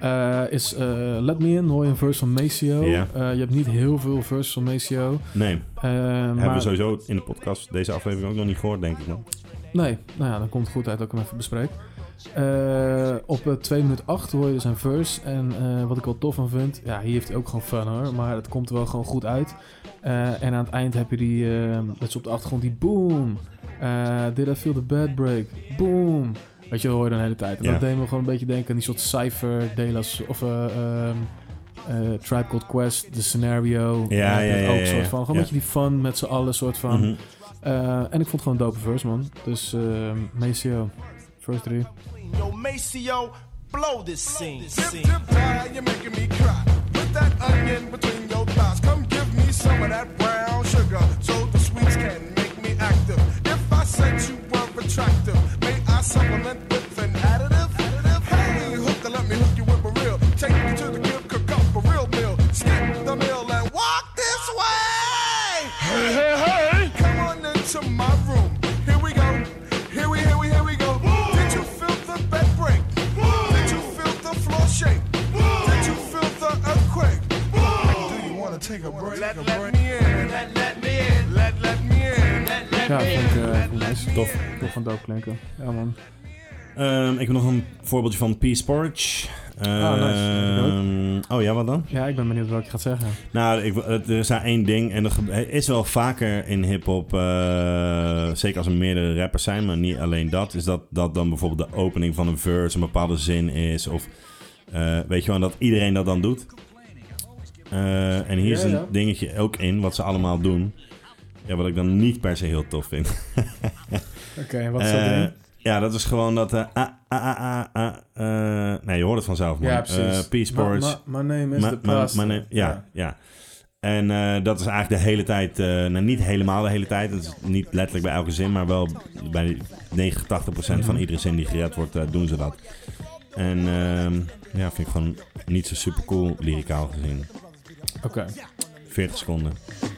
eh, is eh, Let Me In, hoor je een verse van Maceo.
Ja.
Eh, je hebt niet heel veel verses van Maceo.
Nee,
Eh,
hebben we
maar-
sowieso in de podcast deze aflevering ook nog niet gehoord, denk ik man.
Nee, nou ja, dan komt het goed uit dat ik hem even bespreek. Eh, op eh, 2 minuten 8 hoor je dus zijn verse. En eh, wat ik wel tof van vind, ja, hier heeft hij ook gewoon fun hoor. Maar het komt er wel gewoon goed uit. Eh, en aan het eind heb je die, eh, dat is op de achtergrond, die boom. Eh, did I feel the bad break? Boom. Weet je, dat hoor je dan de hele tijd. En
Ja.
dat deed me gewoon een beetje denken aan die soort cypher, Delas of eh ehm, eh, Tribe Called Quest, de scenario.
Ja,
Eh,
ja,
dat
ja,
ook
ja,
soort
ja.
van. Gewoon
Ja.
een beetje die fun met z'n allen soort van.
Mhm.
Eh, en ik vond het gewoon een E dope verse, man. Dus ehm Maceo, first three.
Yo, Maceo,
blow this scene.
Dip, dip, die, you're making me cry. Put that onion between your thighs. Come give me some of that brown sugar so the sweets can make me active. If I said you were attractive, may I supplement with an additive? Hey, hooker, let me hook you with a real. Take you to the crib, cook up a real meal. Skip the meal and walk this way. Hey, hey, hey! Come on into my room. Here we go. Here we, here we, here we go. Did you feel the bed break? Did you feel the floor shake? Did you feel the earthquake? Do you want to take a break? Let, let me in. Let, let me in. Let, let me in. Let, let
Ja, vond ik, eh, vond ik nice. Tof. Tof van dope klinken. Ja, man.
Ehm, ik heb nog een voorbeeltje van Peace Porridge.
Ah, nice.
Ehm, oh ja, wat dan?
Ja, ik ben benieuwd wat ik gaat zeggen.
Nou, ik, het- er is daar één ding en dat gebe- is wel vaker in hip-hop, eh, zeker als er meerdere rappers zijn, maar niet alleen dat, is dat, dat dan bijvoorbeeld de opening van een verse een bepaalde zin is. Of eh, weet je wel, en dat iedereen dat dan doet. Eh, en hier is
Ja,
een
ja.
dingetje ook in wat ze allemaal doen. Ja, wat ik dan niet per se heel tof vind.
Oké, en wat is dat
Eh,
ding?
Ja, dat is gewoon dat. eh, ah, ah, ah, ah, ah, eh, nee, je hoort het vanzelf, man.
Ja, precies.
Eh, Peace
Ma-
Porridge.
ma- my name is
Ma-
the
ma-
past.
my name- ja, ja,
Ja.
En eh, dat is eigenlijk de hele tijd, eh, nou niet helemaal de hele tijd, dat is niet letterlijk bij elke zin, maar wel bij 89% van
Mhm.
iedere zin die gered wordt, eh, doen ze dat. En ehm, ja, vind ik gewoon niet zo super cool, lyricaal gezien.
Oké.
40 seconden.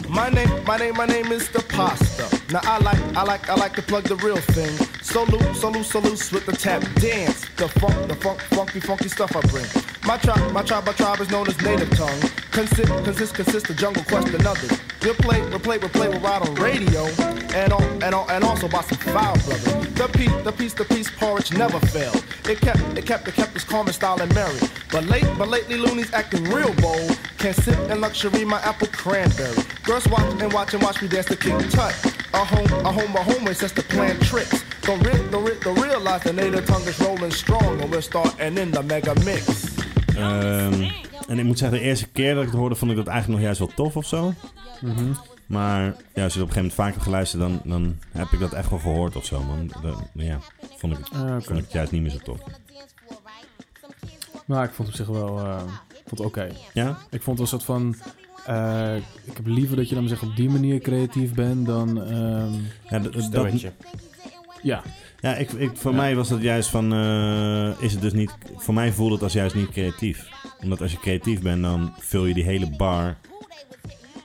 My name, my name, my name is the pasta. Now I like, I like, I like to plug the real thing. So loose, so loose, so loose with the tap dance. The funk, the funk, funky, funky stuff I bring. My tribe, my tribe, my tribe is known as native tongue. Consist, consist, consist of jungle quest and others. We'll play, we'll play, we'll play, we'll ride on radio. And on, and on, and also by some foul brother. The piece, the piece, the piece, porridge never failed. It kept, it kept, it kept its calm and style and merry. But late, but lately loonies acting real bold. Can sip in luxury my apple cranberry. Girls watch and watch and watch me dance to kick tut. A home, a home, a home is just to plan tricks. The real, the real, the realize the native tongue is rolling strong and we're starting in the mega mix.
Ehm, en ik moet zeggen, de eerste keer dat ik het hoorde, vond ik dat eigenlijk nog juist wel tof of zo.
Mhm.
Maar ja, als je het op een gegeven moment vaak hebt geluisterd, dan, dan heb ik dat echt wel gehoord of zo. Man. Dat- ja, vond ik, het-
Ah, oké.
vond ik het juist niet meer zo tof.
Nou, ik vond het op zich wel eh, ik vond het oké.
Ja?
Ik vond het een soort van... eh, ik heb liever dat je dan zeg, op die manier creatief bent dan... ehm
Ja, d- d- dat- Stemmetje.
Ja.
Ja, ik, ik, voor mij was dat juist van. eh, is het dus niet. Voor mij voelde het als juist niet creatief. Omdat als je creatief bent, dan vul je die hele bar.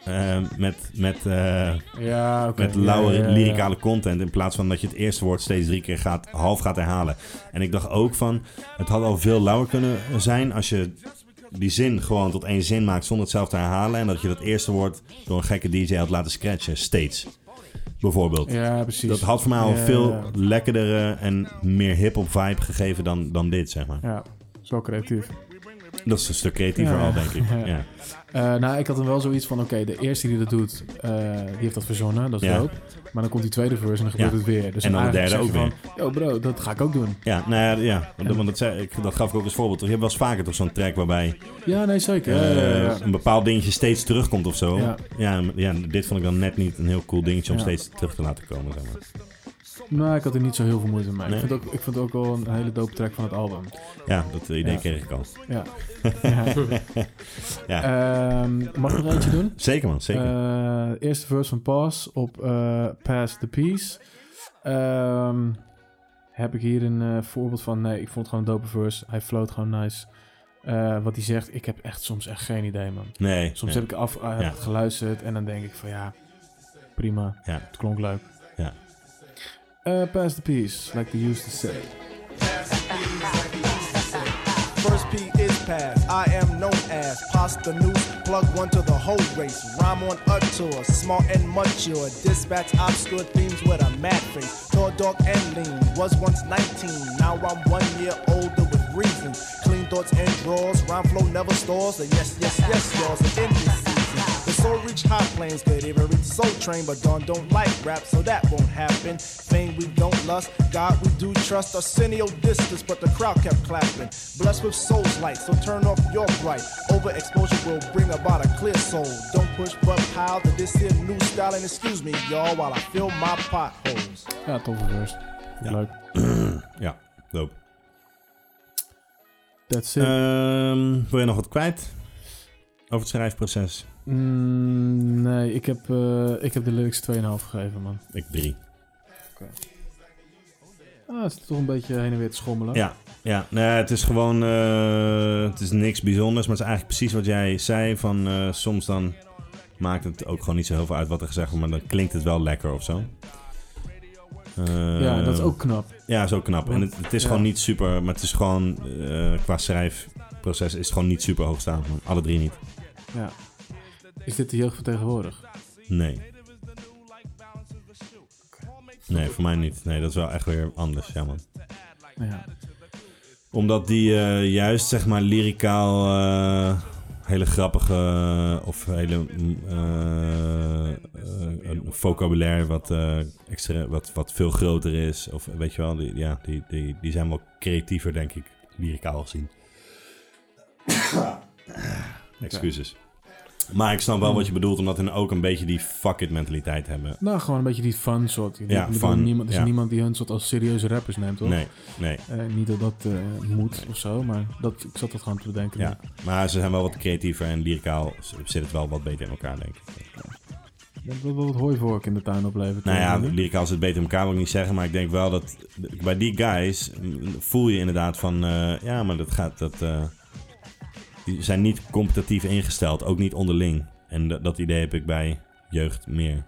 eh, met met, eh,
Ja, oké.
met lauwe
Ja, ja, ja.
lyricale content. In plaats van dat je het eerste woord steeds drie keer gaat, half gaat herhalen. En ik dacht ook van. Het had al veel lauwer kunnen zijn als je die zin gewoon tot één zin maakt zonder het zelf te herhalen. En dat je dat eerste woord door een gekke DJ had laten scratchen. Steeds. Bijvoorbeeld.
Ja, precies.
Dat had voor mij al
Ja,
veel
ja.
lekkerdere en meer hip-hop vibe gegeven dan, dan dit, zeg maar.
Ja, zo creatief.
Dat is een stuk creatiever
Ja.
al, denk ik.
Ja.
Ja.
Eh, nou, ik had hem wel zoiets van, oké, de eerste die dat doet, eh, die heeft dat verzonnen, dat is
Ja.
dope. Maar dan komt die tweede verse en dan gebeurt
Ja.
het weer. Dus
En dan de derde
eigenlijk zeg je
ook
van, Yo bro, dat ga ik ook doen.
Ja, nou ja, ja. Want, want dat, zei, ik, dat gaf ik ook als voorbeeld. Je hebt wel eens vaker toch zo'n track waarbij
Ja, nee, zeker. Ja,
eh,
ja, ja.
een bepaald dingetje steeds terugkomt of zo. Ja.
Ja.
Ja, dit vond ik dan net niet een heel cool dingetje om
Ja.
steeds terug te laten komen, zeg maar.
Nou, ik had er niet zo heel veel moeite mee.
Nee.
Ik, vind ook, ik vind het ook wel een hele dope track van het album.
Ja, dat idee
Ja.
kreeg ik al.
Ja.
Ja.
Ehm, mag ik nog eentje doen?
Zeker, man, zeker.
Eh, eerste verse van Pass op eh Pass the Peace. Ehm, heb ik hier een eh, voorbeeld van... Nee, ik vond het gewoon een dope verse. Hij float gewoon nice. Eh, wat hij zegt, ik heb echt soms echt geen idee, man.
Nee,
Soms
nee.
heb ik af, eh, heb
Ja.
het geluisterd en dan denk ik van ja, prima.
Ja.
Het klonk leuk.
Ja.
Eh, pass the Peace, like they used to say.
First P is past. I am known as Pasta News. Plug one to the whole race. Rhyme on utter, smart and mature. Dispatch obscure themes with a mad face. Tall, dark, and lean. Was once 19. Now I'm one year older with reason. Clean thoughts and draws. Rhyme flow never stalls. And yes, yes, yes, y'all's an endless season. The soul reach high planes, could even reach Soul Train, but Don don't like rap, so that won't happen. Fame we don't lust, God we do trust. Arsenio distance, but the crowd kept clapping. Blessed with souls light, so turn off your bright. Overexposure will bring about a clear soul. Don't push but pile to this here new style, and excuse me, y'all, while I fill my potholes.
Ja, toffe verse. Leuk.
ja, dope.
That's it.
Ehm, wil je nog wat kwijt? Over het schrijfproces.
Mm, nee, ik heb, eh, ik heb de lyrics 2,5 gegeven, man.
Ik drie.
Ah, het is toch een beetje heen en weer te schommelen.
Ja, ja. Nee, het is gewoon... eh, het is niks bijzonders, maar het is eigenlijk precies wat jij zei. Van eh, soms dan maakt het ook gewoon niet zo heel veel uit wat er gezegd wordt. Maar dan klinkt het wel lekker of zo. Eh,
Ja, dat is ook knap.
Ja, dat is ook knap. En het, het is
Ja.
gewoon niet super... Maar het is gewoon... eh, qua schrijfproces is het gewoon niet super hoogstaand. man. Alle drie niet.
Ja. Is dit de jeugd van tegenwoordig?
Nee. Nee, voor mij niet. Nee, dat is wel echt weer anders, ja man.
Ja.
Omdat die eh, juist, zeg maar, lyricaal eh, hele grappige eh, of hele mm, eh, eh, een vocabulaire wat, eh, extra, wat, wat veel groter is. Of weet je wel, die, ja, die, die, die zijn wel creatiever, denk ik, lyricaal gezien. Excuses. Maar ik snap wel wat je bedoelt, omdat hun ook een beetje die fuck it mentaliteit hebben.
Nou, gewoon een beetje die fun soort. Ik
Ja,
bedoel,
fun,
Niemand, er is
ja.
niemand die hun soort als serieuze rappers neemt, toch?
Nee, nee.
Eh, niet dat dat eh, moet of zo, maar dat, ik zat dat gewoon te bedenken.
Ja, maar ze zijn wel wat creatiever en lyricaal zit het wel wat beter in elkaar, denk ik.
Ik denk Dat wil wat hooivork in de tuin oplevert.
Nou ja,
eh,
lyricaal zit beter in elkaar, wil ik niet zeggen. Maar ik denk wel dat bij die guys mm, voel je inderdaad van... eh, ja, maar dat gaat... Dat, eh, die zijn niet competitief ingesteld, ook niet onderling. En dat- dat idee heb ik bij jeugd meer.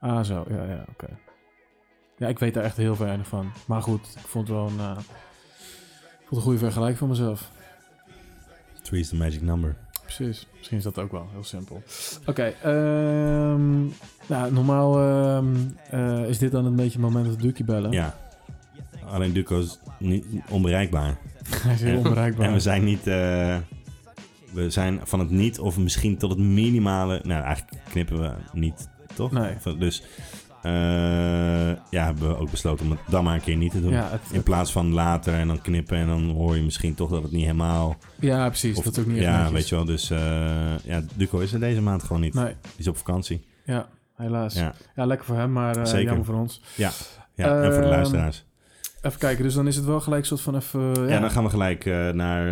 Ah, zo. Ja, ja, oké. Ja, ik weet daar echt heel weinig van. Maar goed, ik vond het wel een, eh, ik vond het een goede vergelijking van mezelf.
Three is the magic number.
Precies. Misschien is dat ook wel heel simpel. Oké, ehm, nou, normaal ehm, eh, is dit dan een beetje het moment dat we Dukie bellen.
Ja. Alleen Duco is niet onbereikbaar.
Hij is heel
En-
onbereikbaar.
En we zijn niet... eh, we zijn van het niet of misschien tot het minimale... Nou, eigenlijk knippen we niet, toch?
Nee.
Van- Dus... eh, ja, hebben we ook besloten om het dan maar een keer niet te doen.
Ja, het-
In plaats van later en dan knippen en dan hoor je misschien toch dat het niet helemaal...
Ja, precies.
Of-
dat is ook niet echt
Ja,
netjes.
weet je wel. Dus eh, ja, Duco is er deze maand gewoon niet.
Nee.
Die is op vakantie.
Ja, helaas.
Ja.
Ja, lekker voor hem, maar eh,
Zeker.
jammer voor ons.
Ja. Ja, en voor de
Ehm,
luisteraars.
Even kijken, dus dan is het wel gelijk soort van even... eh,
Ja, dan gaan we gelijk eh, naar...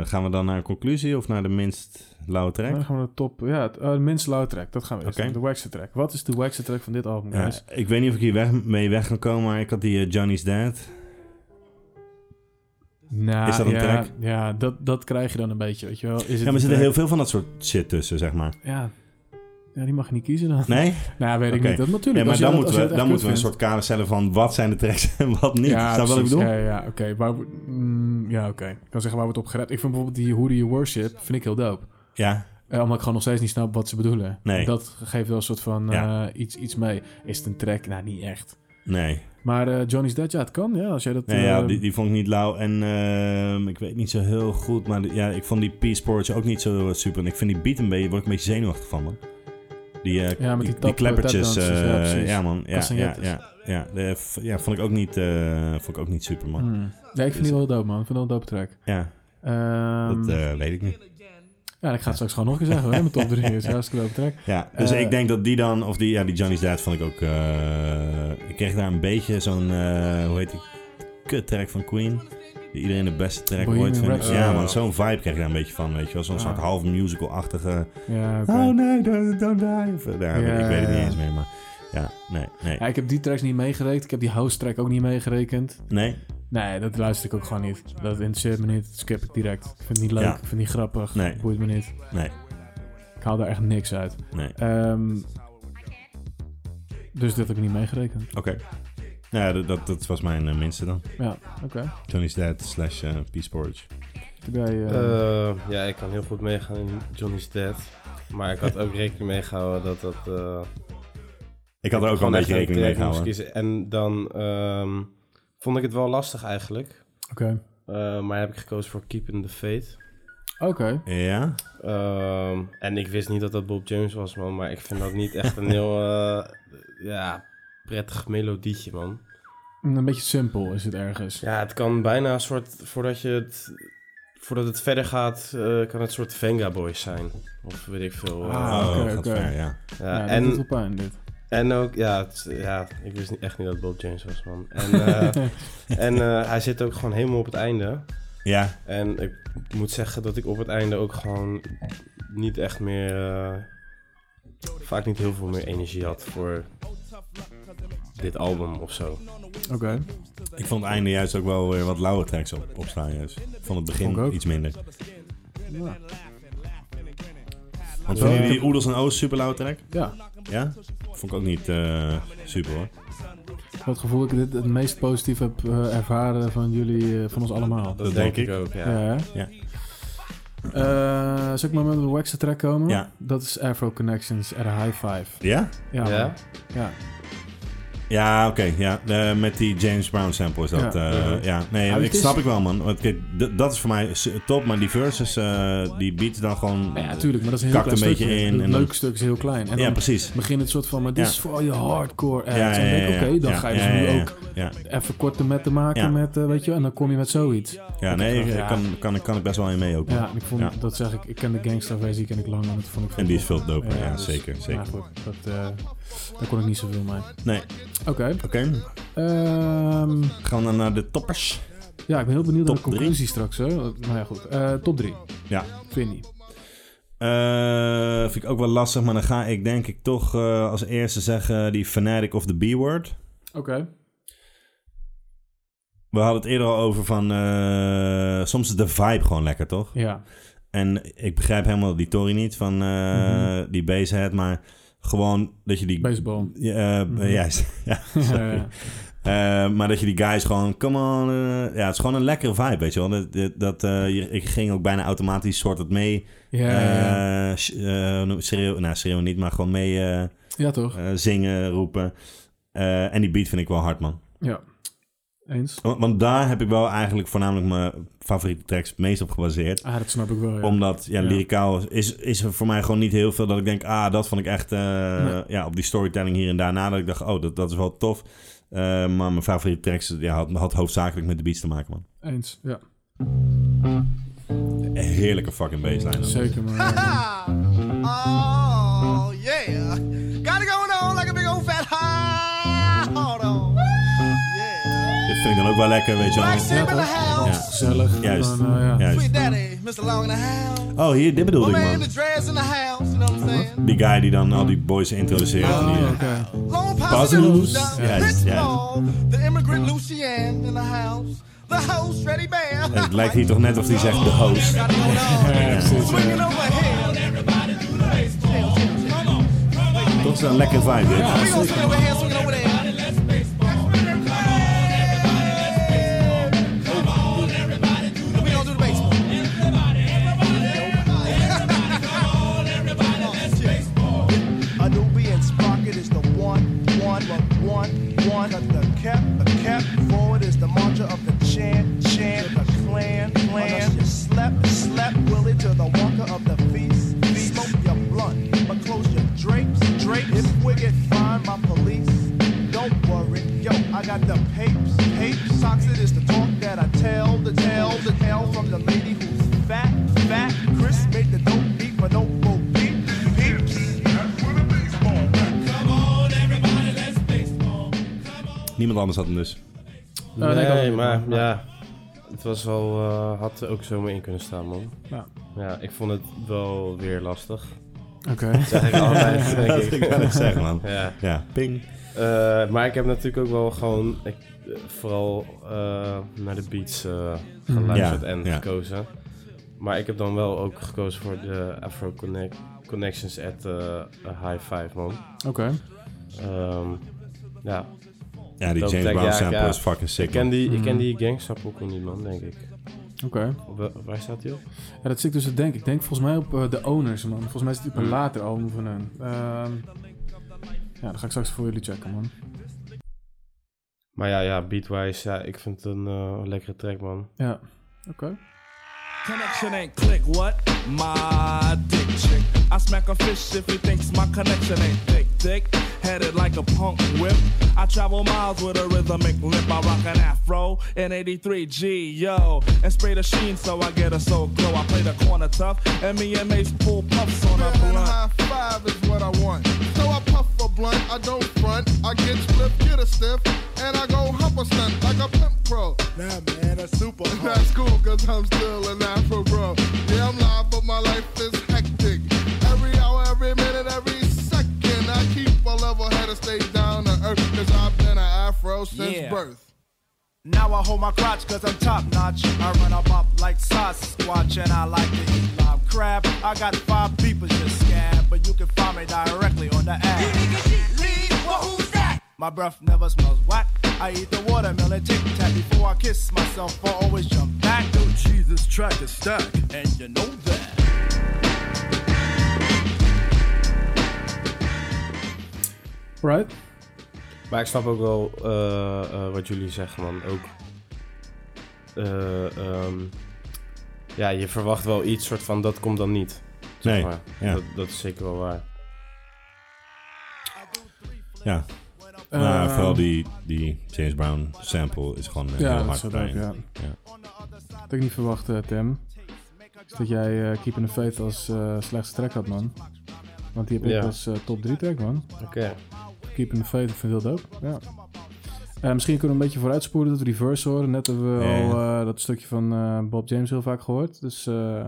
eh, gaan we dan naar een conclusie of naar de minst lauwe track?
Dan gaan we naar de top. Ja, het, eh, de minst loud track. Dat gaan we eerst
Oké.
doen. De waxer track. Wat is de waxer track van dit album,
Ja,
guys?
ik weet niet of ik hier weg, mee weg kan komen, maar ik had die eh, Johnny's Dad.
Nou,
Is dat een
ja,
track?
Ja, dat, dat krijg je dan een beetje, weet je wel. Is het
Ja,
een
maar er zitten
track?
heel veel van dat soort shit tussen, zeg maar.
Ja. ja, die mag je niet kiezen dan.
Nee?
Nou, weet ik
Oké.
niet. Dat,
Nee,
natuurlijk.
maar
als je
dan
dat-
moeten
als je
we,
dat
dan
echt
moeten we
kut
een soort kader stellen van wat zijn de tracks en wat niet.
Ja,
Is dat wat ik
precies.
bedoel?
Ja, ja, ja, oké. Waar we- mm, Ja, oké. Ik kan zeggen waar wordt op gered. Ik vind bijvoorbeeld die Who Do You Worship vind ik heel dope.
Ja.
Eh, omdat ik gewoon nog steeds niet snap wat ze bedoelen.
Nee.
Dat geeft wel een soort van
Ja.
eh, iets, iets mee. Is het een track? Nou, niet echt.
Nee.
Maar eh, Johnny's Dead, ja, het kan. Ja, als jij dat...
Nee, ja,
eh,
die, die vond ik niet lauw. En ehm, ik weet niet zo heel goed, maar de- ja, ik vond die Peace Porridge ook niet zo super. En ik vind die beat een beetje, word ik een beetje zenuwachtig van, man. Die, eh,
Ja, met
die,
die tap-
kleppertjes.
tapdances,
eh,
ja, precies.
ja, man. Ja, ja,
Castagnettes.
ja, ja, De- v- ja, vond ik ook niet, eh, vond ik ook niet super, man.
Hmm. Nee, ik vind die wel dope, man. Ik vind dat een dope track.
Ja.
Ehm,
dat eh, weet ik niet.
Ja, ik ga het straks gewoon nog eens zeggen. Hè? Mijn top 3 is hartstikke dope track.
Ja, dus
Eh,
ik denk dat die dan, of die, ja, die Johnny's Dad vond ik ook. eh, ik kreeg daar een beetje zo'n, eh, hoe heet die, kut track van Queen. Die iedereen de beste track
Bohemian
ooit vindt.
Rhapsody.
Ja,
Ja.
man, zo'n vibe kreeg ik daar een beetje van, weet je wel. Zo'n
Ah.
soort half musical-achtige.
Ja, oké.
Oh nee, don't, don't die. Of, eh, nou,
Ja,
ik weet het niet
ja.
eens meer, maar ja, nee, nee.
Ja, ik heb die tracks niet meegerekend. Ik heb die house track ook niet meegerekend.
Nee?
Nee, dat luister ik ook gewoon niet. Dat interesseert me niet. Dat skip ik direct. Ik vind het niet leuk.
Ja.
Ik vind het niet grappig.
Nee.
Het Boeit me niet.
Nee.
Ik haal daar echt niks uit.
Nee.
Ehm, dus dat heb ik niet meegerekend.
Oké. Nou ja, dat, dat, dat was mijn eh, minste dan.
Ja, oké.
Johnny's Dad slash eh, Peace Porridge.
Heb jij, eh,
Eh, ja, ik kan heel goed meegaan in Johnny's Dead. Maar ik had ook rekening mee gehouden dat dat... eh,
Ik had er ook wel
gewoon
een
echt
beetje rekening mee
track moest
gehouden.
kiezen. En dan ehm, vond ik het wel lastig eigenlijk.
Oké.
Eh, maar heb ik gekozen voor Keeping the Faith.
Oké.
Ja?
Ehm, en ik wist niet dat dat Bob James was, man. Maar ik vind dat niet echt een heel eh, ja, prettig melodietje, man.
Een beetje simpel is het ergens.
Ja, het kan bijna een soort... Voordat, je het, voordat het verder gaat, eh, kan het een soort Venga Boys zijn. Of weet ik veel. eh.
Ah,
Oh,
oké, oké. Ja, dat
en,
doet wel pijn, dit.
En ook, ja, het- ja ik wist niet, echt niet dat Bob James was, man. En, eh, en eh, hij zit ook gewoon helemaal op het einde.
Ja.
En ik moet zeggen dat ik op het einde ook gewoon niet echt meer. eh, vaak niet heel veel meer energie had voor dit album of zo.
Oké.
Ik vond het einde juist ook wel weer wat lauwe tracks op, opstaan juist. Van het
Vond ik ook.
begin iets minder.
Ja.
Want
Ja.
vinden jullie Oedels en O's super lauwe track?
Ja.
Ja? Vond ik ook niet eh, super hoor.
Wat gevoel ik dit het meest positief heb eh, ervaren van jullie, eh, van ons allemaal.
Dat denk ik ook, ja.
hè?
Ja.
Eh, zal ik maar met een waxen track komen?
Ja.
Dat is Afro Connections at a high five.
Ja?
Ja.
Ja?
man. ja.
Ja, oké. ja. Eh, met die James Brown sample is dat.
Ja.
Ja,
Mhm.
ja. nee,
Maar
ik
het is-
snap ik wel, man. Want kijk, d- dat is voor mij s- top, maar die verses, eh, die beats dan gewoon.
Ja, tuurlijk, maar dat is een heel
kakt
klein
een beetje
stukje.
in.
Het
en dan-
leuke stuk is heel klein. En
ja,
dan
precies.
begint het soort van, maar dit
Ja.
is voor al je hardcore acts.
Ja,
en dan
ja,
denk ik,
ja,
oké,
ja.
dan
Ja,
ga je
ja,
dus nu
ja, ja.
ook
Ja.
even korte metten maken
Ja.
met, eh, weet je, en dan kom je met zoiets.
Ja,
Ik
nee,
dacht,
ik-
ja.
Kan, kan, kan ik best wel in mee ook.
Ja, en ik vond,
Ja.
dat zeg ik, ik ken de gangsta versie, ken ik lang en dat vond ik
En die is veel doper, ja,
dus-
zeker,
maar
zeker.
goed, dat, eh, daar kon ik niet zoveel mee.
Nee.
Oké.
Oké.
Ehm,
Gaan we dan naar de toppers?
ja, ik ben heel benieuwd naar de
Top drie.
conclusie straks. Hè. Maar ja, goed. Eh, top 3,
Ja.
Vinnie.
Eh, vind ik ook wel lastig, maar dan ga ik denk ik toch eh, als eerste zeggen die Fanatic of the B-word.
Oké.
We hadden het eerder al over van... eh, soms is de vibe gewoon lekker, toch?
Ja.
En ik begrijp helemaal die Tory niet van eh
Mhm.
die basehead, maar gewoon dat je die...
Baseball.
Ja, eh,
Mhm.
Juist, ja, sorry.
Ja,
Eh, maar dat je die guys gewoon, come on. eh, ja, het is gewoon een lekkere vibe, weet je wel. Dat, dat- dat, eh, je- ik ging ook bijna automatisch soort het mee.
Ja, ja, ja.
eh, sh- eh, noem- schreeuwen, nou schreeuwen niet, maar gewoon mee eh,
Ja, toch?
eh, zingen, roepen. Eh, en die beat vind ik wel hard, man.
Ja. Eens?
Want, want daar heb ik wel eigenlijk voornamelijk mijn favoriete tracks het meest op gebaseerd.
Ah, dat snap ik wel, ja.
Omdat, ja,
Ja.
lyricaal is, is er voor mij gewoon niet heel veel dat ik denk... Ah, dat vond ik echt eh,
Nee.
ja, op die storytelling hier en daarna. Dat ik dacht, oh, dat, dat is wel tof. Eh, maar mijn favoriete tracks ja, had, had hoofdzakelijk met de beats te maken, man.
Eens, ja.
Een Heerlijke fucking baseline.
Zeker, man.
Oh, yeah. Got it going on like a big old fat high. Hold on.
Dit vind ik dan ook wel lekker, weet je wel.
Black Sheep in the house.
Gezellig.
Juist.
Dan, eh, ja.
Juist.
Sweet daddy, Mr. Long in the house.
Oh, hier, dit bedoelde
My
ik,
man,
man.
the dress in the house. You know what I'm saying?
Die guy die dan al die boys introduceert. en
Ah,
die, eh,
Long
Puzzles.
Pasadena,
Ja,
Rich
ja.
Paul, the immigrant Lucian in the house. The host, Ready Bear.
Het lijkt hier toch net of hij zegt de host.
Swinging
Ja.
over here.
Toch is dat een lekker vibe, dit.
We gonna swing over here, swinging over there. We gonna do the baseball.
Anubian's pocket is the one, one, one, one. Cut the cap, the cap. Forward is the mantra of the chant, chant. The clan, clan. You slept, slept. Willie to the walker of the feast, feast. Smoke your blunt, but close your drapes, drapes. If we get fined by police, don't worry. Yo, I got the papes, papes. Socks, it is the talk that I tell, the tell, the tell from the lady who's fat, fat. Chris made the dope beat, but don't go beat, peeps.
Niemand anders had hem dus.
nee,
nee,
Nou, dat-
maar ja. Het was wel, eh, had er ook zomaar in kunnen staan, man.
Ja.
ja, ik vond het wel weer lastig.
Oké.
Dat zeg ik altijd. denk
Dat wil ik wel eens zeggen, man.
Ja.
Ja, ping.
Eh, maar ik heb natuurlijk ook wel gewoon ik, eh, vooral eh, naar de beats eh, geluisterd
Mm. Ja,
en
ja.
gekozen. Maar ik heb dan wel ook gekozen voor de Afro Connect, Connections at eh, a High Five, man.
Oké.
Ehm, ja.
Ja, die
Dat
James
betekent-
Brown
ja,
sample
ja.
is fucking sick,
Ik ken
man.
die, ik ken
Mhm.
die gangsample ook niet, man, denk ik.
Oké.
Op wel- Waar staat die op?
Ja, dat zit ik dus te denken. Ik denk volgens mij op eh, de owners, man. Volgens mij is het op een later album van hen. Ehm, ja, dat ga ik straks voor jullie checken, man.
Maar ja, ja beatwise, ja, ik vind het een eh, lekkere track, man.
Ja. Oké.
Connection ain't click, what? My dick chick. I smack a fish if he thinks my connection ain't thick, thick. Headed like a punk whip. I travel miles with a rhythmic lip. I rock an afro in 83 G, yo. And spray the sheen so I get a soul glow. I play the corner tough, and me and Mace pull puffs on a
Real and
blunt.
high five is what I want. So I puff a blunt, I don't front. I get flipped, get a stiff, and I go hump a stunt like a pimp pro.
Nah, man, that's super.
That's cool, cause I'm still an afro bro. Yeah, I'm live, but my life is hectic. Every hour, every minute, every second, I keep a level head and stay down to earth, cause I've been an afro since
Yeah.
birth.
Now I hold my crotch cause I'm top notch. I run up up like sausage squatch and I like to eat live crab. I got five people just scab, but you can find me directly on the app. My breath never smells whack. I eat the watermelon tic tac before I kiss myself. I always jump back. Oh Jesus, track is stacked, and you know that.
Right?
Maar ik snap ook wel eh, eh, wat jullie zeggen, man. Ook. eh, ehm, ja, je verwacht wel iets soort van dat komt dan niet. Zeg
Nee,
maar.
ja.
dat, dat is zeker wel waar.
Ja.
Eh,
maar vooral die, die James Brown sample is gewoon eh,
Ja,
heel
dat
hard
zat
daarin.
ook, ja. Dat had ik niet verwacht, eh, Tim. Dat jij eh, Keep in the Faith als eh, slechtste track had, man. Want die heb ik
Ja.
als eh, top 3 track, man.
Oké.
Keep in the Faith, ik vind het heel dope. Ja. Eh, misschien kunnen we een beetje vooruitspoelen dat we Reverse horen. Net hebben we
Ja, ja.
al eh, dat stukje van eh, Bob James heel vaak gehoord. Dus eh,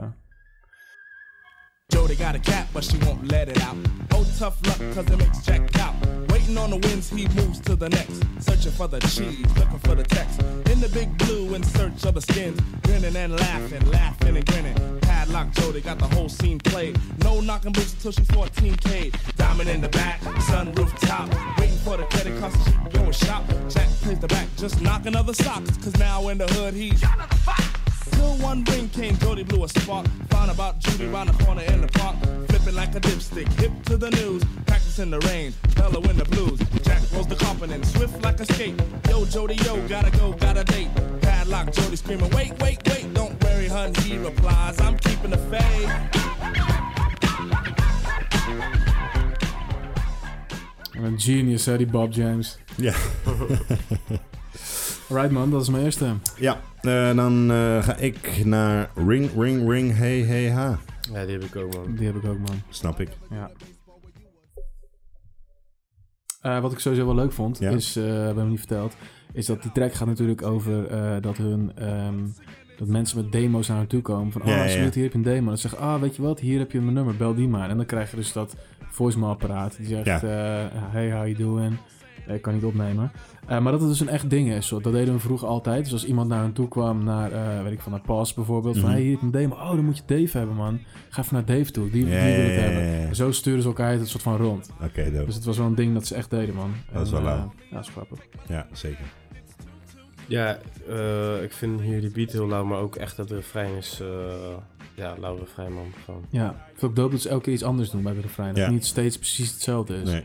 Jody got a cat, but she won't let it out. Oh, tough luck, cause it make Jack out. Waiting on the winds, he moves to the next. Searching for the cheese, looking for the text. In the big blue, in search of the skins. Grinning and laughing, laughing and grinning. Padlock Jody got the whole scene played. No knocking boots till she's 14K. Diamond in the back, sunroof top. Waiting for the credit card, so she can go and shop. Jack plays the back, just knocking other socks. Cause now in the hood, he's. Till one ring came, Jody blew a spark. Found about Judy round the corner in the park. Flipping like a dipstick, hip to the news. Practicing the rain, Bella in the blues. Jack rolls the confident, swift like a skate. Yo, Jody, yo, gotta go, gotta date. Padlock, Jody screaming, wait, wait, wait, don't worry, hun. He replies, I'm keeping the faith.
wat een genius, hè, die Bob James.
Ja.
right, man, dat is mijn eerste.
Ja, eh, dan eh, ga ik naar Ring Ring Ring Hey Hey Ha.
Ja, die heb ik ook, man.
Die heb ik ook, man.
Snap ik.
Ja. Eh, wat ik sowieso wel leuk vond,
Ja.
is, eh we hebben hem niet verteld, is dat die track gaat natuurlijk over eh, dat hun... ehm, dat mensen met demo's naar hen toe komen. Van, ah,
Ja, ja, ja.
Smit, hier heb je een demo. Dan zeggen, ah, weet je wat, hier heb je mijn nummer, bel die maar. En dan krijg je dus dat voicemail-apparaat. Die zegt,
Ja.
eh, hey, how you doing? Eh, Ik kan niet opnemen. Eh, maar dat het dus een echt ding is. Zo. Dat deden we vroeger altijd. Dus als iemand naar hen toe kwam, naar, eh, weet ik van, naar Pas bijvoorbeeld. Van,
Mhm.
hey, hier heb je een demo. Oh, dan moet je Dave hebben, man. Ga even naar Dave toe. Die, die
Ja,
wil
ja,
het
ja,
hebben.
ja, ja.
Zo sturen ze elkaar het een soort van rond.
Oké, dope.
Dus het was wel een ding dat ze echt deden, man.
Dat is
En,
wel
eh,
lauw.
Ja, dat is grappig.
Ja, zeker.
Ja, eh, ik vind hier die beat heel lauw, maar ook echt dat refrein is. eh, ja, lauw refrein, man. Gewoon.
Ja, ik vind het ook dope dat ze elke keer iets anders doen bij de refrein. Dat
Ja.
het niet steeds precies hetzelfde is.
Nee.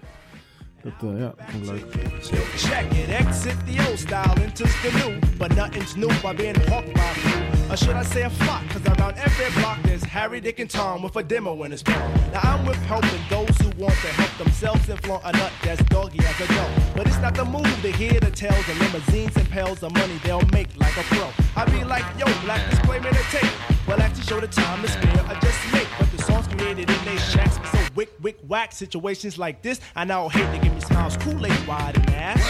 Dat, eh, ja, vond ik leuk.
Check it, exit the old style, enters the new. But nothing's new by being hawked by a few. Or should I say a flock? Cause around every block there's Harry, Dick, and Tom with a demo in his mouth. Now I'm with helping those who want to help themselves and flaunt a nut that's doggy as a dog. But it's not the move to hear the tales of limousines and pals of money they'll make like a pro. I be like, yo, black is claiming a tape. Well, I to show the time is fair, I just make. But the songs created in they shacks be so wick, wick, whack. Situations like this, I now hate to give me smiles, Kool-Aid wide and ass.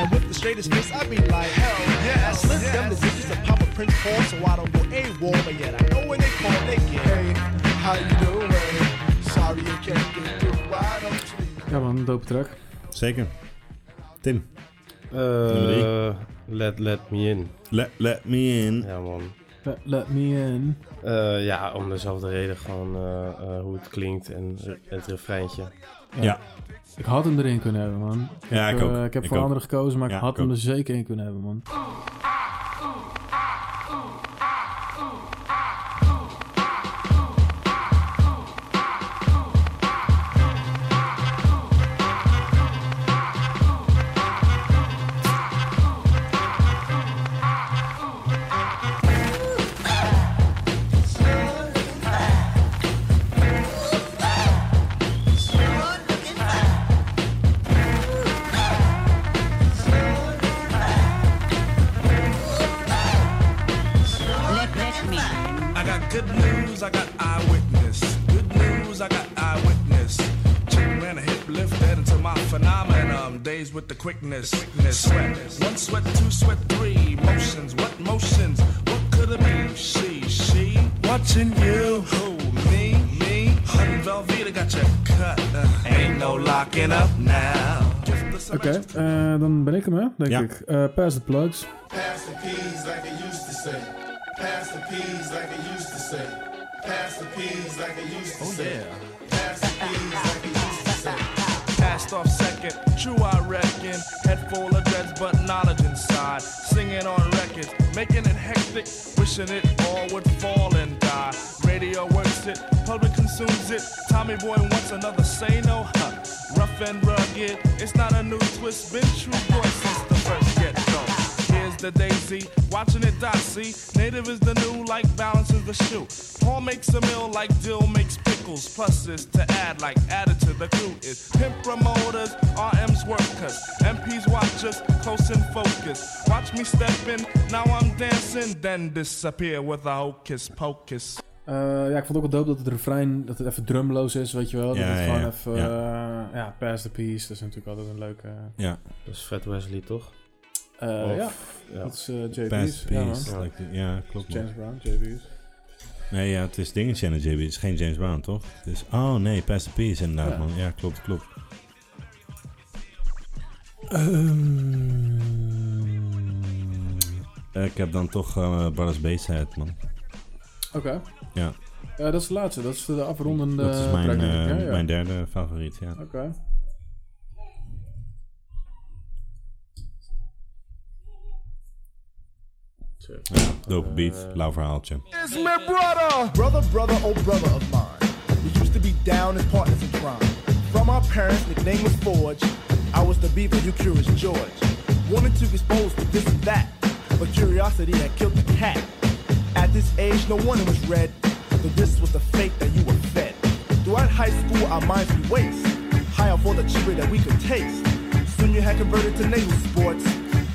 And with the straightest face, I be like, hell yeah. I slip them the digits of Papa Prince Paul, so I don't go AWOL, but yet I know when they call, they get. Hey, how you doing? Sorry you can't get through. Why don't
Ja, man, een dope track.
Zeker. Tim.
Eh, let, let me in.
Let, let me in.
Ja, man.
Let, let me in.
Eh, ja, om dezelfde reden gewoon eh, eh, hoe het klinkt en re- het refreintje.
Ja.
Ik had hem erin kunnen hebben, man.
Ja,
heb,
ik ook.
eh, ik heb
Ik
voor
ook.
anderen gekozen, maar
Ja,
ik had
ik
hem
ook.
er zeker in kunnen hebben, man.
Ooh,
with the quickness. Sweat. One sweat, two sweat, three motions. What motions? What could it be? She, she watching you. Who? Me, me. Honey Velveeta got you cut. Uh, ain't no locking up now.
Oké, eh, dan ben ik hem, hè, denk ik. Eh pass the plugs.
Pass the peas like it used to say. Pass the peas like it used to say. Pass the peas like it used to say. Pass the peas like it used to say.
Passed off second, true I reckon. Head full of dreads, but knowledge inside. Singing on records, making it hectic. Wishing it all would fall and die. Radio works it, public consumes it. Tommy Boy wants another say no, huh? Rough and rugged, it's not a new twist. Been true boy since the first get go. Here's the daisy, watching it die. See, native is the new, like balances the shoe. Paul makes a meal like dill makes pickles. Plus is to add, like added to the crew is pimp promoters, RM's workers, MPs watchers, close in focus. Watch me step in, now I'm dancing, then disappear with a hocus pocus.
Eh, ja, ik vond ook wel dope dat het refrein dat het even drumloos is, weet je wel. Dat
Ja,
het
ja,
gewoon
ja.
even,
Ja.
eh, ja, pass the peace. Dat is natuurlijk altijd een leuke...
Ja.
Dat is Fred Wesley, toch?
Eh,
Of-
ja, dat is eh, JB's.
Pass the
ja,
peas,
man.
like the- ja, klopt, man.
James Brown, JB's.
Nee, ja, het is dingetje aan de JB. Het is geen James Brown, toch? Het is, oh nee, Pass the Peas inderdaad,
Ja.
man. Ja, klopt, klopt.
Ehm.
Eh, ik heb dan toch eh Brothers Bayside, man.
Oké.
Ja,
Ja, dat is de laatste. Dat is de afrondende
dat is mijn,
track, denk ik,
eh,
hè? Ja.
mijn derde favoriet, ja.
Oké.
Dope beat, lauw verhaaltje.
It's my brother. Brother, brother, oh brother of mine. We used to be down as partners in crime. From our parents, nickname was Forge. I was the beaver, you curious George. Wanted to expose to this and that, but curiosity had killed the cat. At this age, no wonder was red. So this was the fate that you were fed. Throughout high school, our minds we waste. High off all the chicory that we could taste. Soon you had converted to naval sports.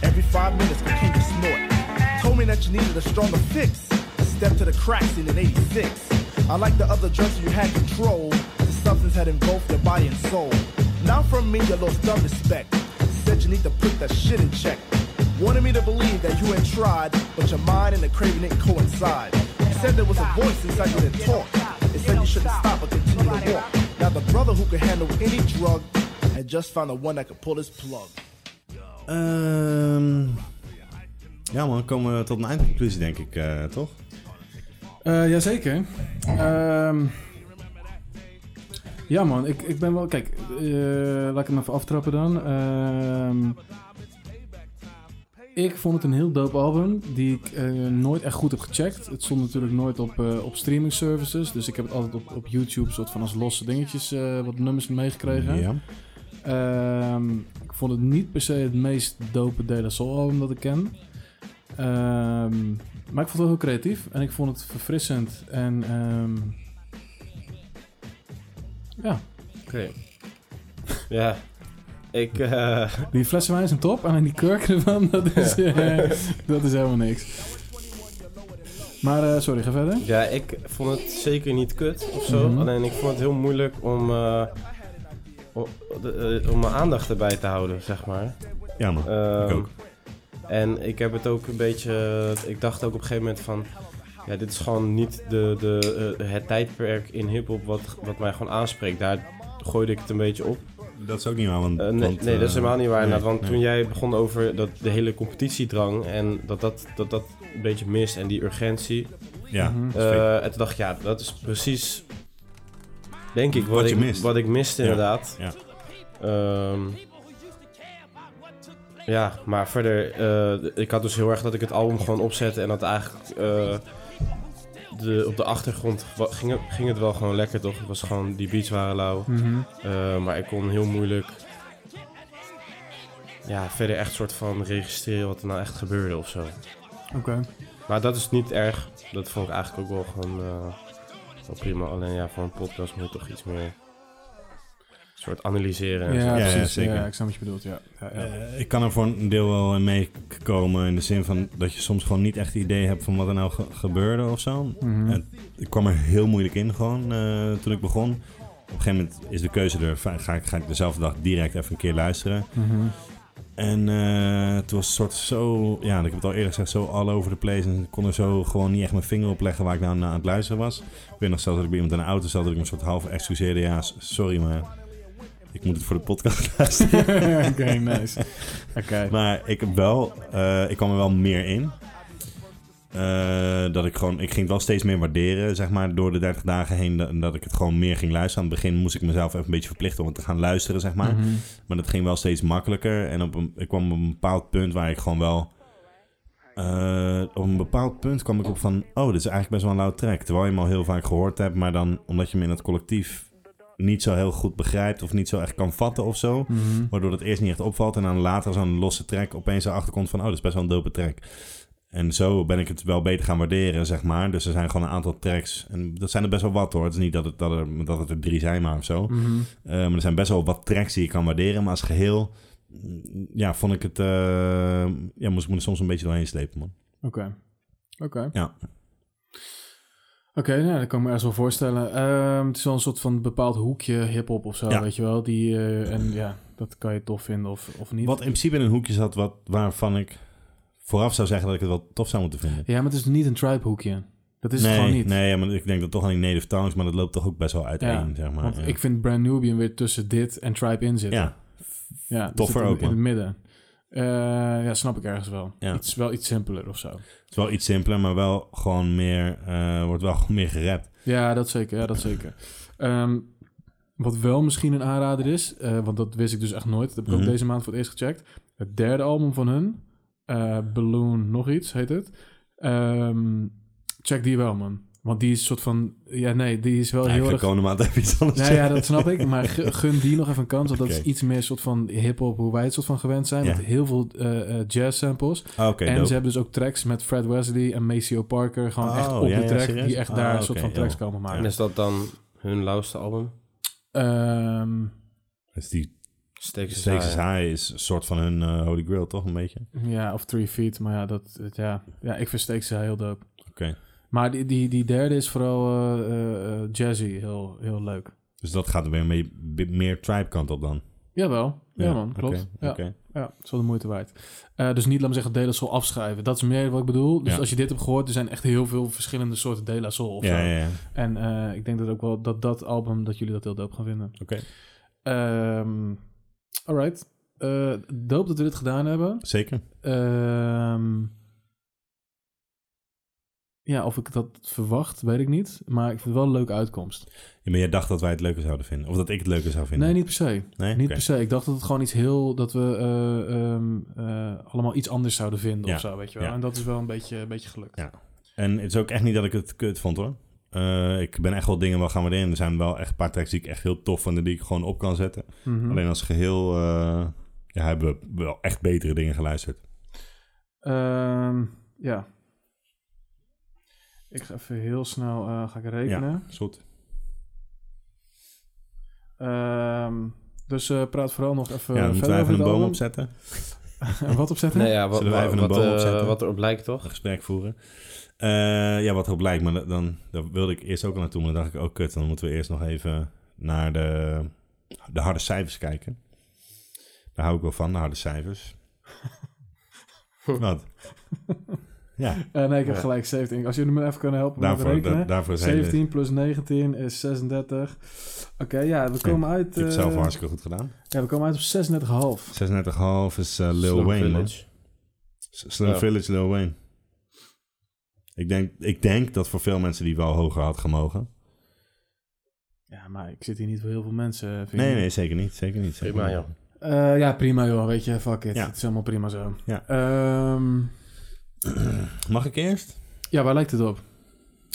Every five minutes, became a snort. Told me that you needed a stronger fix. Step to the cracks in an 86. Unlike the other drugs you had control, the substance had engulfed your body and soul. Now from me, you lost dumb respect. Said you need to put that shit in check. Wanted me to believe that you had tried, but your mind and the craving didn't coincide. Said there was a voice inside you that talked. It said you shouldn't stop but continue to walk. Now the brother who could handle any drug had just found the one that could pull his plug.
Ehm, ja, man, komen we tot een eindconclusie, denk ik, eh, toch?
Eh, jazeker. Ehm, ja, man, ik, ik ben wel. Kijk, eh, laat ik hem even aftrappen dan. Ehm, ik vond het een heel dope album die ik eh, nooit echt goed heb gecheckt. Het stond natuurlijk nooit op, eh, op streaming services, dus ik heb het altijd op, op YouTube soort van als losse dingetjes eh, wat nummers meegekregen.
Ja.
Ehm, ik vond het niet per se het meest dope De La Soul album dat ik ken. Ehm, maar ik vond het wel heel creatief en ik vond het verfrissend. En ehm, ja,
Oké. Ja. Ik, eh,
die flessen wijn zijn top, alleen die kurken ervan, dat is,
Ja.
eh, dat is helemaal niks. Maar eh, sorry, ga verder.
ja, ik vond het zeker niet kut of zo.
Mhm.
Alleen ik vond het heel moeilijk om, eh, o- de- eh, om mijn aandacht erbij te houden, zeg maar.
Ja, man.
Ehm,
Ik ook.
En ik heb het ook een beetje. Ik dacht ook op een gegeven moment van. Ja, dit is gewoon niet de, de, eh, het tijdperk in hip-hop wat, wat mij gewoon aanspreekt. Daar gooide ik het een beetje op.
Dat is ook niet waar, want...
Eh, nee,
want,
nee, dat
eh,
is helemaal niet waar. inderdaad,
nee,
want
nee.
toen jij begon over dat, de hele competitiedrang en dat dat, dat dat een beetje mist en die urgentie.
Ja, Mhm.
Eh, en toen dacht ik, ja, dat is precies, denk ik, wat,
Wat je
ik,
mist.
wat ik miste
Ja,
inderdaad.
ja.
Ehm, ja, maar verder, eh, ik had dus heel erg dat ik het album gewoon opzette en dat eigenlijk eh, de, op de achtergrond wa- ging, het- ging het wel gewoon lekker, toch? Het was gewoon, die beats waren lauw.
Mhm.
Eh, maar ik kon heel moeilijk ja, verder echt soort van registreren wat er nou echt gebeurde of zo.
Oké.
Maar dat is niet erg. Dat vond ik eigenlijk ook wel gewoon eh, wel prima. Alleen ja, voor een podcast moet je toch iets meer soort analyseren. en
Ja,
zo.
precies.
ja,
Ja,
zeker.
ik snap wat je bedoelt, ja. ja, ja.
Eh, Ik kan er voor een deel wel in meekomen in de zin van dat je soms gewoon niet echt idee hebt van wat er nou ge- gebeurde of zo.
Mhm.
En ik kwam er heel moeilijk in gewoon eh, toen ik begon. Op een gegeven moment is de keuze er. van, Ga ik, ga ik dezelfde dag direct even een keer luisteren.
Mhm.
En eh, het was soort zo, ja, ik heb het al eerder gezegd, zo all over the place. En ik kon er zo gewoon niet echt mijn vinger op leggen waar ik nou naar aan het luisteren was. Ik weet nog zelfs dat ik bij iemand in de auto zat, dat ik me een soort half excuseerde. Ja, s- sorry, maar ik moet het voor de podcast luisteren.
Oké, nice.
Maar ik, heb wel, eh, ik kwam er wel meer in. Eh, dat ik gewoon, ik ging het wel steeds meer waarderen, zeg maar, door de 30 dagen heen. Dat, dat ik het gewoon meer ging luisteren. Aan het begin moest ik mezelf even een beetje verplichten om het te gaan luisteren, zeg maar.
Mhm.
Maar dat ging wel steeds makkelijker. En op een, ik kwam op een bepaald punt waar ik gewoon wel. eh, op een bepaald punt kwam ik op van. Oh, dit is eigenlijk best wel een loud track. Terwijl je hem al heel vaak gehoord hebt. Maar dan omdat je hem in het collectief niet zo heel goed begrijpt. Of niet zo echt kan vatten of zo.
Mhm.
Waardoor dat eerst niet echt opvalt. En dan later zo'n losse track opeens erachter komt van. Oh, dit is best wel een dope track. En zo ben ik het wel beter gaan waarderen, zeg maar. Dus er zijn gewoon een aantal tracks. En dat zijn er best wel wat hoor. Het is niet dat het, dat er, dat het er drie zijn, maar of zo.
Mhm.
Eh, maar er zijn best wel wat tracks die je kan waarderen. Maar als geheel, mm, ja, vond ik het... eh, ja, moest ik me er soms een beetje doorheen slepen, man.
Oké. Oké.
Ja.
Oké, nou, dat kan ik me ergens wel voorstellen. Ehm, het is wel een soort van bepaald hoekje hip-hop of zo,
Ja.
weet je wel. Die, eh, en ja, dat kan je tof vinden of, of niet.
Wat in principe in een hoekje zat wat, waarvan ik vooraf zou zeggen dat ik het wel tof zou moeten vinden.
Ja, maar het is niet een tribe hoekje. Dat is
nee,
het gewoon niet.
Nee, ja, maar ik denk dat toch aan die Native Tongues, maar dat loopt toch ook best wel uiteen,
Ja,
zeg maar.
want
Ja.
ik vind Brand Nubian weer tussen dit en Tribe in zitten.
Ja.
ja die
Toffer
zit in,
ook,
in
man.
het midden. Eh, ja, snap ik ergens wel.
Ja.
Iets, wel iets simpeler of zo.
Het is wel iets simpeler, maar wel gewoon meer... eh, wordt wel gewoon meer gerapt.
Ja, dat zeker. Ja, dat zeker. Ehm, wat wel misschien een aanrader is, eh, want dat wist ik dus echt nooit. Dat heb ik
Mhm.
ook deze maand voor het eerst gecheckt. Het derde album van hun, eh, Balloon nog iets heet het. Ehm, check die wel, man. Want die is een soort van... Ja, nee, die is wel
Eigenlijk
heel erg...
gewoon een maand even iets anders
Nou ja,
checken.
dat snap ik. Maar gu- gun die nog even een kans. Want dat
Oké.
is iets meer soort van hip-hop, hoe wij het soort van gewend zijn.
Ja.
Met heel veel eh, eh, jazz samples.
Ah, oké,
en
dope.
ze hebben dus ook tracks met Fred Wesley en Maceo Parker. Gewoon echt
Oh,
op
ja,
de
ja,
track.
serieus?
die echt
Ah,
daar een soort
oké,
van tracks
joh.
komen maken.
En is dat dan hun lauwste album?
Ehm,
Dus die
Steaks is
Steaks is
High.
High is een soort van hun eh, Holy Grail, toch? Een beetje?
ja, of Three Feet. Maar ja, dat, het- ja. ja ik versteek ze heel dope.
Oké.
Maar die, die, die derde is vooral eh, eh, eh, jazzy. Heel, heel leuk.
Dus dat gaat er weer mee, bi- meer tribe kant op dan.
Jawel, ja,
Ja,
man,
oké,
klopt. ja.
oké.
ja, het is wel de moeite waard. Eh, dus niet, laat me zeggen, De La Soul afschrijven. Dat is meer wat ik bedoel. Dus
Ja.
als je dit hebt gehoord, er zijn echt heel veel verschillende soorten De La Soul. of
Ja,
zo.
ja, ja.
En eh, ik denk dat ook wel dat dat album, dat jullie dat heel dope gaan vinden.
Oké.
Ehm, alright. Eh, dope dat we dit gedaan hebben.
Zeker.
Ehm, ja, of ik dat verwacht, weet ik niet. Maar ik vind het wel een leuke uitkomst.
Ja, maar jij dacht dat wij het leuker zouden vinden. Of dat ik het leuker zou vinden.
Nee, niet per se.
Nee?
Niet
Oké.
per se. Ik dacht dat het gewoon iets heel... dat we eh, ehm, eh, allemaal iets anders zouden vinden
Ja.
of zo, weet je wel.
Ja.
En dat is wel een beetje, een beetje gelukt.
Ja. En het is ook echt niet dat ik het kut vond, hoor. Eh, ik ben echt wel dingen wel gaan waarderen. Er zijn wel echt een paar tracks die ik echt heel tof vond en die ik gewoon op kan zetten.
Mhm.
Alleen als geheel eh, ja, hebben we wel echt betere dingen geluisterd.
Ehm, ja. Ik ga even heel snel eh, ga ik Eh, rekenen.
Ja, is goed.
Ehm, dus eh, praat vooral nog even
Ja, dan moeten
verder
wij even
over
een
het
boom
album.
opzetten.
wat opzetten?
Nee, ja, wat,
Zullen we even een
wat,
boom
eh,
opzetten?
wat erop lijkt, toch?
Een gesprek voeren. Eh, ja, wat erop lijkt. Maar dat- dan, daar wilde ik eerst ook al naartoe. Maar dan dacht ik, oh kut, dan moeten we eerst nog even naar de, de harde cijfers kijken. Daar hou ik wel van, de harde cijfers. Wat? Ja.
Eh, nee, ik heb
Ja.
gelijk 17. Als jullie me even kunnen helpen
Daarvoor-
met rekenen.
da- daarvoor zijn
17 plus 19 is 36. Oké, ja, we komen
Ja,
uit...
ik heb het
eh,
zelf wel hartstikke goed gedaan.
Ja, we komen uit op 36,5.
36,5 is eh, Lil
Slum
Wayne,
Village.
man. S- Slum
Ja.
Village, Lil Wayne. Ik denk, ik denk dat voor veel mensen die wel hoger had gemogen.
Ja, maar ik zit hier niet voor heel veel mensen. Vind
Nee,
ik.
nee, zeker niet. Zeker niet. Zeker
Prima,
niet.
joh.
Eh, ja, prima joh, weet je, fuck it.
Ja.
Het is allemaal prima zo.
Ja.
Ehm,
Mag ik eerst?
ja, waar lijkt het op?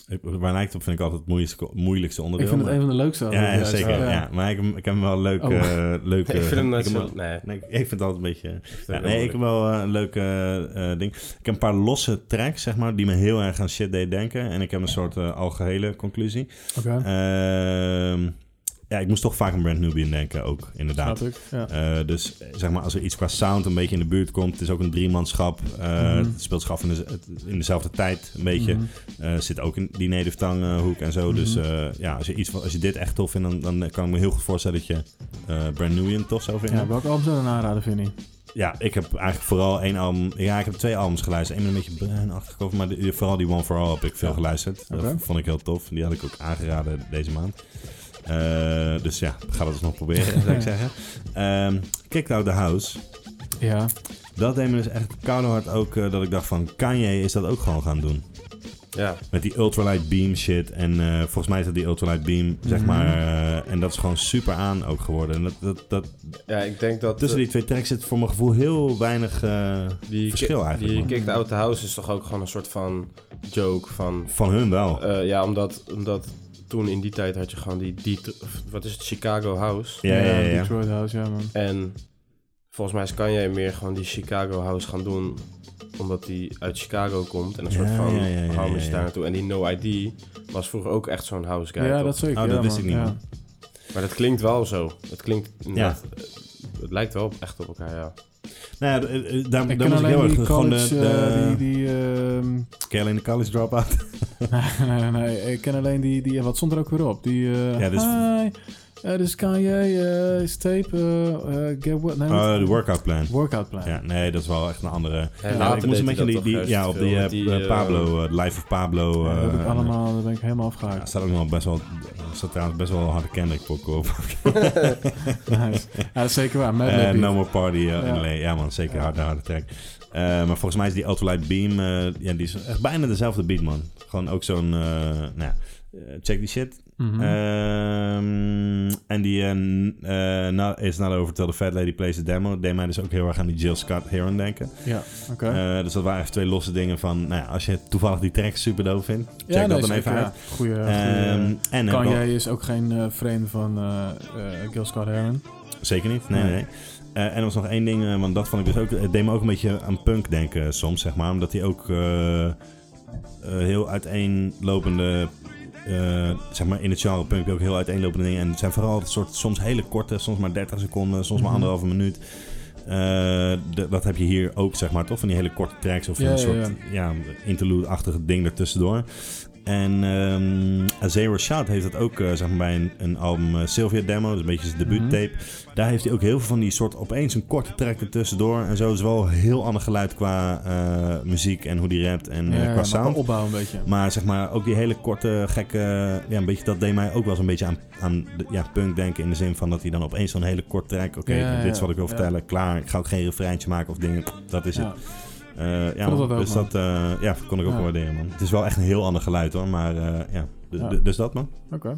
Ik- Waar lijkt het op vind ik altijd het moeilijkste, moeilijkste onderdeel.
Ik vind het
maar-
een van de leukste
Ja, ja,
juist.
zeker.
Ja.
Ja. Maar ik, ik heb hem wel leuk...
Oh.
eh, leuk
Ik vind hem
eh,
net
heb
zo-
wel-
nee.
ik ik vind het altijd een beetje...
het
Ja,
ook
nee,
wel
ik heb wel eh, een leuk eh, eh, ding. Ik heb een paar losse tracks, zeg maar, die me heel erg aan shit deed denken. En ik heb een soort eh, algehele conclusie.
Oké.
eh, Ehm, ja, ik moest toch vaak aan Brand Nubian denken ook, inderdaad.
Snap ik, ja.
Eh, dus eh, zeg maar, als er iets qua sound een beetje in de buurt komt, het is ook een driemanschap. eh,
Mhm.
Het speelt zich af in, de, in dezelfde tijd, een beetje.
Mhm.
Eh, zit ook in die native tongue eh, hoek en zo. Dus
Mhm.
eh, ja, als je, iets, van- als je dit echt tof vindt, dan, dan kan ik me heel goed voorstellen dat je eh Brand Nubian tof zou vinden.
Ja, welke album zou je dan aanraden, vind je?
Ja, ik heb eigenlijk vooral één album. Ja, ik heb twee albums geluisterd. Eén met een beetje bruinachtig over, maar de- vooral die One for All heb ik veel
Ja.
geluisterd.
Oké.
Dat vond ik heel tof. Die had ik ook aangeraden deze maand. Eh, dus ja, ik ga dat eens nog proberen, zou ik zeggen. Ehm Kicked Out the House.
Ja.
Dat deed me dus echt koude hard ook eh, dat ik dacht van Kanye is dat ook gewoon gaan doen.
Ja.
Met die ultralight beam shit. En eh, volgens mij is dat die ultralight beam, zeg
Mhm.
maar. eh, en dat is gewoon super aan ook geworden. En dat, dat, dat,
Ja, ik denk dat...
tussen die twee tracks zit voor mijn gevoel heel weinig eh,
Die
verschil
ki-
eigenlijk.
Die
man.
Kicked Out the House is toch ook gewoon een soort van joke van...
Van hun wel.
Eh, ja, omdat, omdat toen in die tijd had je gewoon die... die wat is het? Chicago House.
Ja, ja, ja, ja.
Detroit House, ja, man.
En volgens mij is Kanye meer gewoon die Chicago House gaan doen omdat hij uit Chicago komt en een
Ja,
soort van
ja, ja, ja,
hou me
ja, ja.
daar naartoe. En die No ID was vroeger ook echt zo'n house guy.
Ja,
toch?
dat
Nou,
zeker, Oh, dat ja, wist man, ik niet, ja. man.
Maar dat klinkt wel zo. Het klinkt inderdaad, eh, het lijkt wel echt op elkaar, ja.
Nou ja, eh, eh, daar,
Ik
daar
ken
moet ik heel
alleen
erg...
die
gewoon de,
college, eh,
de,
die- die, ehm,
Ken je alleen de college drop-out?
nee, nee, nee. Ik ken alleen die, die... Wat stond er ook weer op? Die... eh
Ja,
ja,
dus-
dus... dus Kanye, eh, is tape, eh, eh, get what... Nee, wat-
Oh, de workout plan.
Workout plan.
Ja, nee, dat is wel echt een andere...
later
Nou, ik
deed
moest een beetje
hij dat
die...
toch
die-
juist
ja, op
veel
die,
met
eh,
die, eh,
Pablo, eh, Life of Pablo.
Ja, dat heb
eh,
ik allemaal, daar ben ik helemaal afgehaakt.
Er staat ook nog best wel... Er staat trouwens best wel een harde Kendrick pokken op.
Nice. Ja, dat is zeker waar. Madlib
Eh,
beat.
no More Party eh,
Ja.
in LA. Ja man, zeker harde, harde track. Eh, maar volgens mij is die Ultralight Beam... eh, ja, die is echt bijna dezelfde beat man. Gewoon ook zo'n... eh, nou, ja, eh, check die shit.
Mhm.
eh, Ehm, en die eh, n- eh, not, It's Not Over Till The Fat Lady Plays The Demo... deed mij dus ook heel erg aan die Jill Scott Heron denken.
Ja, oké.
Eh, dus dat waren even twee losse dingen van... Nou ja, als je toevallig die track super doof vindt... check
Ja,
dat
nee,
dan even
zeker,
uit.
ja. Goeie,
Ehm,
goeie- eh,
en heb ik
Kanye
al-
is ook geen eh vreemde van eh eh Gil Scott Heron.
Zeker niet, nee, nee.
Nee.
Eh, en er was nog één ding, eh, want dat vond ik dus ook... Het deed me ook een beetje aan punk denken eh, soms, zeg maar. Omdat hij ook eh, eh, heel uiteenlopende... eh, zeg maar in het genre punk ook heel uiteenlopende dingen. En het zijn vooral het soort soms hele korte, soms maar 30 seconden, soms maar
Mhm.
anderhalve minuut. Eh, d- dat heb je hier ook, zeg maar, toch? Van die hele korte tracks of
Ja,
een
ja,
soort ja. interlude-achtig ding ertussendoor. En ehm Azero Shout heeft dat ook, eh, zeg maar, bij een, een album eh, Sylvia Demo. Dat is een beetje
Mhm.
zijn debuuttape. Daar heeft hij ook heel veel van die soort opeens een korte track ertussendoor. En zo is wel een heel ander geluid qua eh, muziek en hoe die rapt en eh,
Ja,
qua
maar qua
sound.
opbouw een beetje.
Maar zeg maar, ook die hele korte, gekke... Ja, een beetje, dat deed mij ook wel eens een beetje aan, aan de- ja, punk denken. In de zin van dat hij dan opeens zo'n hele kort track... Oké,
Ja, ja,
dit is wat ik wil
ja.
vertellen. Klaar, ik ga ook geen refreintje maken of dingen. Dat is
Ja.
het. Eh, ja,
Vond
man,
dat ook,
dus
man.
dat eh, ja, kon ik ook
Ja.
wel waarderen, man. Het is wel echt een heel ander geluid, hoor. Maar eh, ja. Dus,
Ja.
dus dat, man.
Oké.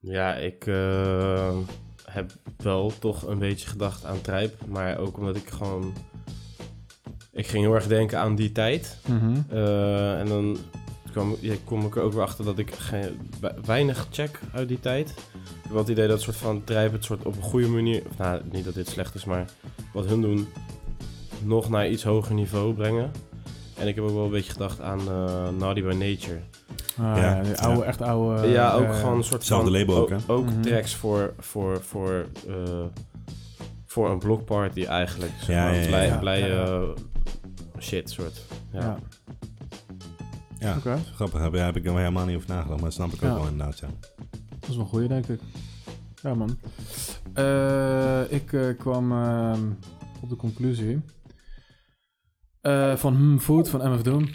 Ja, ik eh, heb wel toch een beetje gedacht aan Trijp. Maar ook omdat ik gewoon... Ik ging heel erg denken aan die tijd.
Mhm.
Eh, en dan kwam, ja, kom ik er ook weer achter dat ik geen, we- weinig check uit die tijd. Ik heb wel het idee dat soort van Trijp het soort op een goede manier... Of, nou, niet dat dit slecht is, maar wat hun doen... nog naar iets hoger niveau brengen. En ik heb ook wel een beetje gedacht aan eh, Naughty by Nature.
Ah, ja, die oude, echt oude...
Ja, ook
eh,
gewoon een soort
Hetzelfde
van...
label ook, hè?
Ook
Mhm.
tracks voor, voor, voor, eh, voor een blockparty eigenlijk. Zeg
Ja,
maar,
ja, ja,
blij,
ja.
blij,
Ja, ja.
eh, shit soort. Ja.
Ja.
Ja,
Oké.
grappig. Daar heb ik er helemaal niet over nagedacht. Maar dat snap ik ook
Ja.
wel inderdaad, ja.
Dat is wel een goeie, denk ik. Ja, man. Eh, ik eh, kwam ehm, op de conclusie eh, van Hmm Food van MF Doom.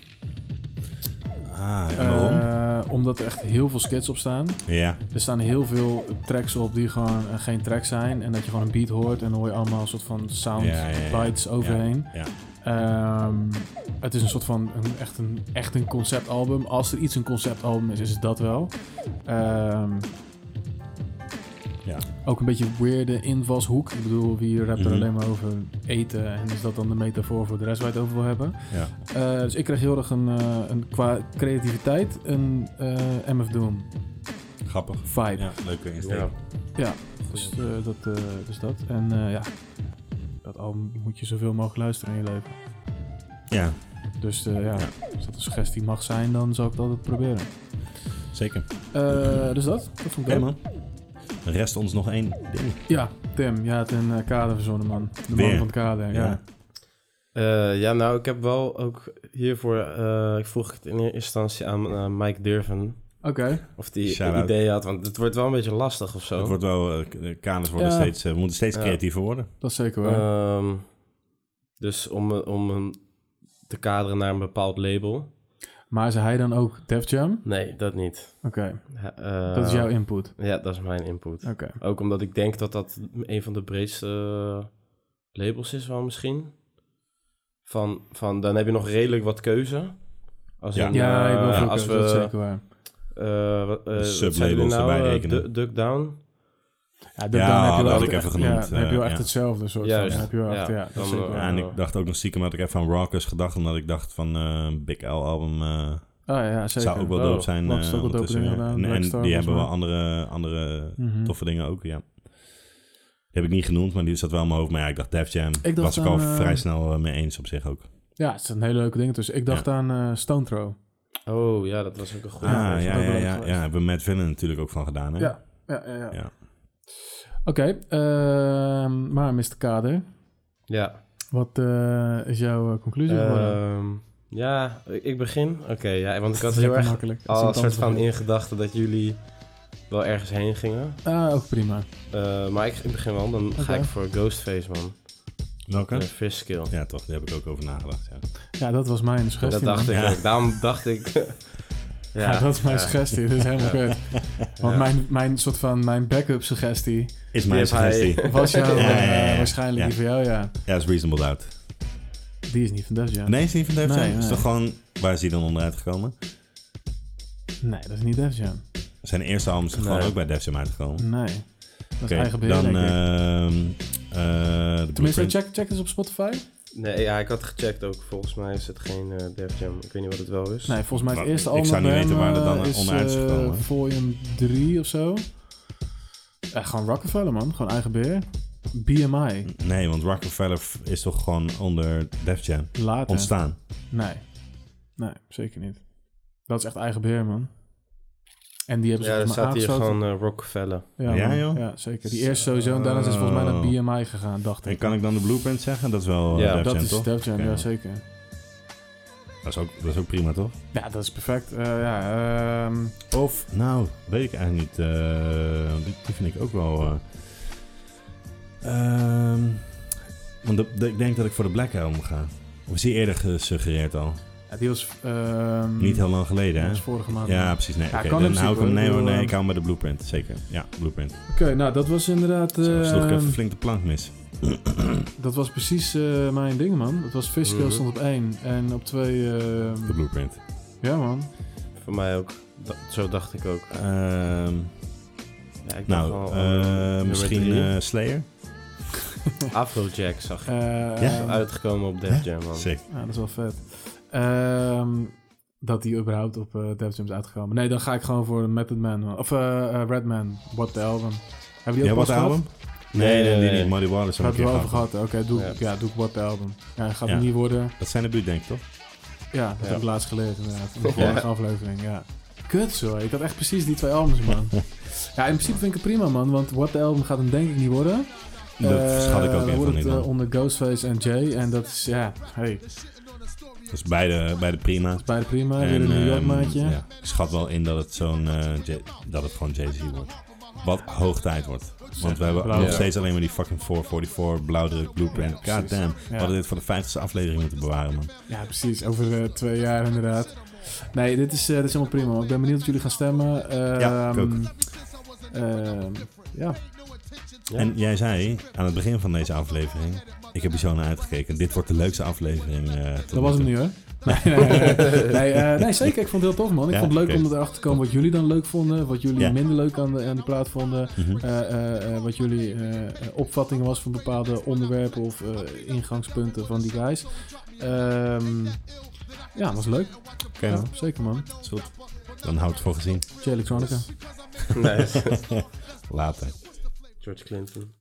Ah, en waarom?
Eh, omdat er echt heel veel skits op staan.
Ja.
Er staan heel veel tracks op die gewoon eh, geen track zijn. En dat je gewoon een beat hoort en dan hoor je allemaal een soort van sound
Ja, ja, ja.
bites overheen.
Ja,
Ehm, het is een soort van een, echt, een, echt een conceptalbum. Als er iets een conceptalbum is, is het dat wel. Ehm,
Ja.
Ook een beetje weirde invalshoek. Ik bedoel, wie rapt er
Mhm.
alleen maar over eten en is dat dan de metafoor voor de rest waar je het over wil hebben?
Ja.
Eh, dus ik kreeg heel erg een, eh, een qua creativiteit een eh, MF Doom
Grappig.
vibe.
Ja, leuke insteek.
Ja.
Ja, dus, eh, dat, eh, dus dat. En eh, ja, dat album moet je zoveel mogelijk luisteren in je leven.
Ja.
Dus eh, ja, als dat een suggestie mag zijn, dan zou ik dat altijd proberen.
Zeker.
Eh, dus dat, dat vond
Oké,
ik leuk.
man. Rest ons nog één ding.
Ja, Tim, jij had een eh, kader verzonnen, man. De man
Weer.
van het kader, ja.
Ja.
Eh, ja, nou, ik heb wel ook hiervoor... eh, ik vroeg het in eerste instantie aan eh, Mike Durven.
Oké.
Of die een
Shout-out.
idee had, want het wordt wel een beetje lastig of zo.
Het wordt wel, eh, de kaders worden
Ja.
steeds, eh, we moeten steeds
Ja.
creatiever worden.
Dat is zeker waar.
Ehm, dus om, eh, om hem te kaderen naar een bepaald label.
Maar is hij dan ook Def Jam?
Nee, dat niet.
Oké.
Ja, eh,
Dat is jouw input?
Ja, dat is mijn input.
Oké.
Ook omdat ik denk dat dat een van de breedste eh, labels is wel misschien. Van, van, dan heb je nog redelijk wat keuze. Als
Ja.
in,
Ja, je hebt wel
eh,
veel
als
keuze, dat
we,
is zeker waar.
eh, wat- eh, wat
sublabels
zeiden we nou?
erbij
Eh,
rekenen.
Du- Duck Down.
Ja, Duck Down heb je wel
dat had
echt-
ik even
ja,
genoemd.
dan heb je wel
eh,
echt hetzelfde soort van- dan heb je wel echt- ja, dat is
dan,
zeker waar.
Ja, en ik dacht ook nog stiekem had ik even aan Rockers gedacht, omdat ik dacht van eh, Big L album eh,
ja, zeker.
zou ook wel
Oh,
dope zijn. eh,
Lux ook wel dope
ondertussen
dingen
weer.
gedaan,
En- en
Blackstar
die
volgens
hebben wel
mij.
andere, andere
Mhm.
toffe dingen ook, ja. Die heb ik niet genoemd, maar die zat wel in mijn hoofd. Maar ja, ik dacht Def Jam.
dacht
was ik al
aan, eh,
vrij snel eh, mee eens op zich ook.
Ja, het zijn hele leuke dingen tussen. Ik dacht aan eh, Stone Throw.
Oh ja, dat was ook een goede.
ah, ja,
dat is
ja,
ook
ja,
wel
ja,
geweest.
Hebben we Matt Villain natuurlijk ook van gedaan, hè?
Ja, ja, ja. ja.
Ja.
Oké, ehm, maar Mr. Kader,
Ja.
wat eh, is jouw eh, conclusie geworden?
Ehm, ja, ik ik begin. Oké, ja, want ik had
Lekker
heel erg
makkelijk. Dat is
al
een
een soort van
tandvlees.
in gedachten dat jullie wel ergens heen gingen.
Ah, ook prima.
Eh, maar ik, ik begin wel, dan ga
Oké.
ik voor Ghostface, man.
Welke?
Eh, Fish Kill.
Ja, toch. Daar heb ik ook over nagedacht, ja.
Ja, dat was mijn suggestie.
Dat dacht
man.
ik ook. Daarom dacht ik...
Ja, dat is mijn
ja.
suggestie. Dat is helemaal
Ja.
kut. Want
Ja.
mijn, mijn soort van mijn backup suggestie...
Is mijn
Die heeft hij-
suggestie.
Was jou
Ja, ja, ja,
eh,
ja.
waarschijnlijk
Ja.
die voor jou, ja.
Ja, is Reasonable Doubt.
Die is niet van Def Jam.
Nee, is niet van Def Jam.
Nee,
Is
nee.
toch gewoon... Waar is hij dan onderuit gekomen?
Nee, dat is niet Def Jam.
Zijn eerste album is gewoon
Nee.
ook bij Def Jam uitgekomen.
Nee. Dat is
Oké,
eigen beheer,
dan...
denk ik.
ehm, eh, de
Tenminste,
Blueprint.
check, check eens op Spotify.
Nee, ja, ik had gecheckt ook. Volgens mij is het geen eh Def Jam. Ik weet niet wat het wel is.
Nee, volgens mij het
Wat-
eerste
ik
album
zou niet
bij
weten
hem,
waar dat dan
eh, is,
onderuit is
eh,
gekomen.
Volume 3 of zo. Eh, gewoon Rockefeller, man. Gewoon eigen beheer. BMI.
Nee, want Rockefeller f- is toch gewoon onder Def Jam
Later.
ontstaan.
Nee. Nee, zeker niet. Dat is echt eigen beheer, man. En die hebben ze
Ja, er
volgens mij
staat hier
aangesloten.
gewoon eh, Rockefeller.
Ja,
Ja,
man.
joh?
Ja, zeker. Die eerste sowieso. En daarna is het volgens mij naar BMI gegaan, dacht
En
ik.
kan ik dan de Blueprint zeggen? Dat is wel eh,
Ja,
Def
dat
Jam,
is
toch?
Def Jam,
Oké.
ja, zeker.
Dat is, ook, dat is ook prima, toch?
Ja, dat is perfect. Eh, ja, ehm,
Of, nou, weet ik eigenlijk niet. eh, die, die vind ik ook wel... eh, ehm, want de- de- ik denk dat ik voor de Black Album ga. Of is die eerder gesuggereerd al?
ja, die was... ehm,
Niet heel lang geleden, hè?
Dat was vorige maand.
Ja, precies. Nee,
Ja,
oké,
kan
dan
in
hou ik hem.
principe,
Nee,
ik
hoor,
bedoel,
nee, ik
eh,
hou hem bij de Blueprint. Zeker. Ja, Blueprint.
Oké, nou, dat was inderdaad...
Zo sloeg ik
ehm,
even flink de plank mis.
Dat was precies eh, mijn ding, man. Dat was Fishkill
Mhm.
stond op 1 en op 2... ehm,
De Blueprint.
ja, man.
Voor mij ook. Dat- zo dacht ik ook.
Ehm,
Ja, ik dacht
nou,
wel,
eh,
eh, nummer
misschien
drie.
eh, Slayer?
Afrojack zag ik.
Eh,
Ja?
ehm,
Uitgekomen op Def Jam, man.
Sick.
Ja, dat is wel vet. Ehm, dat die überhaupt op eh Def Jam is uitgekomen. Nee, dan ga ik gewoon voor Method Man. man. Of eh, eh, Redman. What the Album. Hebben die
Ja,
ook
wat
pas gehad?
album? Nee, nee, nee,
nee.
niet. Muddy Waters
Daar
heb ik
hebben we
een
het wel
keer
over
gehad.
gehad. Oké, doe,
Ja.
ik- ja, doe ik What the Album. Ja, gaat
Ja.
het niet worden.
Dat zijn de buurt, denk ik, toch?
Ja, dat
Ja.
heb ik laatst geleerd inderdaad. In de vorige aflevering, ja. Kut zo, ik had echt precies die twee albums, man. ja, in principe vind ik het prima, man. Want What The Album gaat hem denk ik niet worden.
Dat
Eh,
schat ik ook
dan
even
wordt
niet
het eh,
aan.
onder Ghostface en Jay. En dat is, ja, hey,
Dat is beide, beide prima.
beide prima. Weer
En,
een New York
ehm,
maatje.
ja, ik schat wel in dat het, zo'n, eh, J- dat het gewoon Jay-Z wordt. Wat hoog tijd wordt. Want we hebben
Blauw.
nog
Ja.
steeds alleen maar die fucking 444 blauwdruk blueprint.
Ja,
God
precies.
damn. We
Ja.
hadden dit voor de 50ste aflevering moeten bewaren, man.
Ja, precies. Over eh, twee jaar inderdaad. Nee, dit is, eh, dit is helemaal prima. man. Ik ben benieuwd wat jullie gaan stemmen. Ehm,
Ja, ik ook.
ehm, ja.
Ja.
En jij zei aan het begin van deze aflevering... Ik heb hier zo naar uitgekeken. Dit wordt de leukste aflevering. eh, tot
dat was hem
nu toe.
nu, hè? Nee, nee, nee, nee. Nee, eh, nee, zeker. Ik vond het heel tof, man. Ik
Ja,
vond het leuk
oké.
om erachter te komen wat jullie dan leuk vonden. Wat jullie
Ja.
minder leuk aan, de, aan die plaat vonden.
Mhm.
eh, eh, eh, wat jullie eh, eh, opvattingen was van bepaalde onderwerpen of eh, ingangspunten van die guys. Ehm, ja, was leuk.
Oké,
Ja,
man.
zeker, man.
Is goed. Dan houdt het voor gezien.
Jay Electronica.
Nice.
Later.
George Clinton.